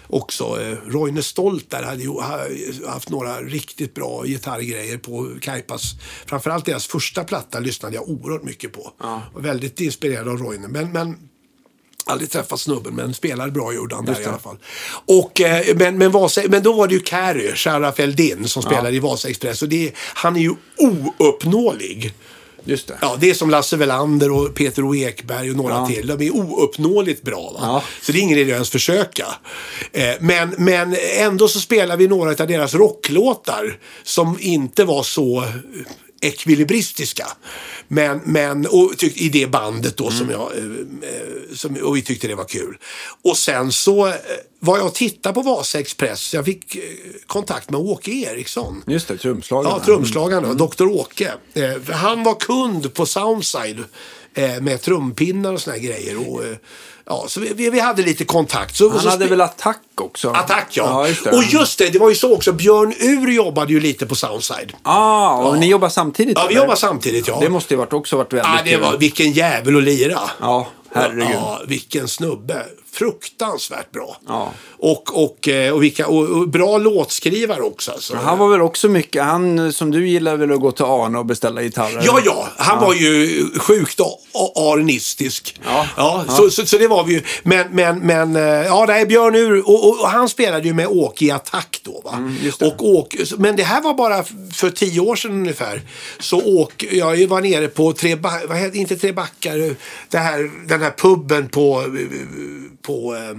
B: också. Eh, Roine Stolt där hade ju ha, haft några riktigt bra gitarrgrejer på Kaipas. Framförallt deras första platta lyssnade jag oerhört mycket på.
A: Ja.
B: Och väldigt inspirerad av Roine. Men, men Aldrig träffat snubben, men spelade bra gjorde han där i alla fall. Och, eh, men, men, Vasa, men då var det ju Carrie, Sharaf Eldin, som spelade i Vasa Express. Och det, han är ju ouppnåelig.
A: Just det.
B: Ja, det är som Lasse Welander och Peter O. Ekberg och några
A: Ja.
B: till. De är ouppnåeligt bra. Va?
A: Ja.
B: Så det är ingen idé att ens försöka. Eh, men, men ändå så spelar vi några av deras rocklåtar som inte var så eh, ekvilibristiska. Men, men och tyck, i det bandet då
A: Mm.
B: som jag, eh, eh, som, och vi tyckte det var kul. Och sen så eh, var jag och tittade på Vasa Express. Jag fick eh, kontakt med Åke Eriksson.
A: Just det, trumslagaren.
B: Ja, trumslagaren då, Dr. Åke. Eh, för han var kund på Soundside eh, med trumpinnar och såna här grejer. Och, eh, ja, så vi- vi, vi hade lite kontakt. Så, och
A: Han
B: så
A: hade
B: spe-
A: väl attack också?
B: Attack ja.
A: ja just det.
B: Och just det, det var ju så också. Björn Ur jobbade ju lite på Soundside.
A: Ah, och ni jobbar samtidigt?
B: Ja, vi
A: eller?
B: jobbar samtidigt ja.
A: Det måste ju varit, också varit väldigt
B: ja det
A: kul.
B: var, vilken jävel att lira.
A: Ja, herregud.
B: Ja, vilken snubbe. Fruktansvärt bra.
A: Ja.
B: Och, och, eh, och, vilka, och, och bra låtskrivare också. Alltså.
A: Han var väl också mycket, han eh, som du gillar väl att gå till Arne och beställa gitarrer?
B: Ja, ja. Han var ju sjukt a- a- arnistisk.
A: Ja.
B: Så, så, så det var vi ju. Men, men, men eh, ja, nej, Björn Ur. Och, och, och han spelade ju med Åke i attack då. Va?
A: Mm, just det.
B: och Åke, men det här var bara f- för tio år sedan ungefär. Så Åke, jag var nere på tre, Ba- vad heter, inte tre backar, det här, den här puben på, på eh,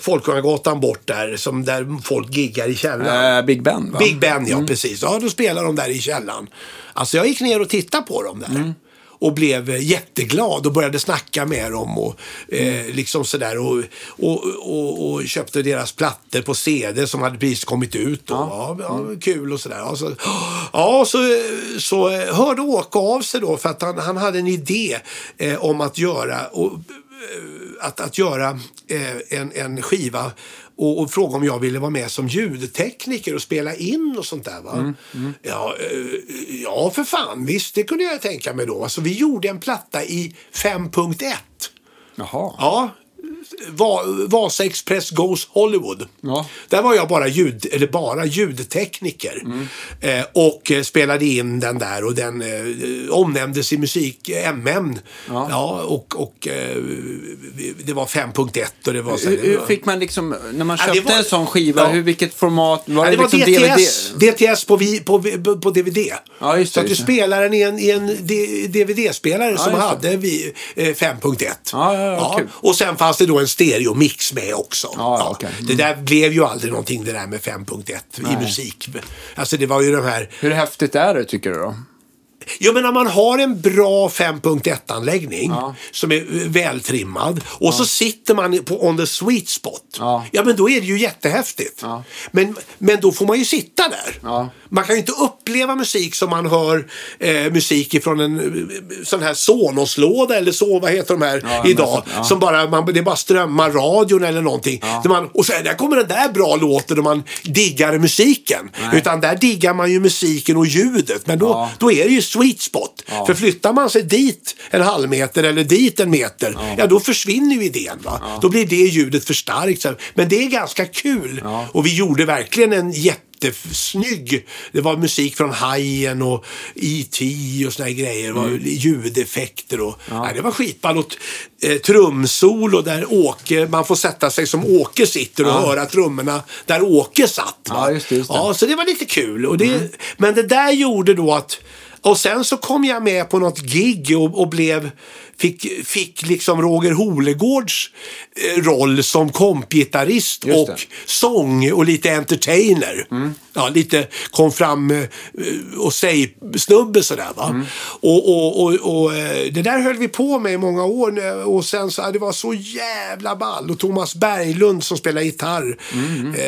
B: Folkungagatan bort där, som där folk giggar i källaren.
A: Eh, Big Ben va?
B: Big Ben, mm. ja precis. Ja, då spelar de där i källaren. Alltså jag gick ner och tittade på dem där. Och blev eh, jätteglad och började snacka med dem och eh, liksom sådär. Och, och, och, och köpte deras plattor på CD som hade precis kommit ut. Och, ja. Mm. Ja, kul och sådär. Ja, så, ja, så, så eh, hörde Åke av sig då för att han, han hade en idé eh, om att göra och, att, att göra eh, en, en skiva och, och fråga om jag ville vara med som ljudtekniker och spela in och sånt där. Va? Ja, eh, ja, för fan. Visst, det kunde jag tänka mig då. Alltså, vi gjorde en platta i 5.1.
A: Jaha.
B: Ja, Va, Vasa Express Goes Hollywood.
A: Ja.
B: Där var jag bara, ljud, eller bara ljudtekniker.
A: Mm.
B: Eh, och eh, spelade in den där och den eh, omnämndes i musik, eh, MN. Ja. och och eh, vi- det var 5.1 och det var... så här-
A: Hur, hur fick man liksom, när man
B: Ja, det
A: köpte
B: var-
A: en sån skiva,
B: Ja.
A: hur, vilket format? Var
B: Ja, det var
A: liksom
B: DTS,
A: DVD?
B: DTS på, vi, på, vi- på DVD.
A: Ja, just det,
B: så att du
A: just det.
B: spelar den i en, i en D- DVD-spelare som
A: just det.
B: hade vi, eh, 5.1.
A: Ja, ja, ja, kul.
B: Och sen fanns det då en stereomix med också.
A: Ja, ja, okej. Mm.
B: Det där blev ju aldrig någonting det där med 5.1 i musik. Alltså det var ju de här...
A: Hur häftigt är det tycker du då?
B: Jo men om man har en bra 5.1-anläggning
A: Ja.
B: som är eh, vältrimmad och så sitter man på on the sweet spot.
A: Ja.
B: men då är det ju jättehäftigt.
A: Ja.
B: Men, men då får man ju sitta där.
A: Ja.
B: Man kan ju inte uppleva musik som man hör eh, musik ifrån en eh, sån här Sonos-låda eller så, vad heter de här
A: Ja, men
B: idag.
A: så- ja.
B: Som bara, man, det bara strömmar radion eller någonting. Där man, och så här, där kommer den där bra låten och man diggar musiken.
A: Nej.
B: Utan där diggar man ju musiken och ljudet. Men då,
A: Ja.
B: då är det ju sweet spot.
A: Ja.
B: För flyttar man sig dit en halv meter eller dit en meter, ja, då försvinner ju idén. Va? Då blir det ljudet för starkt. så här. Men det är ganska kul.
A: Ja.
B: Och vi gjorde verkligen en jättesnygg. Det var musik från Hajen och E.T. och såna här grejer. Det var
A: Mm.
B: ljudeffekter och... Nej, det var skitball. Och eh, trumsolo där Åke... Man får sätta sig som Åke sitter och höra trummorna där Åke satt. va?
A: Ja, just det, just det.
B: Ja, Ja, så det var lite kul. Och det,
A: Mm.
B: Men det där gjorde då att... Och sen så kom jag med på något gig och, och blev, fick, fick liksom Roger Holegårds eh, roll som kompgitarrist
A: Just det.
B: och sång och lite entertainer. Ja, lite kom fram eh, och säg-snubbe sådär va. Och, och, och, och eh, det där höll vi på med i många år nu, och sen så, ja, det var så jävla ball. Och Thomas Berglund som spelar gitarr. Eh,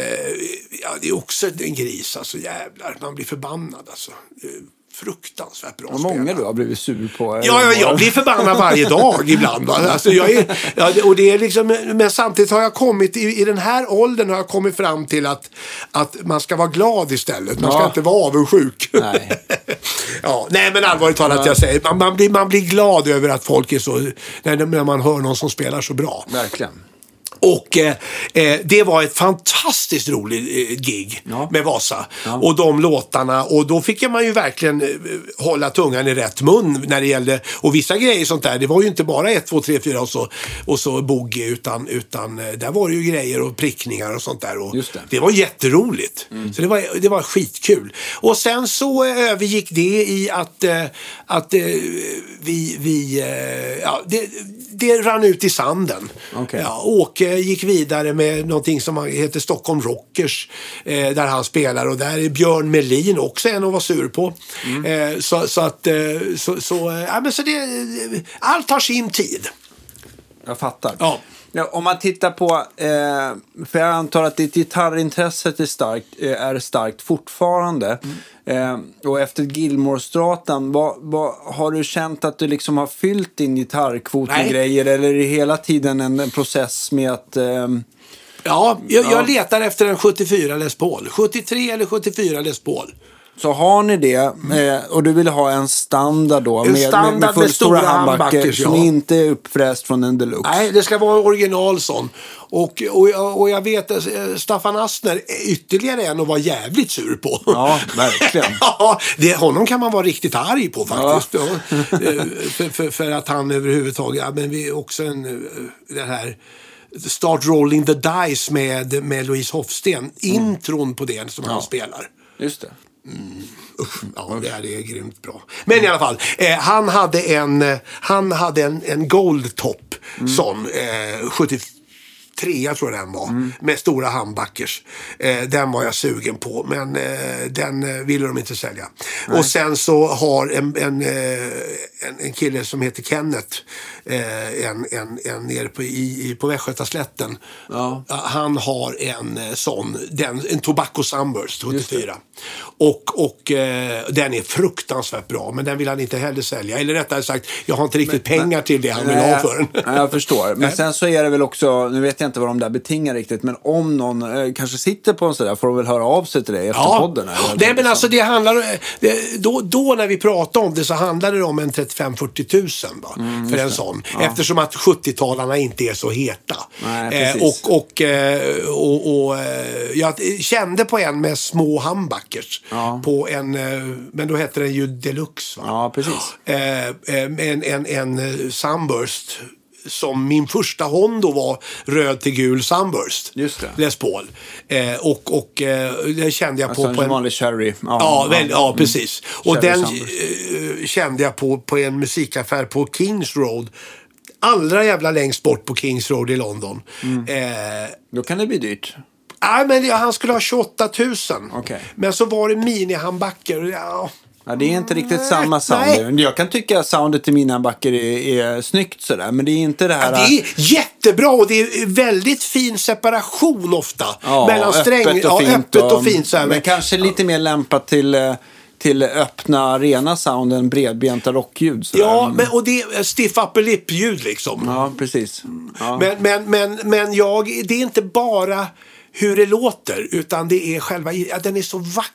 B: ja, det är också en gris alltså, jävlar. Man blir förbannad alltså. Det är Fruktansvärt bra
A: Vad många
B: spelare.
A: du har blivit sur på?
B: Ja, ja, jag blir förbannad varje dag ibland. va. Alltså, jag är, ja, det- och det är liksom, men samtidigt har jag kommit, i, i den här åldern har jag kommit fram till att, att man ska vara glad istället. Man ska
A: Ja.
B: inte vara avundsjuk.
A: Nej.
B: ja, nej, men allvarligt talat, jag säger, man, man, blir, man blir glad över att folk är så, när, när man hör någon som spelar så bra.
A: Verkligen.
B: Och eh, eh, det var ett fantastiskt roligt eh, gig
A: Ja.
B: med Vasa. Och de låtarna. Och då fick man ju verkligen eh, hålla tungan i rätt mun när det gällde. Och vissa grejer sånt där. Det var ju inte bara ett, två, tre, fyra och så, och så boogie. Utan, utan eh, där var det ju grejer och prickningar och sånt där. Och
A: Just det.
B: var jätteroligt. Så det var, det var skitkul. Och sen så eh, övergick det i att, eh, att eh, vi... vi eh, ja, det, det rann ut i sanden.
A: Okej.
B: Ja, Åke gick vidare med någonting som heter Stockholm Rockers. Eh, där han spelar och där är Björn Melin också en att vara sur på.
A: Mm.
B: Eh, så, så att... Eh, så, så, eh, ja, men så det, allt har sin tid.
A: Jag fattar.
B: Ja.
A: om man tittar på, eh, för jag antar att ditt gitarrintresset är starkt, eh, är starkt fortfarande.
B: Mm.
A: Eh, och efter Gilmore-stratan, vad, vad, har du känt att du liksom har fyllt din gitarrkvot med
B: Nej.
A: grejer? Eller är det hela tiden en, en process med att... ehm,
B: Ja, jag,
A: Ja.
B: jag letar efter en 74 Les Paul. 73 eller 74 Les Paul.
A: Så har ni det eh, och du vill ha en standard då
B: En standard med
A: fullstora
B: stora humbuckers,
A: som
B: ja.
A: inte är uppfräst från en deluxe.
B: Nej, det ska vara original sån. Och, och, jag- och jag vet att eh, Staffan Astner är ytterligare en att vara jävligt sur på.
A: Ja, verkligen.
B: ja, det, honom kan man vara riktigt arg på faktiskt. Ja. Eh, för, för, för att han överhuvudtaget, ja, men vi är också en, eh, den här Start Rolling the Dice med, med Louise
A: Mm.
B: Hofsten. Intron på den som han spelar.
A: Just det.
B: Ja, det här är grymt bra. Men i alla fall, eh, han hade en, eh, han hade en, en goldtop som eh, 73 tror jag den var. Med stora handbackers. Eh, den var jag sugen på, men eh, den eh, ville de inte sälja. Och sen så har en, en, eh, en, en kille som heter Kenneth, eh, en, en, en nere på, i, i, på Västgötaslätten.
A: Ja.
B: Ja, Han har en eh, sån, den, en Tobacco Sunburst 74. Och, och eh, den är fruktansvärt bra, men den vill han inte heller sälja. Eller rättare sagt, jag har inte riktigt pengar till det han vill ha för den.
A: Nej, Eh, jag förstår. Men sen så är det väl också, nu vet jag inte vad de där betingar riktigt, men om någon eh, kanske sitter på en sån där får de väl höra av sig till dig efter podden? eller?
B: Nej, men alltså det handlar om- det, då, då när vi pratade om det så handlade det om en 35-40 tusen va,
A: Mm,
B: för en sån. Eftersom att 70-talarna inte är så heta.
A: Nej,
B: Eh,
A: precis.
B: och, och, eh, och, och eh, jag kände på en med små humbuckers.
A: Ja.
B: På en, eh, men då hette den ju deluxe va.
A: Ja, precis.
B: Eh, eh, en, en, en eh, Sunburst. Som min första Hondo var röd till gul Sunburst.
A: Just det.
B: Les Paul. Eh, och och eh, det kände jag på.
A: På,
B: på
A: en
B: en,
A: vanlig cherry.
B: Ja, väl,
A: mm.
B: ja precis. Och
A: Cherry
B: den
A: Sunburst.
B: eh, kände jag på, på en musikaffär på Kings Road. Allra jävla längst bort på Kings Road i London.
A: Mm.
B: Eh,
A: Då kan det bli dyrt.
B: nej, men ja, han skulle ha 28 000.
A: Okej.
B: Men så var det minihandbacker. Ja.
A: Ja, det är inte riktigt
B: Nej,
A: samma sound. Jag kan tycka att soundet i mina backer är, är snyggt sådär, men det är inte det här...
B: Det är jättebra och det är väldigt fin separation ofta.
A: Ja,
B: mellan sträng...
A: öppet och
B: ja,
A: fint.
B: öppet och fint så här.
A: Men kanske lite mer lämpat till, eh, till öppna, rena sound än bredbenta rockljud. sådär.
B: Ja, men, och det är stiff upper lip-ljud liksom.
A: ja, precis. Ja.
B: Men, men, men, men jag, det är inte bara hur det låter utan det är själva, ja, den är så vacker.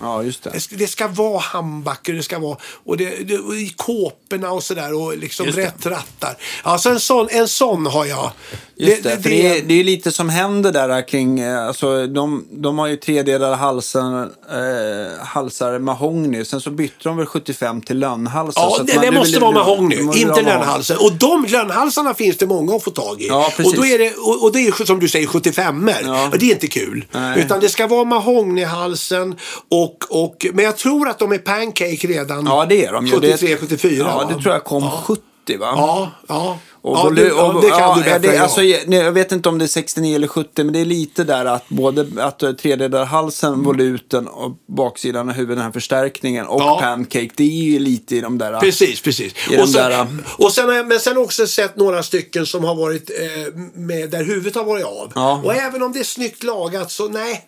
A: ja, just det.
B: Det ska, det ska vara handbacker, det ska vara och det, det, och i kåporna och sådär och liksom
A: Just det.
B: rätt rattar. Alltså en sån, en sån har jag.
A: Just det, för det, är, det är lite som händer där kring, eh, alltså de, de har ju tredelade halsen, eh, halsar mahogny, sen så bytte de väl 75 till lönnhalsar.
B: Ja,
A: så att
B: det,
A: man-
B: det
A: du
B: måste
A: vill-
B: vara
A: du vill-
B: mahogny,
A: du vill
B: inte
A: ha mahogny.
B: lönnhalsen. Och de lönnhalsarna finns det många att få tag i.
A: Ja, precis.
B: och, då är det, och, och det är som du säger 75 er
A: Ja.
B: och Det är inte kul.
A: Nej.
B: Utan det ska vara mahognyhalsen och, och... Men jag tror att de är pancake redan.
A: Ja, det är de ju. Det-
B: 73, 74.
A: Ja,
B: va?
A: det tror jag kom 70 va?
B: Ja, ja.
A: Och
B: ja,
A: volym-
B: du, ja, det kan
A: ja,
B: du bättre
A: det,
B: än jag.
A: alltså, jag- nej, Jag vet inte om det är 69 eller 70, men det är lite där att både att du har tredelar halsen,
B: Mm.
A: voluten och baksidan av huvudet, den här förstärkningen och
B: Ja.
A: pancake. Det är ju lite i de där...
B: Precis, precis.
A: I
B: Och
A: den
B: sen,
A: där, ja.
B: och sen, har jag- men sen har jag också sett några stycken som har varit eh, med där huvudet har varit av.
A: Ja.
B: Och även om det är snyggt lagat så nej.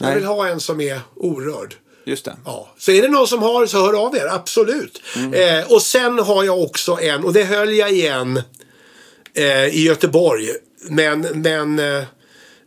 B: Jag
A: Nej.
B: vill ha en som är orörd.
A: Just det.
B: Ja. Så är det någon som har så hör av er, absolut.
A: Mm.
B: Eh, och sen har jag också en, och det höll jag igen eh, i Göteborg. Men, men eh,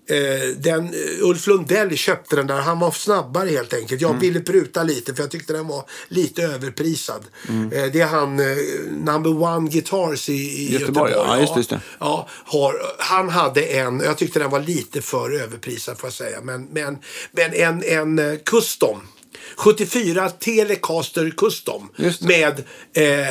B: Eh, den, eh, Ulf Lundell köpte den där. Han var snabbare helt enkelt. Jag
A: Mm.
B: ville pruta lite för jag tyckte den var lite överprisad.
A: Mm.
B: Eh, det är han, eh, number one guitars i, i
A: Göteborg,
B: Göteborg.
A: ja. Ja, just det, just det.
B: Ja, har, han hade en, jag tyckte den var lite för överprisad får jag säga, men, men, men en, en eh, custom. 74 Telecaster Custom
A: Just det.
B: med,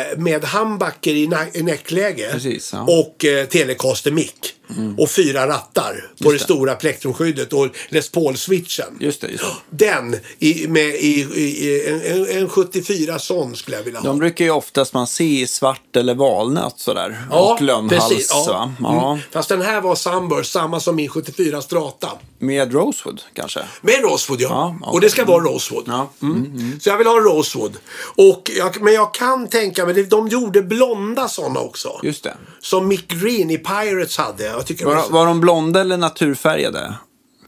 B: eh, med handbacker i, na- i näckläge
A: Precis, ja. Mm.
B: och eh, Telecaster mick och fyra rattar på det, stora plektrumskyddet och Les Paul-switchen.
A: Just det, just det.
B: Den i, med, i, i, i en, en, en 74 sån skulle jag vilja ha.
A: De brukar ju oftast man se i svart eller valnöt sådär. och lönnhals.
B: precis, ja.
A: Va? Ja.
B: Mm. Fast den här var Sunburst, samma som min 74 Strata.
A: Med Rosewood kanske.
B: Med Rosewood ja.
A: Ja, ja.
B: Och det ska vara Rosewood. Mm.
A: Ja. Mm,
B: Så jag vill ha Rosewood. Och jag, men jag kan tänka mig, de gjorde blonda sådana också.
A: Just det.
B: Som Mick Green i Pirates hade. Jag tycker det var
A: Var,
B: så-
A: var de blonda eller naturfärgade?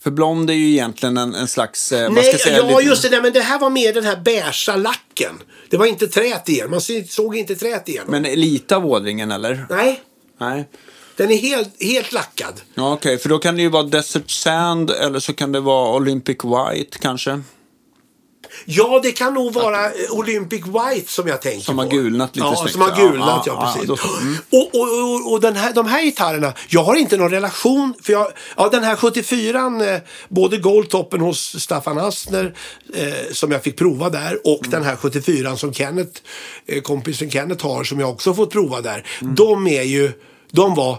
A: För blond är ju egentligen en, en slags... eh, vad ska jag säga,
B: ja
A: lite-
B: just det. Nej, men det här var mer den här beigea lacken. Det var inte trät igen. Man se- såg inte trät igen.
A: Men lite av ådringen eller?
B: Nej,
A: Nej.
B: den är helt, helt lackad.
A: Ja, Okej, för då kan det ju vara Desert Sand eller så kan det vara Olympic White kanske.
B: Ja, det kan nog vara eh, Olympic White som jag tänker
A: Som
B: på.
A: har gulnat lite
B: ja,
A: snyggt,
B: Som har
A: ja.
B: gulnat, ja,
A: Ja, ja,
B: precis.
A: då- mm.
B: Och, och, och, och den här, de här gitarrerna, jag har inte någon relation. För jag, ja, den här 74an, eh, både Goldtoppen hos Staffan Asner eh, som jag fick prova där och
A: Mm.
B: den här 74an som Kenneth, eh, kompisen Kenneth har som jag också fått prova där.
A: Mm.
B: De är ju, de var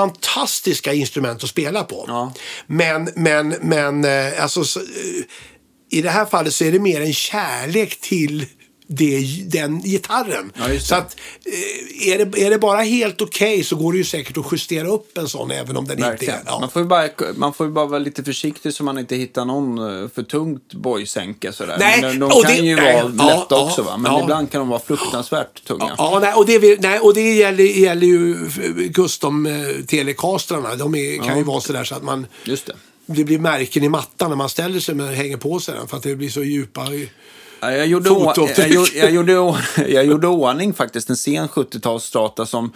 B: fantastiska instrument att spela på.
A: Ja.
B: Men, men, men, eh, alltså så, eh, i det här fallet så är det mer en kärlek till det, den gitarren.
A: Ja, just det.
B: så att, eh, är, det, är det bara helt okej så går det ju säkert att justera upp en sån även om den
A: Verkligen.
B: inte är... Ja.
A: Man, får ju bara, man får ju bara vara lite försiktig så man inte hittar någon eh, för tungt boysänke sådär.
B: Nej,
A: Men de, de
B: och
A: kan
B: det-
A: ju
B: nej,
A: vara
B: ja,
A: lätta
B: ja,
A: också va? Men
B: ja.
A: ibland kan de vara fruktansvärt tunga.
B: Ja, nej, och det, vill- nej, och det gäller, gäller ju f- custom eh, telecastrarna. De är, kan ju vara sådär så att man...
A: Just det.
B: Det blir märken i mattan när man ställer sig men hänger på sig den för att det blir så djupa... i-
A: Ja, Jag gjorde, å-
B: Fotavtryck.
A: jag, gjorde, jag, gjorde, å- jag gjorde ordning faktiskt en sen 70-talsstrata som,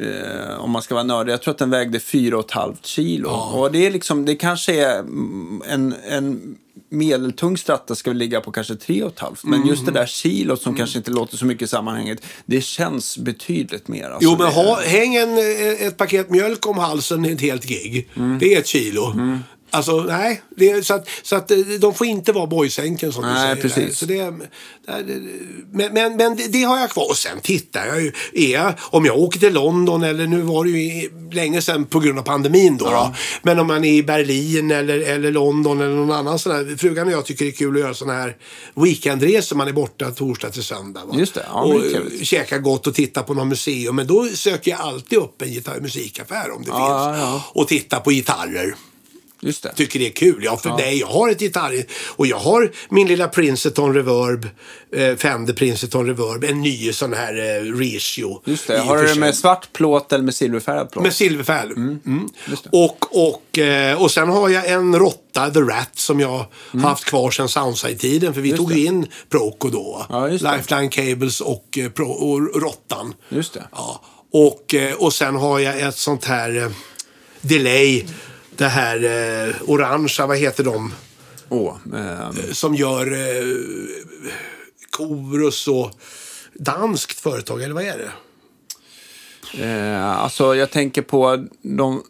A: eh, om man ska vara nördig, jag tror att den vägde 4,5 kilo. Och det, är liksom, det kanske är mm, en, en medeltung strata ska väl ligga på kanske 3,5. Men just det
B: Mm.
A: där kilot som kanske inte låter så mycket i sammanhanget, det känns betydligt mer. Alltså,
B: Jo, men
A: det-
B: ha, häng en, eh, ett paket mjölk om halsen ett helt gig.
A: Mm.
B: Det är ett kilo. Alltså, nej. Det är, så att, så att eh, de får inte vara boysänken som du
A: Nej,
B: säger.
A: precis.
B: där. Så det, där- det- men men, men det, det har jag kvar. Och sen tittar jag ju. Är jag, om jag åker till London, eller nu var det ju i- länge sedan på grund av pandemin då. då. Men om man är i Berlin eller, eller London eller någon annan sån här. Frugan och jag tycker det är kul att göra såna här weekendresor. Man är borta torsdag till söndag. Va?
A: Just det, ja, men
B: och,
A: det är trevligt.
B: käka gott och titta på något museum. Men då söker jag alltid upp en gitarr- musikaffär om det
A: Ja,
B: finns.
A: ja, ja.
B: Och titta på gitarrer.
A: Just det.
B: Tycker det är kul. Ja, för nej, jag har ett gitarr. Och jag har min lilla Princeton Reverb. Eh, Fender Princeton Reverb. En ny sån här eh, reissue.
A: Just
B: i
A: det.
B: och
A: Har
B: för
A: du det
B: sig.
A: med svart plåt eller med silverfärgad plåt?
B: Med silverfärg. Mm. Och, och, eh, och sen har jag en råtta, The Rat, som jag haft kvar sedan Soundside-tiden. För vi tog
A: Mm. det.
B: in Proco då.
A: Ja, just det.
B: Lifeline Cables och, eh, Pro- och Råttan.
A: Just det.
B: Ja. Och, eh, och sen har jag ett sånt här eh, delay. Det här eh, orangea, vad heter de?
A: Åh, ehm,
B: Som gör eh, Korus och danskt företag, eller vad är det?
A: Eh, alltså jag tänker på de, eh,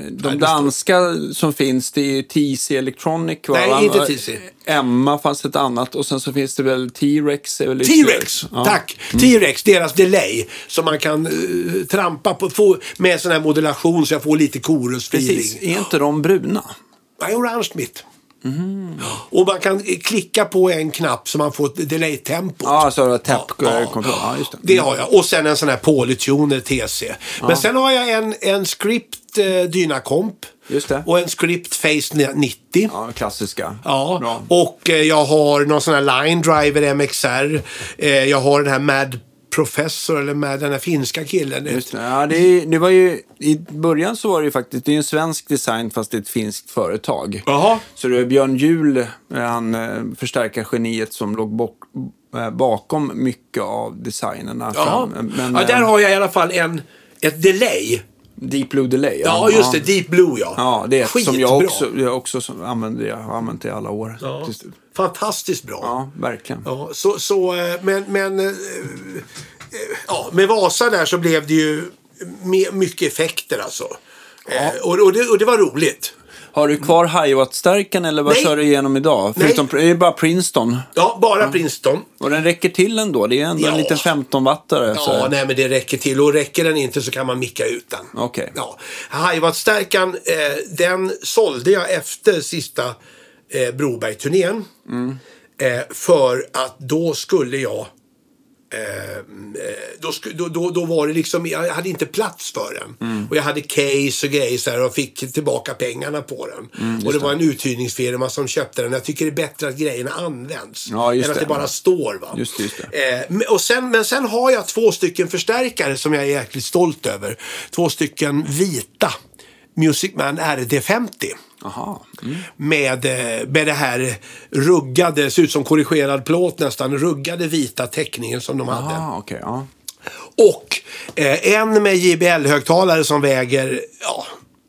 A: de
B: det står-
A: danska som finns. Det är ju TC Electronic. Va?
B: Nej, inte TC.
A: Emma fanns ett annat och sen så finns det väl T-Rex. är väl ytterligare-
B: T-Rex,
A: Ja. Mm.
B: tack! T-Rex, deras delay som man kan eh, trampa på få, med sån här modulation så jag får lite
A: Precis,
B: Korus-feeling.
A: är inte de bruna?
B: Nej, orange mitt. Och man kan eh, klicka på en knapp så man får ett delay-tempo.
A: Ja, alltså, så har jag tapp
B: Ja,
A: ja, kontroll. Ja, just det.
B: Det har jag. Och sen en sån här Polytuner TC. Men sen har jag en, en script eh, Dynacomp.
A: Just det.
B: Och en script Face 90.
A: Ja, klassiska.
B: Ja,
A: Bra.
B: och eh, jag har någon sån här Line Driver MXR. Eh, jag har den här Mad Professor, eller med den här finska killen.
A: Just det. Ja, det, är- det var ju, I början så var det ju faktiskt det är ju en svensk design fast det är ett finskt företag.
B: Jaha.
A: Så det är Björn Juhl, eh, han eh, förstärkargeniet som låg bok, eh, bakom mycket av designerna.
B: Ja.
A: fram. Men,
B: ja,
A: eh,
B: där har jag i alla fall en, ett delay.
A: Deep Blue Delay.
B: Ja, just det. Deep Blue, ja.
A: Ja, det är ett som jag
B: Skitbra.
A: också, jag också som använder, jag har använt det i alla år.
B: Ja.
A: Tills-
B: Fantastiskt bra. Ja.
A: ja verkligen.
B: så, så, eh, men, men eh, eh, ja, med Vasa där så blev det ju me- mycket effekter alltså. Eh, Och, och, det, och det var roligt.
A: Har du kvar Hiwatt-stärkan eller vad
B: Nej.
A: kör du igenom idag?
B: Nej.
A: Förutom, det är bara Princeton.
B: Ja, bara Princeton.
A: Och den räcker till ändå. Det är ändå en
B: Ja.
A: liten 15-wattare. så-
B: Ja, nej men det räcker till. Och räcker den inte så kan man micka ut den.
A: Okej.
B: Ja. Highwatt-stärkan, eh, den sålde jag efter sista eh, Broberg-turnén.
A: Mm.
B: Eh, för att då skulle jag... Eh, eh, då, sku- då, då, då var det liksom, jag hade inte plats för den.
A: Mm.
B: Och jag hade case och grejer så här, och fick tillbaka pengarna på den.
A: Mm,
B: och det var en uthyrningsfirma som köpte den. Jag tycker det är bättre att grejerna används.
A: Ja, just
B: än att det,
A: det.
B: bara står. Va?
A: Just det, just det.
B: Eh, men- och sen, men sen har jag två stycken förstärkare som jag är jäkligt stolt över. Två stycken vita Musicman RD50.
A: Aha.
B: Med, eh, med det här ruggade, ser ut som korrigerad plåt nästan, ruggade vita teckningen som de hade.
A: Ah, okej. ja.
B: Och eh, en med JBL-högtalare som väger, ja,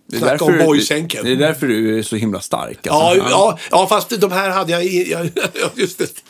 A: Det är
B: snacka
A: därför
B: om
A: du-
B: boysänken.
A: Det är därför du är så himla stark.
B: Ja,
A: alltså.
B: ja, ja, fast de här hade jag... i- jag just det.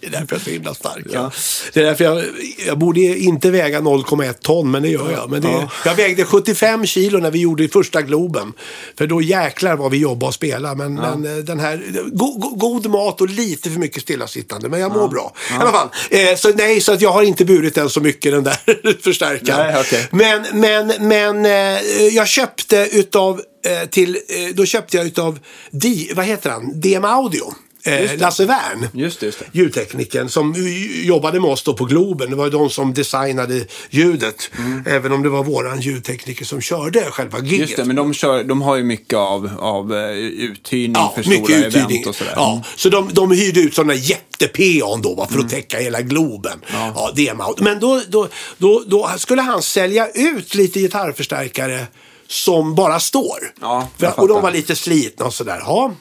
B: Det är därför jag är så himla stark. Ja. Det är därför jag, jag borde inte väga 0,1 ton, men det gör jag. Men det,
A: Ja.
B: Jag vägde 75 kilo när vi gjorde första Globen. För då jäklar vad vi jobbade och spelade. Men, men eh, den här, go, go, god mat och lite för mycket stillasittande. Men jag mår bra. I alla fall. Eh, så nej, så att jag har inte burit den så mycket, den där förstärkaren.
A: Nej, okej.
B: Men, men, men eh, jag köpte utav, eh, till, eh, då köpte jag utav, Di, vad heter han, DM Audio. Eh, Lasse Wern,
A: Just det, just det.
B: ljudteknikern som ju- jobbade med oss då på Globen. Det var ju de som designade ljudet. Även om det var våran ljudtekniker som körde själva giget.
A: Mm. Just det, men de, kör, de har ju mycket av, av eh, uthyrning för stora event och sådär. Mm.
B: Ja, så de, de hyrde ut sådana jätte-PA'n då va, för att täcka hela Globen. Ja. demo-out. Men då, då, då, då skulle han sälja ut lite gitarrförstärkare som bara står.
A: Ja, jag
B: för, och de
A: fattar.
B: var lite slitna och sådär. Ja.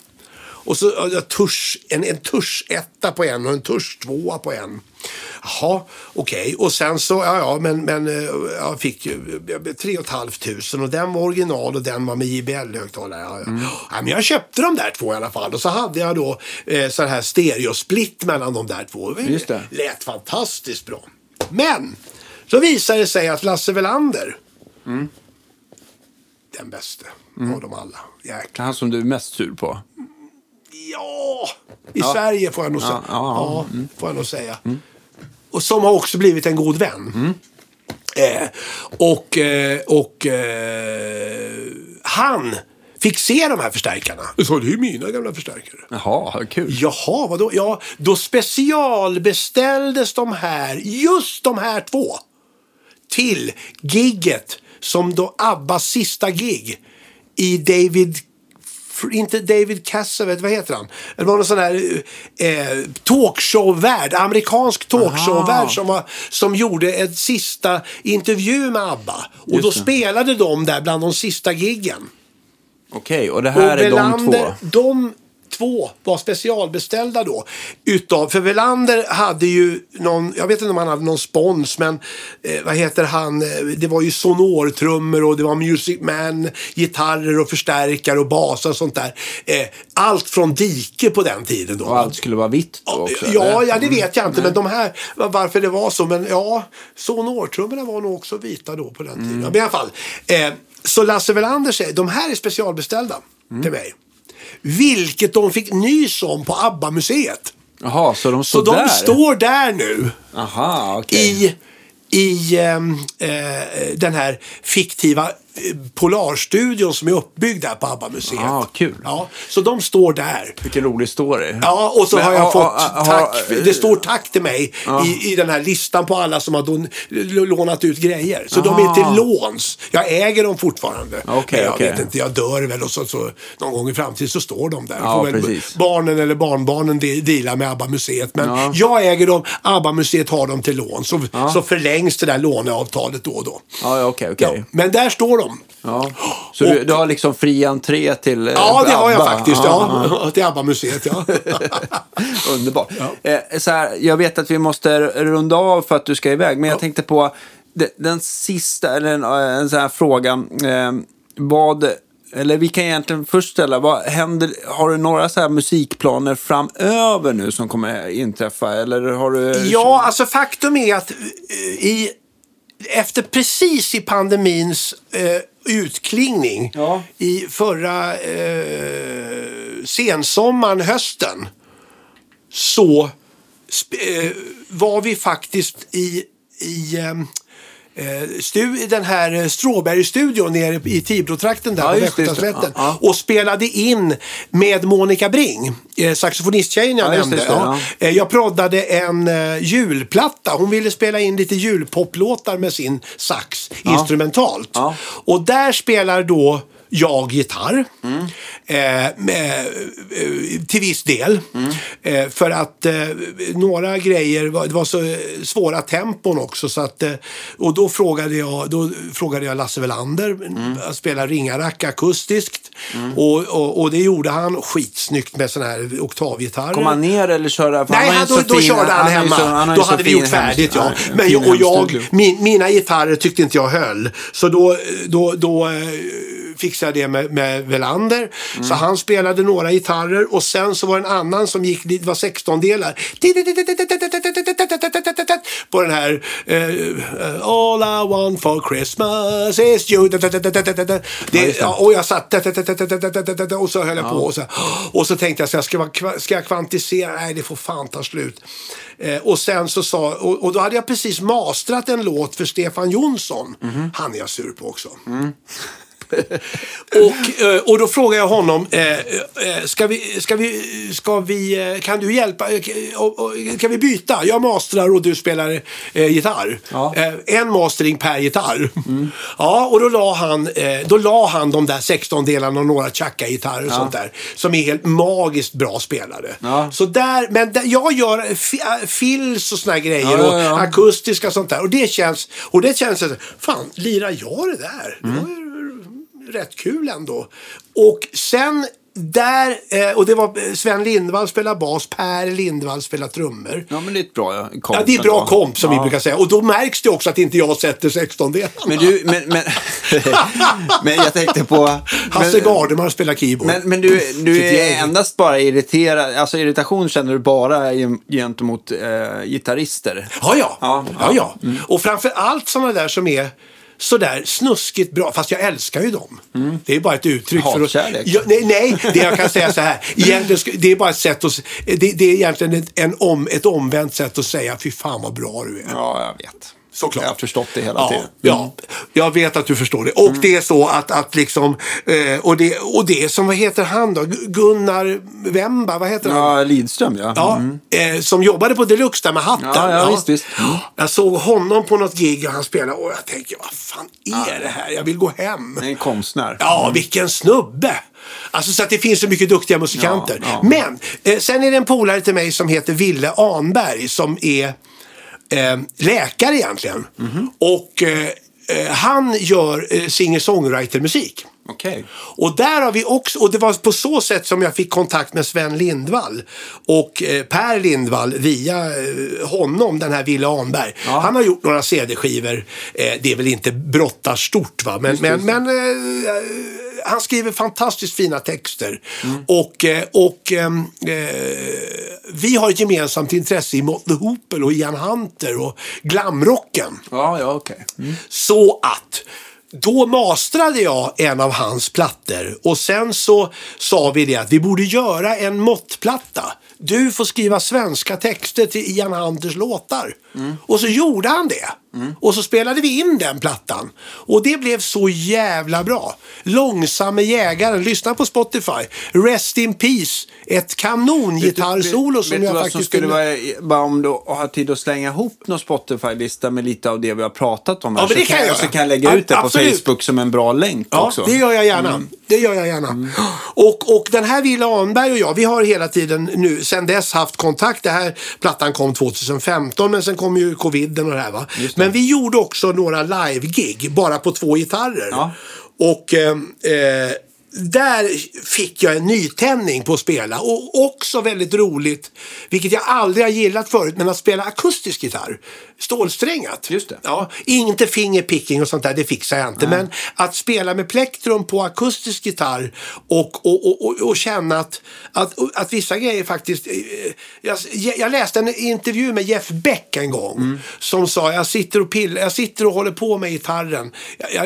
B: Och så ja, tusch, en, en tusch etta på en och en tusch tvåa på en. Jaha, okej. Och sen så, ja ja, men, men eh, jag fick ju eh, tre och ett halvt tusen och den var original och den var med JBL-högtalare. Ja, ja.
A: Mm.
B: ja, men jag köpte de där två i alla fall och så hade jag då eh, sån här stereosplitt mellan de där två.
A: Just det.
B: Lät fantastiskt bra. Men, så visade det sig att Lasse Welander, den bäste
A: Mm.
B: av dem alla. Jäklar.
A: Han som du är mest sur på.
B: Ja, i Sverige får jag nog säga.
A: ja, ja.
B: får jag nog säga. Och som har också blivit en god vän. Eh, och eh, och eh, han fick se de här förstärkarna. Så det är ju mina gamla förstärkare.
A: Jaha, kul.
B: Jaha, vadå? Ja, då specialbeställdes de här, just de här två, till gigget som då Abbas sista gig i David F- inte David Cassavet, vad heter han? Det var någon sån här eh, talkshow-värd, amerikansk talkshow-värd som, var- som gjorde en sista intervju med ABBA. Och då spelade de där bland de sista giggen.
A: Okej, och det här
B: Och
A: är de två.
B: Welander- de två var specialbeställda då. Utav, för Velander hade ju någon, jag vet inte om han hade någon spons, men eh, vad heter han, eh, det var ju sonortrummor och det var Music Man, gitarrer och förstärkare och basar och sånt där. Eh, allt från dike på den tiden då.
A: Och allt skulle vara vitt då också?
B: Ja,
A: eller?
B: ja, det vet jag inte. Men de här, var- varför det var så. Men ja, sonortrummorna var nog också vita då på den tiden.
A: Mm.
B: Men i alla fall. Eh, så Lasse Welander säger, de här är specialbeställda
A: Mm.
B: till mig. Vilket de fick nys om på ABBA-museet.
A: Jaha, så de
B: Så
A: står
B: de
A: där?
B: står där nu
A: Aha, okej.
B: i, i ehm, eh, den här fiktiva eh, Polarstudion som är uppbyggd där på ABBA-museet.
A: Ah, kul.
B: Ja, så de står där.
A: Vilken rolig story.
B: Ja, och så
A: Men,
B: har jag
A: ah,
B: fått
A: ah, ah,
B: tack.
A: ah,
B: det står tack till mig i, i den här listan på alla som har don, l- lånat ut grejer. Så de är
A: Ah.
B: till låns. Jag äger dem fortfarande.
A: Okej,
B: Men jag
A: okej.
B: vet inte, jag dör väl och så, så någon gång i framtiden så står de där.
A: Ja,
B: Får väl
A: precis.
B: barnen eller barnbarnen de, deala med ABBA-museet. Men
A: Ja.
B: jag äger dem, ABBA-museet har dem till låns. Så, så förlängs det där låneavtalet då och då.
A: Ja, ja, okej, okej.
B: Ja, men där står de.
A: Ja. Så du, du har liksom fri entré till eh,
B: Ja, det har jag
A: ABBA.
B: faktiskt.
A: Ja,
B: Ja, Till ABBA-museet, ja.
A: Underbart. Eh, så här, jag vet att vi måste runda av för att du ska iväg, men jag tänkte på de- den sista, eller en, en sån här fråga. Eh, vad, eller vi kan egentligen först ställa, vad händer, har du några så här musikplaner framöver nu som kommer inträffa? Eller har du...
B: Ja, alltså faktum är att eh, i, efter precis i pandemins eh, utklingning
A: Ja.
B: i förra eh, sensommaren, hösten så sp- eh, var vi faktiskt i, i ehm, eh, stu, den här eh, Stråbergsstudion nere i Tibro-trakten där
A: Ja,
B: på
A: just det, just det.
B: Västgötaslätten.
A: Ja,
B: Och spelade in med Monica Bring, eh, saxofonisttjejen jag
A: Ja, just det,
B: nämnde.
A: just det,
B: ja.
A: ja.
B: Eh, Jag proddade en eh, julplatta. Hon ville spela in lite julpoplåtar med sin sax instrumentalt.
A: Ja.
B: Och där spelar då jag gitarr. Eh, med, eh, till viss del.
A: Mm.
B: Eh, för att eh, några grejer, var, det var så eh, svåra tempon också. Så att, eh, och då frågade, jag, då frågade jag Lasse Welander, mm. spelar ringarack akustiskt.
A: Mm.
B: Och, och, och det gjorde han skitsnyggt med sån här oktavgitarr.
A: Kom han ner eller körde för
B: Nej,
A: har ju
B: han,
A: så
B: då, då
A: fin-
B: körde han,
A: har ju
B: hemma.
A: så- han har ju
B: då
A: så
B: hade vi
A: fin
B: gjort färdigt, ja.
A: hemstudio.
B: Men,
A: Fin
B: jag- och jag,
A: hemstudio.
B: min, mina gitarrer tyckte inte jag höll. Så då, då, då eh, fixade jag det med, med Velander. Så han spelade några gitarrer och sen så var det en annan som gick dit, det var 16 delar. På den här eh, All I want for Christmas is you. Det, ja, och jag satt och så höll jag på. Och så, och så tänkte jag så här, ska, man, kva- ska jag kvantisera? Nej, det får fan ta slut. Eh, och sen så sa, och, och då hade jag precis mastrat en låt för Stefan Jonsson. Han är jag sur på också. och, eh, och då frågade jag honom, eh, eh, ska vi, ska vi, ska vi, eh, kan du hjälpa, Eh, och- och- kan vi byta? Jag mastrar och du spelar eh, gitarr.
A: Ja.
B: Eh, en mastering per gitarr. Ja, och då la, han, eh, då la han de där 16 delarna och några chacka-gitarrer och sånt där. Som är helt magiskt bra spelare.
A: Ja.
B: Så där, men där, jag gör fi, äh, fills och såna grejer
A: Ja, ja, ja.
B: och akustiska och sånt där. Och det känns, och det känns att, fan, lirar jag det där? Det var
A: Mm.
B: ju rätt kul ändå. Och sen där, eh, och det var eh, Sven Lindvall spelar bas, Per Lindvall spelar trummor.
A: Ja, men det är ett bra komp.
B: Ja, det är bra
A: ändå.
B: komp som vi
A: Ja.
B: brukar säga. Och då märks det också att inte jag sätter 16 delarna.
A: Men du, men, men, men jag tänkte på...
B: Hasse Gardemar spelar keyboard.
A: Men, men du, du
B: Sitt
A: är
B: gäng.
A: endast bara irriterad, alltså irritation känner du bara gen- gentemot eh, gitarrister.
B: Ja, ja.
A: Ja,
B: ja, ja. Och framför allt sådana där som är sådär snuskigt bra. Fast jag älskar ju dem. Det är bara ett uttryck för
A: Mm. Hatkärlek.
B: att... Ja, nej, nej, det jag kan säga så här. Egentligen, ska- det är bara ett sätt att... Det, det är egentligen ett, en om, ett omvänt sätt att säga fy fan vad bra du är.
A: Ja, jag vet.
B: Såklart.
A: Jag har förstått det hela
B: ja,
A: tiden. Mm.
B: Ja, jag vet att du förstår det. Och det är så att, att liksom... Eh, och, det, och det är som, vad heter han då? Gu- Gunnar Wemba, vad heter han?
A: Ja, Lidström ja.
B: Ja, eh, som jobbade på Deluxe där med hatten.
A: Ja, ja, visst, Mm. visst.
B: Jag såg honom på något gig och han spelade och jag tänkte, vad fan är det här? Jag vill gå hem.
A: Mm. En konstnär.
B: Ja, vilken snubbe! Alltså så att det finns så mycket duktiga musikanter.
A: Ja, ja.
B: Men eh, sen är det en polare till mig som heter Ville Anberg som är eh, läkare egentligen.
A: Mhm.
B: Och eh, eh, han gör eh, singer-songwriter-musik.
A: Okej.
B: Och där har vi också, och det var på så sätt som jag fick kontakt med Sven Lindvall och eh, Per Lindvall via eh, honom, den här Ville Anberg.
A: Ja.
B: Han har gjort några CD-skivor, eh, det är väl inte brottarstort va, men, men, men eh, han skriver fantastiskt fina texter. Och, eh, och ehm, eh, vi har ett gemensamt intresse i Motley Hoople och Ian Hunter och glamrocken.
A: Ja, ja, okej.
B: Så att då mastrade jag en av hans plattor och sen så sa vi det att vi borde göra en måttplatta. Du får skriva svenska texter till Ian Hunters låtar. Och så gjorde han det. Och så spelade vi in den plattan. Och det blev så jävla bra. Långsamme jägaren, lyssna på Spotify. Rest in peace, ett kanongitarrsolo som
A: Vet du
B: jag
A: vad
B: faktiskt...
A: som skulle
B: kunde-
A: vara, bara om du har tid att slänga ihop någon Spotify-lista med lite av det vi har pratat om här.
B: Ja, men det
A: så
B: kan jag göra.
A: så kan jag lägga ut det
B: Absolut.
A: på Facebook som en bra länk
B: Ja,
A: också. Mm.
B: det gör jag gärna. Det gör jag gärna. Och, och den här Wille Arnberg och jag, vi har hela tiden nu sen dess haft kontakt. Det här plattan kom 2015 men sen kom ju coviden och det här va. Men vi gjorde också några live-gig bara på två gitarrer.
A: Ja.
B: Och eh, eh, där fick jag en nytändning på att spela. Och också väldigt roligt, vilket jag aldrig har gillat förut, men att spela akustisk gitarr. Stålsträngat.
A: Just det.
B: Ja, inte fingerpicking och sånt där, det fixar jag inte. Men att spela med plektrum på akustisk gitarr och, och, och, och, och känna att, att, att vissa grejer faktiskt... eh, Jag, jag läste en intervju med Jeff Beck en gång som sa jag sitter och pillar, jag sitter och håller på med gitarren. Jag, jag,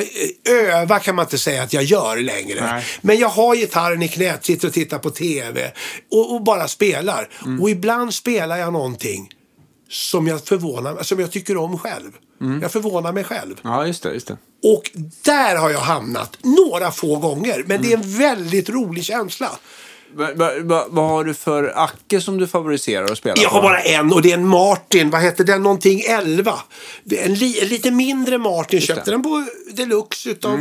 B: eh, öva kan man inte säga att jag gör längre.
A: Nej.
B: Men jag har gitarren i knät, sitter och tittar på tv och, och bara spelar. Och ibland spelar jag någonting som jag förvånar mig, som jag tycker om själv. Jag förvånar mig själv.
A: Ja, just det. Just det.
B: Och där har jag hamnat några få gånger. Men det är en väldigt rolig känsla.
A: Va, va, va, vad har du för acke som du favoriserar att spela
B: Jag
A: på?
B: har bara en och det är en Martin, vad heter den, någonting 11. Det är En, li, en lite mindre Martin, köpte
A: det. Mm,
B: den på Deluxe utav,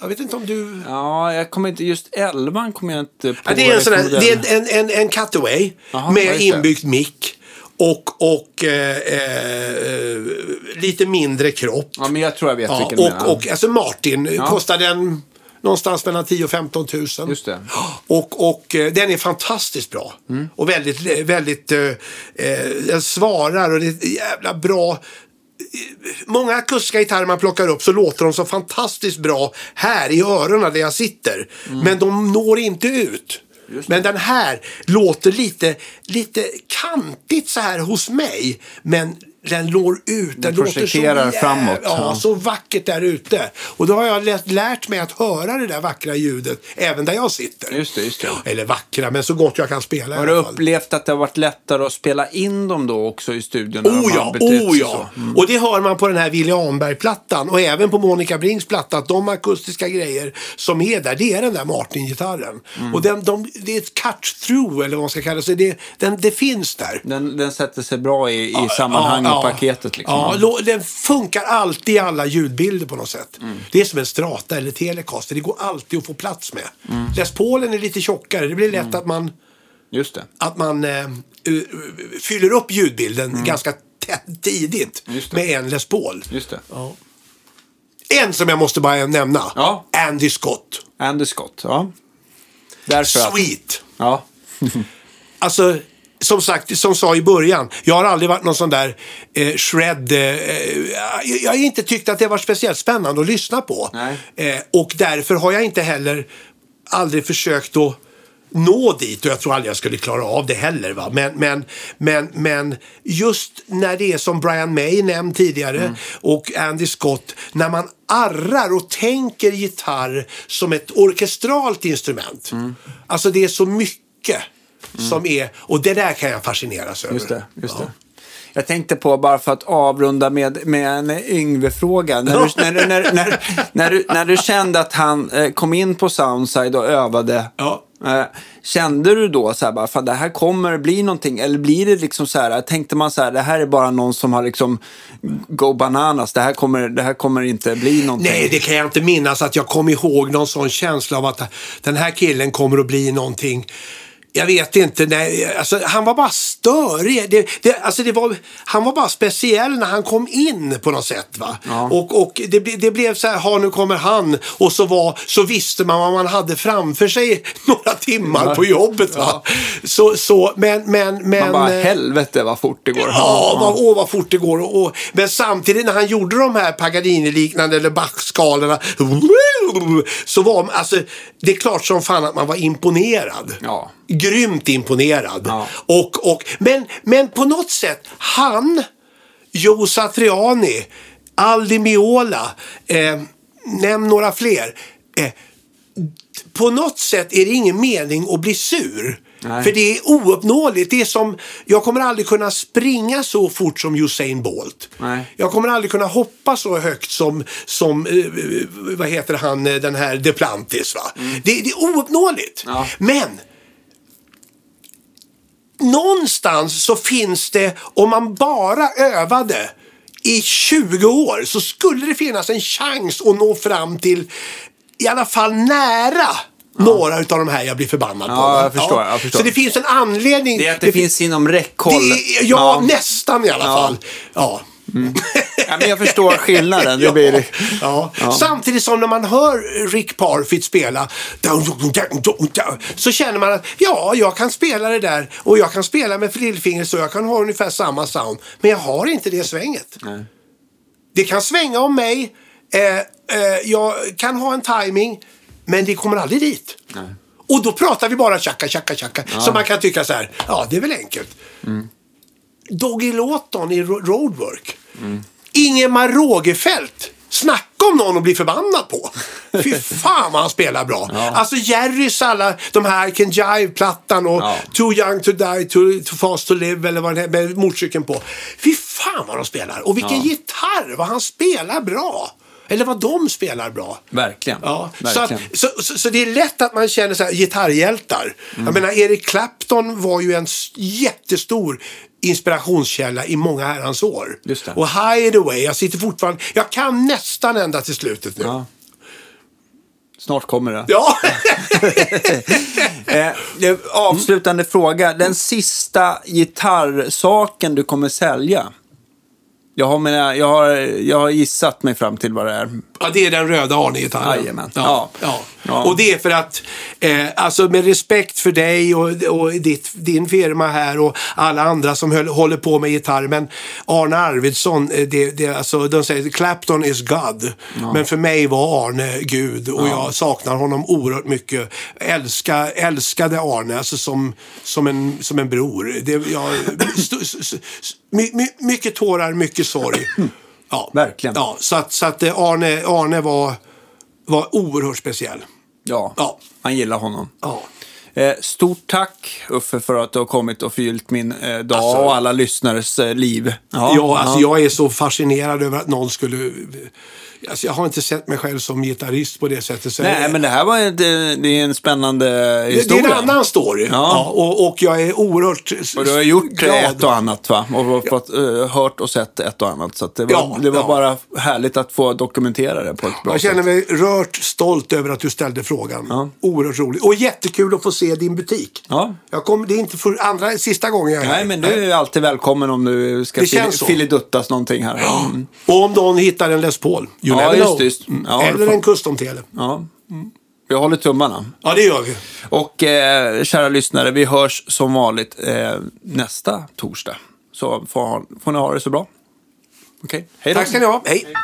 B: jag vet inte om du...
A: Ja, jag kommer inte... Just elvan kommer jag inte på. liksom
B: Ja, det är en sån här,
A: rekommendation.
B: det är en, en, en cutaway
A: Jaha, ja,
B: med
A: just det.
B: inbyggd mick. Och, och eh, eh, lite mindre kropp.
A: Ja, men jag tror jag vet
B: Ja,
A: vilken du menar.
B: och, och alltså Martin kostar den någonstans mellan 10 000 och 15 000.
A: Just det. Mm.
B: Och, och eh, den är fantastiskt bra. Och väldigt, väldigt eh, eh, den svarar och det är ett jävla bra. Många akustiska gitarrer man plockar upp så låter de så fantastiskt bra här i öronen där jag sitter.
A: Mm.
B: Men de når inte ut. Men den här låter lite, lite kantigt så här hos mig. Men den når ut. Den, låter så
A: projekterar
B: jäv-
A: framåt,
B: Ja,
A: ja.
B: så vackert där ute. Och då har jag lärt, lärt mig att höra det där vackra ljudet även där jag sitter.
A: Just det, just det.
B: Eller vackra, men så gott jag kan spela
A: Har
B: i
A: du
B: alla fall.
A: upplevt att det har varit lättare att spela in dem då också i studion? när de
B: Oh
A: har
B: ja,
A: betett sig
B: oh ja.
A: så? Mm.
B: Och det hör man på den här Willy Ahnberg-plattan och även på Monica Brings platta att de akustiska grejer som är där, det är den där Martin-gitarren.
A: Mm.
B: Och den, de, det är ett cut-through eller vad man ska kalla det. Så det, den, det finns där.
A: Den, den sätter sig bra i, i sammanhang och paketet liksom.
B: Ja, lo- den funkar alltid i alla ljudbilder på något sätt.
A: Mm.
B: Det är som en strata eller telecaster. Det går alltid att få plats med.
A: Mm.
B: Les Paulen är lite tjockare. Det blir lätt att man,
A: Just det.
B: att man eh, u- u- fyller upp ljudbilden ganska tä- tidigt
A: Mm. Just det.
B: med en Les Paul.
A: Just det.
B: En som jag måste bara nämna.
A: Ja.
B: Andy Scott.
A: Andy Scott, ja. Därför att...
B: Sweet.
A: Ja.
B: Alltså, som sagt, som sa i början. Jag har aldrig varit någon sån där eh, shred... Eh, eh, jag har inte tyckt att det var speciellt spännande att lyssna på.
A: Nej.
B: Eh, och därför har jag inte heller aldrig försökt att nå dit och jag tror aldrig jag skulle klara av det heller. Va? Men, men, men, men just när det är som Brian May nämnde tidigare
A: Mm.
B: och Andy Scott. När man arrar och tänker gitarr som ett orkestralt instrument.
A: Mm.
B: Alltså det är så mycket som är och det där kan jag fascineras över.
A: Just det, just
B: Ja.
A: det. Jag tänkte på, bara för att avrunda med, med en Yngve-fråga. När du, när, du- när, när, när, du, när du kände att han eh, kom in på Soundside och övade,
B: Ja.
A: eh, kände du då så här, bara, fan, det här kommer bli någonting? Eller blir det liksom så här, tänkte man så här, det här är bara någon som har liksom go bananas, det här kommer, det här kommer inte bli någonting?
B: Nej, det kan jag inte minnas att jag kom ihåg någon sån känsla av att den här killen kommer att bli någonting. Jag vet inte. Nej, alltså, han var bara störig. Det, det, alltså, det var, han var bara speciell när han kom in på något sätt. Va?
A: Ja.
B: Och, och det, ble- det blev så här, ha, nu kommer han. Och så, var, så visste man vad man hade framför sig några timmar på jobbet. Va? Så, så, men, men, men,
A: Man bara,
B: eh,
A: helvete vad fort det går.
B: Ja, vad, åh vad fort det går. Och, och, men samtidigt när han gjorde de här Paganini-liknande eller Bach-skalorna. Så var alltså, det är klart som fan att man var imponerad.
A: Ja.
B: Grymt imponerad.
A: Ja.
B: Och, och, men, men på något sätt, han, Joe Satriani, Aldi Meola, eh, nämn några fler. Eh, på något sätt är det ingen mening att bli sur.
A: Nej.
B: För det är ouppnåeligt. Det är som, jag kommer aldrig kunna springa så fort som Usain Bolt.
A: Nej.
B: Jag kommer aldrig kunna hoppa så högt som, som eh, eh, vad heter han, eh, den här Deplantis. Va? Det, det är ouppnåeligt.
A: Mm. Ja.
B: Men någonstans så finns det, om man bara övade i 20 år så skulle det finnas en chans att nå fram till i alla fall nära några utav de här jag blir förbannad på.
A: Ja,
B: va?
A: jag förstår, jag förstår.
B: Så det finns en anledning.
A: Det är att det,
B: fin-
A: finns inom räckhåll.
B: det är- ja, nästan i alla
A: Ja.
B: fall. Ja.
A: Ja, men jag förstår skillnaden. Det blir...
B: Ja. Samtidigt som när man hör Rick Parfitt spela så känner man att ja, jag kan spela det där och jag kan spela med lillfingret så jag kan ha ungefär samma sound. Men jag har inte det svänget. Det kan svänga om mig, eh, eh, jag kan ha en timing men det kommer aldrig dit. Och då pratar vi bara tjacka, tjacka, tjacka. Så man kan tycka så här, ja det är väl enkelt. Doggy Lawton i Ro- Roadwork. Ingemar Rågefält. Snacka om någon att bli förbannad på. Fy fan vad han spelar bra. Alltså Jerrys alla, de här Can Jive-plattan och
A: Ja.
B: Too Young To Die, too, too Fast To Live eller vad den här med motorcykeln på. Fy fan vad de spelar. Och vilken gitarr, vad han spelar bra. Eller vad de spelar bra.
A: Verkligen.
B: Ja, så, att,
A: Verkligen.
B: så, så, så det är lätt att man känner så här, gitarrhjältar.
A: Mm.
B: Jag menar, Eric Clapton var ju en s- jättestor inspirationskälla i många herrans år.
A: Just det.
B: Och Hideaway, jag sitter fortfarande, jag kan nästan ända till slutet nu.
A: Ja. Snart kommer det.
B: Ja,
A: Eh, det- avslutande fråga. Den sista gitarrsaken du kommer sälja? Jag har, mina, jag, har, jag har gissat mig fram till vad det är.
B: ja det är den röda Arne-gitarren.
A: Jajamän.
B: Ja,
A: Ja.
B: ja.
A: Ja.
B: Och det är för att, eh, alltså med respekt för dig och, och ditt, din firma här och alla andra som höll, håller på med gitarr. Men Arne Arvidsson, eh, det, det, alltså, de säger Clapton is God. Men för mig var Arne Gud och jag saknar honom oerhört mycket. Älska, älskade Arne, alltså som, som, en, som en bror. Det, jag, st, st, st, my, my, mycket tårar, mycket sorg. Ja.
A: Verkligen.
B: Ja, så att, så att eh, Arne, Arne var, var oerhört speciell.
A: Ja,
B: Ja.
A: man gillar honom.
B: Ja.
A: Eh, stort tack Uffe för att du har kommit och förgyllt min eh, dag
B: Alltså-
A: och alla lyssnares eh, liv.
B: Ja, alltså jag är så fascinerad över att någon skulle... Alltså jag har inte sett mig själv som gitarrist på det sättet. Så
A: Nej,
B: jag-
A: men det här var en, det, det är en spännande
B: det, det är
A: historia.
B: en annan story. Ja. och, och jag är oerhört s-
A: Och du har gjort
B: glad.
A: ett och annat va? Och har fått, eh, hört och sett ett och annat. Så att det var,
B: Ja,
A: det var
B: ja.
A: bara härligt att få dokumentera det på ett bra
B: Jag känner
A: sätt.
B: mig rört stolt över att du ställde frågan. Oerhört roligt. Och jättekul att få se din butik.
A: Ja.
B: Jag kommer, det är inte för andra, sista gången jag är
A: Nej,
B: här.
A: men du är ju alltid välkommen om du ska
B: Det känns så.
A: fili- filiduttas någonting här. Mm.
B: Och om någon hittar en Les Paul. You
A: Ja,
B: never
A: just
B: know.
A: det, just det.
B: Mm.
A: Ja, det
B: Eller
A: får-
B: en custom-tele.
A: Ja. Jag håller tummarna.
B: Ja, det gör vi.
A: Och eh, kära lyssnare, vi hörs som vanligt eh, nästa torsdag. Så får, ha- får ni ha det så bra. Okej, hej då.
B: Tack ska ni ha. Hej.